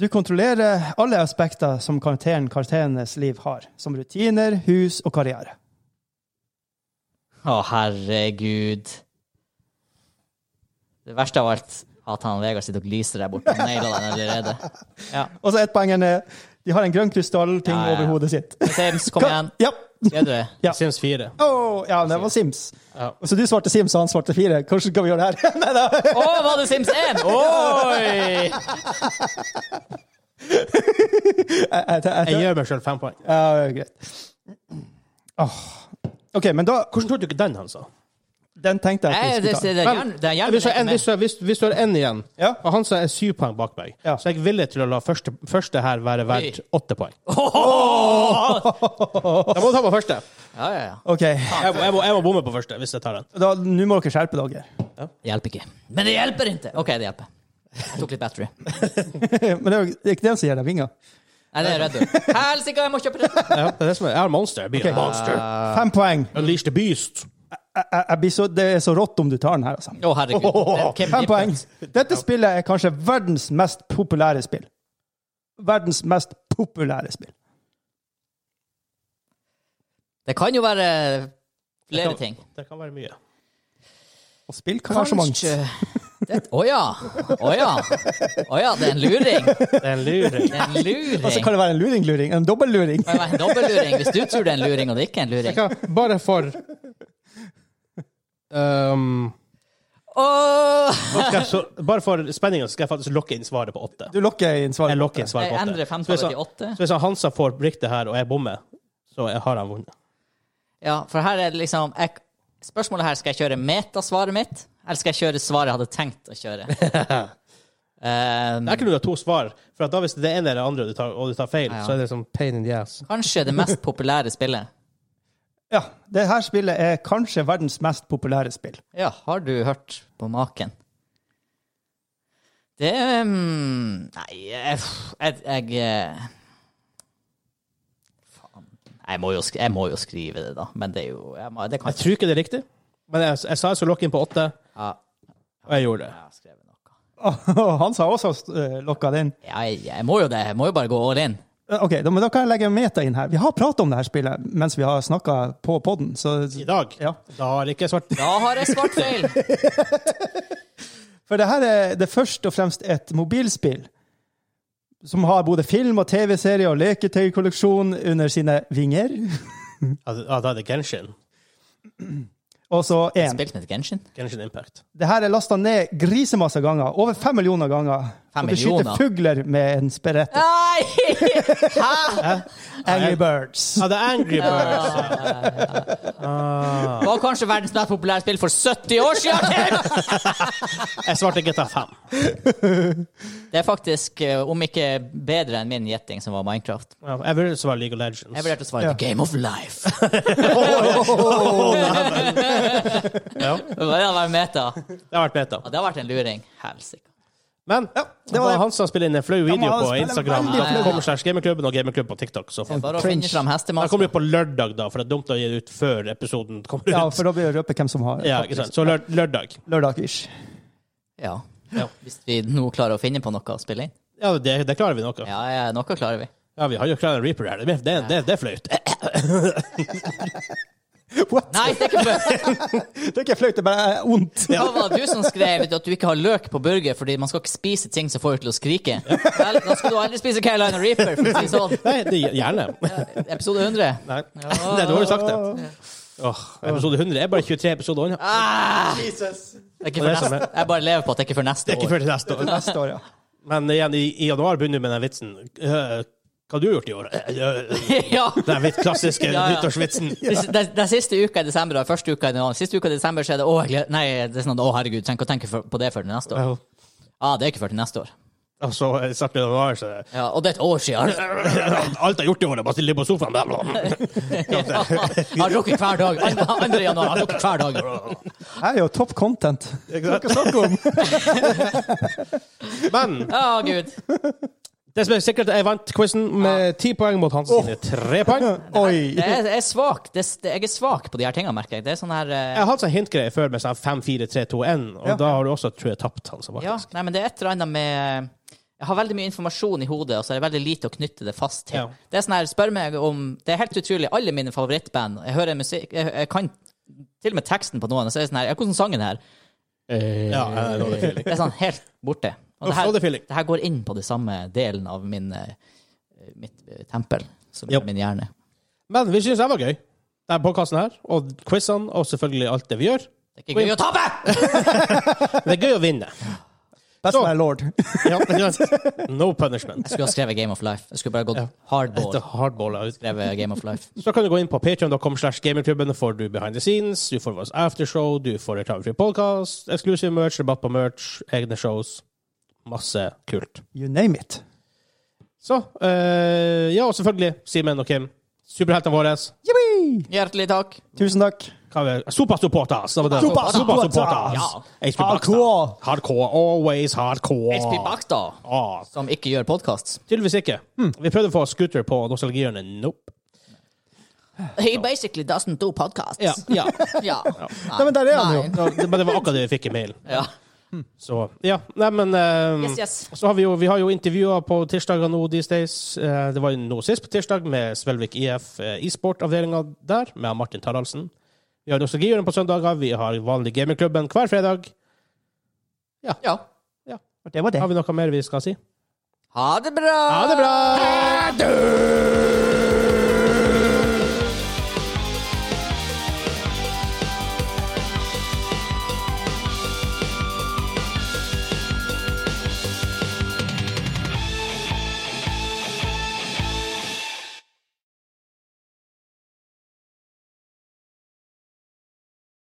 Du kontrollerer alle aspekter som karakteren karakterenes liv har, som rutiner, hus og karriere. Å, herregud. Det verste av alt at han Vegard sitter og gliser der borte. Han naila den allerede. Ja. Og så ett poeng er de har en grønn krystallting Ja, ja, ja. over hodet sitt. Sims, kom igjen. Ja. Ser *laughs* du det? Ja. Sims 4. Å, ja, det var Sims. Ja. Så du svarte Sims, og han svarte fire. Hvordan skal vi gjøre det her? *laughs* Nei, da. Å, var det Sims 1? Oi! Jeg, jeg, jeg, Jeg gjør meg sjøl fem poeng. Ja, det er greit. Åh. OK, men da Hvordan tok du ikke den, han sa? Den tenkte Nei, jeg at vi det, det, skulle ta. det, er Men, jern- det er hvis, jeg, hjernen. hvis, jeg, hvis, hvis du har én igjen, Ja. og han sa er syv poeng bak meg, Ja. så er jeg villig til å la første, første her være verdt åtte poeng. *laughs* Da må du ta på første. Ja, ja, ja. OK. Jeg, jeg, må, jeg må bomme på første hvis jeg tar den. da- Nå må dere skjerpe dere. *laughs* Det hjelper ikke. Men det hjelper ikke! OK, det hjelper. Jeg tok litt battery. Men det er jo- det er ikke den som gir deg vinger. Nei, det er Red Bull. Helsike, jeg må kjøpe Red Bull! Ja, det er det som er. Jeg har monster. Jeg blir Ok. en monster. Fem poeng. Unleash the beast. Jeg, jeg, jeg blir så, det er så rått om du tar den her, Å, altså. herregud. Hvem Fem blir poeng. det? Dette spillet er kanskje verdens mest populære spill. Verdens mest populære spill. Det kan jo være flere ting. Det kan være mye. Og spill kan være så mange. Det- Å ja. Å ja. Å ja, det er en luring. Det *laughs* Det er en luring. er en luring. Og så Altså, kan det være en luring-luring. En *laughs* dobbeltluring. Det kan være en dobbeltluring hvis du tror det er en luring, og det ikke er en Altså, luring. Hva, Bare for um, Åh! nå skal jeg så, Bare for spenningen så skal jeg faktisk lokke inn svaret på åtte. Du lokker inn svaret. Jeg lokker inn svaret Jeg på åtte. endrer Så hvis femtallet han- til åtte. Så hvis han Hansa får riktig her, og jeg bommer, så jeg har han vunnet. Ja, for her er det liksom jeg, Spørsmålet her skal jeg kjøre metasvaret mitt, eller skal jeg kjøre svaret jeg hadde tenkt å kjøre? Um, Det er ikke noe du har to svar, for at da hvis det ene eller det andre du tar, og du tar feil, Ja, ja. så er det sånn pain in the ass. kanskje det mest populære spillet. Ja, det her spillet er kanskje verdens mest populære spill. Ja, har du hørt på maken? Det um, Nei, jeg, jeg, jeg eh, Faen. Jeg må, jo sk jeg må jo skrive det, da. Men det er jo jeg må, Det kan Jeg tror ikke det er riktig, men jeg, jeg sa jeg skulle lokke inn på åtte, Ja, og jeg gjorde det. jeg har skrevet noe. Han sa også uh, lokka det inn. Ja, jeg, jeg må jo det. Jeg må jo bare gå all in. Eh, OK, da, men da kan jeg legge meta inn her. Vi har pratet om det her spillet mens vi har snakka på poden, så I dag? Ja. Da har ikke jeg svart Da har jeg svart feil! For det her er det først og fremst et mobilspill som har både film og TV-serie og leketøykolleksjon under sine vinger. at, at det er Genshin. Og så én. Spilte med Genshin. Genshin Impact. Det her er lasta ned grisemasse ganger. Over fem millioner ganger. Fem og du skyter millioner? fugler med en sperrett. *laughs* Nei! Angry Birds. Ja, det er Angry Birds. Det var kanskje verdens mest populære spill for 70 år siden! Jeg svarte GTA 5. Det er faktisk, eh, om ikke bedre enn min gjetting, som var Minecraft. Ja, Jeg ville svare League of Jeg Legends. vurderte å svare The Game of Life. *laughs* Ja, Det var meta. det har vært beta. Ja, det har vært en luring. Helsike. Men det var han som spiller inn en flau video Ja, men han på spiller Instagram. veldig flau. Kommer slash Gamerklubben og Gamerklubb på TikTok. Så Det er Bare å Cringe. finne fram Den kommer hestemasken. ut på lørdag, da, for det er dumt å gi det ut før episoden kommer ut. Ja, for da blir det å røpe hvem som *laughs* har Ja, ikke sant? Så lø- lørdag. lørdag-ish. Ja. Ja. Hvis vi nå klarer å finne på noe å spille inn. Ja, det, det klarer vi noe. Ja, ja noe klarer vi. Ja, vi har jo Clan Reaper her. Det, det, det, det er flaut. *laughs* Nei, det er ikke bra. *laughs* Det er ikke flaut, det er bare eh, vondt. Hva var det du som skrev at du ikke har løk på burger fordi man skal ikke spise ting som får deg til å skrike? Vel, da skal du aldri spise Carolina Reaper, for å si sånn. Nei, det, gjerne. Episode 100. Nei, det er dårlig sagt, det. Åh, episode 100 er bare 23 episoder unna. Ah! Jesus. Det er ikke for Og det er neste. som Jeg bare lever på at det ikke er for Det neste er ikke år. før til neste år. Neste år, ja. Men igjen, i, i januar begynner vi med den vitsen. Øh, hva har du gjort i år? *laughs* Øh, øh, *laughs* Ja. Den litt klassiske Ja, ja. nyttårsvitsen. Det det er siste uka i desember og første uka i januar. Siste uka i desember så er det å, jeg gleder, nei, det er sånn, å herregud, trenger ikke å tenke for- på det før til neste år. Ja. Ja, det er ikke før til neste år. *laughs* Og så i starten av januar, så er det, Ja, og det er et år siden. Alt jeg har gjort i år, er bare å stille på sofaen. Bla, bla. Ja, *laughs* jeg har drukket hver dag. 2. januar, jeg har drukket hver *laughs* dag. Det er jo topp content. Men Å, Ah, gud. det som er sikkert, jeg vant quizen med ti poeng mot hans sine tre poeng. *laughs* Oi. Det er, jeg er svak. Det, er- jeg er svak på de her tingene, merker jeg. Det er sånn her eh, Jeg har hatt sånn hintgreie før med sånn 5-4-3-2-1, og Ja. da har du også, tror jeg, tapt han som Ja, faktisk. nei, men det er et eller annet med Jeg har veldig mye informasjon i hodet, og så er det veldig lite å knytte det fast til. Ja. Det er sånn her, spør meg om Det er helt utrolig. Alle mine favorittband Jeg hører musikk Jeg, jeg kan til og med teksten på noen, og så er det sånn her Ja, hvordan sangen her? Ja, jeg lå det til. Det er sånn helt borte. Og Uff, det her, nå er det feeling. det her går inn på det samme delen av min, eh, mitt eh, tempel, som Yep. er min hjerne. Men vi syns det var gøy, denne podkasten her, og quizene, og selvfølgelig alt det vi gjør. Det er ikke gøy å tape! Det er gøy å vinne. Best Så. my lord. Ja, ikke sant? *laughs* no punishment. Jeg skulle ha skrevet Game of Life. Jeg skulle bare gått hardball. Det er hardball er ute. Skrevet Game of Life. Så kan du gå inn på patreon.com slash gamingklubben, og får du behind the scenes, du får vår aftershow, du får reklamefri podkast, exclusive merch, rabatt på merch, egne shows. Masse kult. You name it. Så eh, Ja, og selvfølgelig Simen og Kim. Superheltene våre. Yippee! Hjertelig takk. Tusen takk. Hva er- Supersupporters! det var det. Super- Supersupporters! Ja. HP Hardcore. Bakstad. Hardcore. Always hardcore. HP Bakstad, Ah, som ikke gjør podkast. tydeligvis ikke. Hmm. Vi prøvde å få scooter på nostalgihjørnet. Nope. He basically doesn't do podcasts. Ja, ja. *laughs* Ja. Nei, men der er han jo. Ja, det, men det var akkurat det vi fikk i mailen. Ja. Så ja, nei, men eh, Yes, yes. Så har vi jo, vi har jo intervjuer på tirsdager nå these days. Eh, det var jo nå sist på tirsdag med Svelvik IF eh, e-sport-avdelinga der, med Martin Taraldsen. Vi har Nostalgihjørnet på søndager, vi har vanlig gamingklubben hver fredag. ja. Det var det. Har vi noe mer vi skal si? Ha det bra! Ha det bra!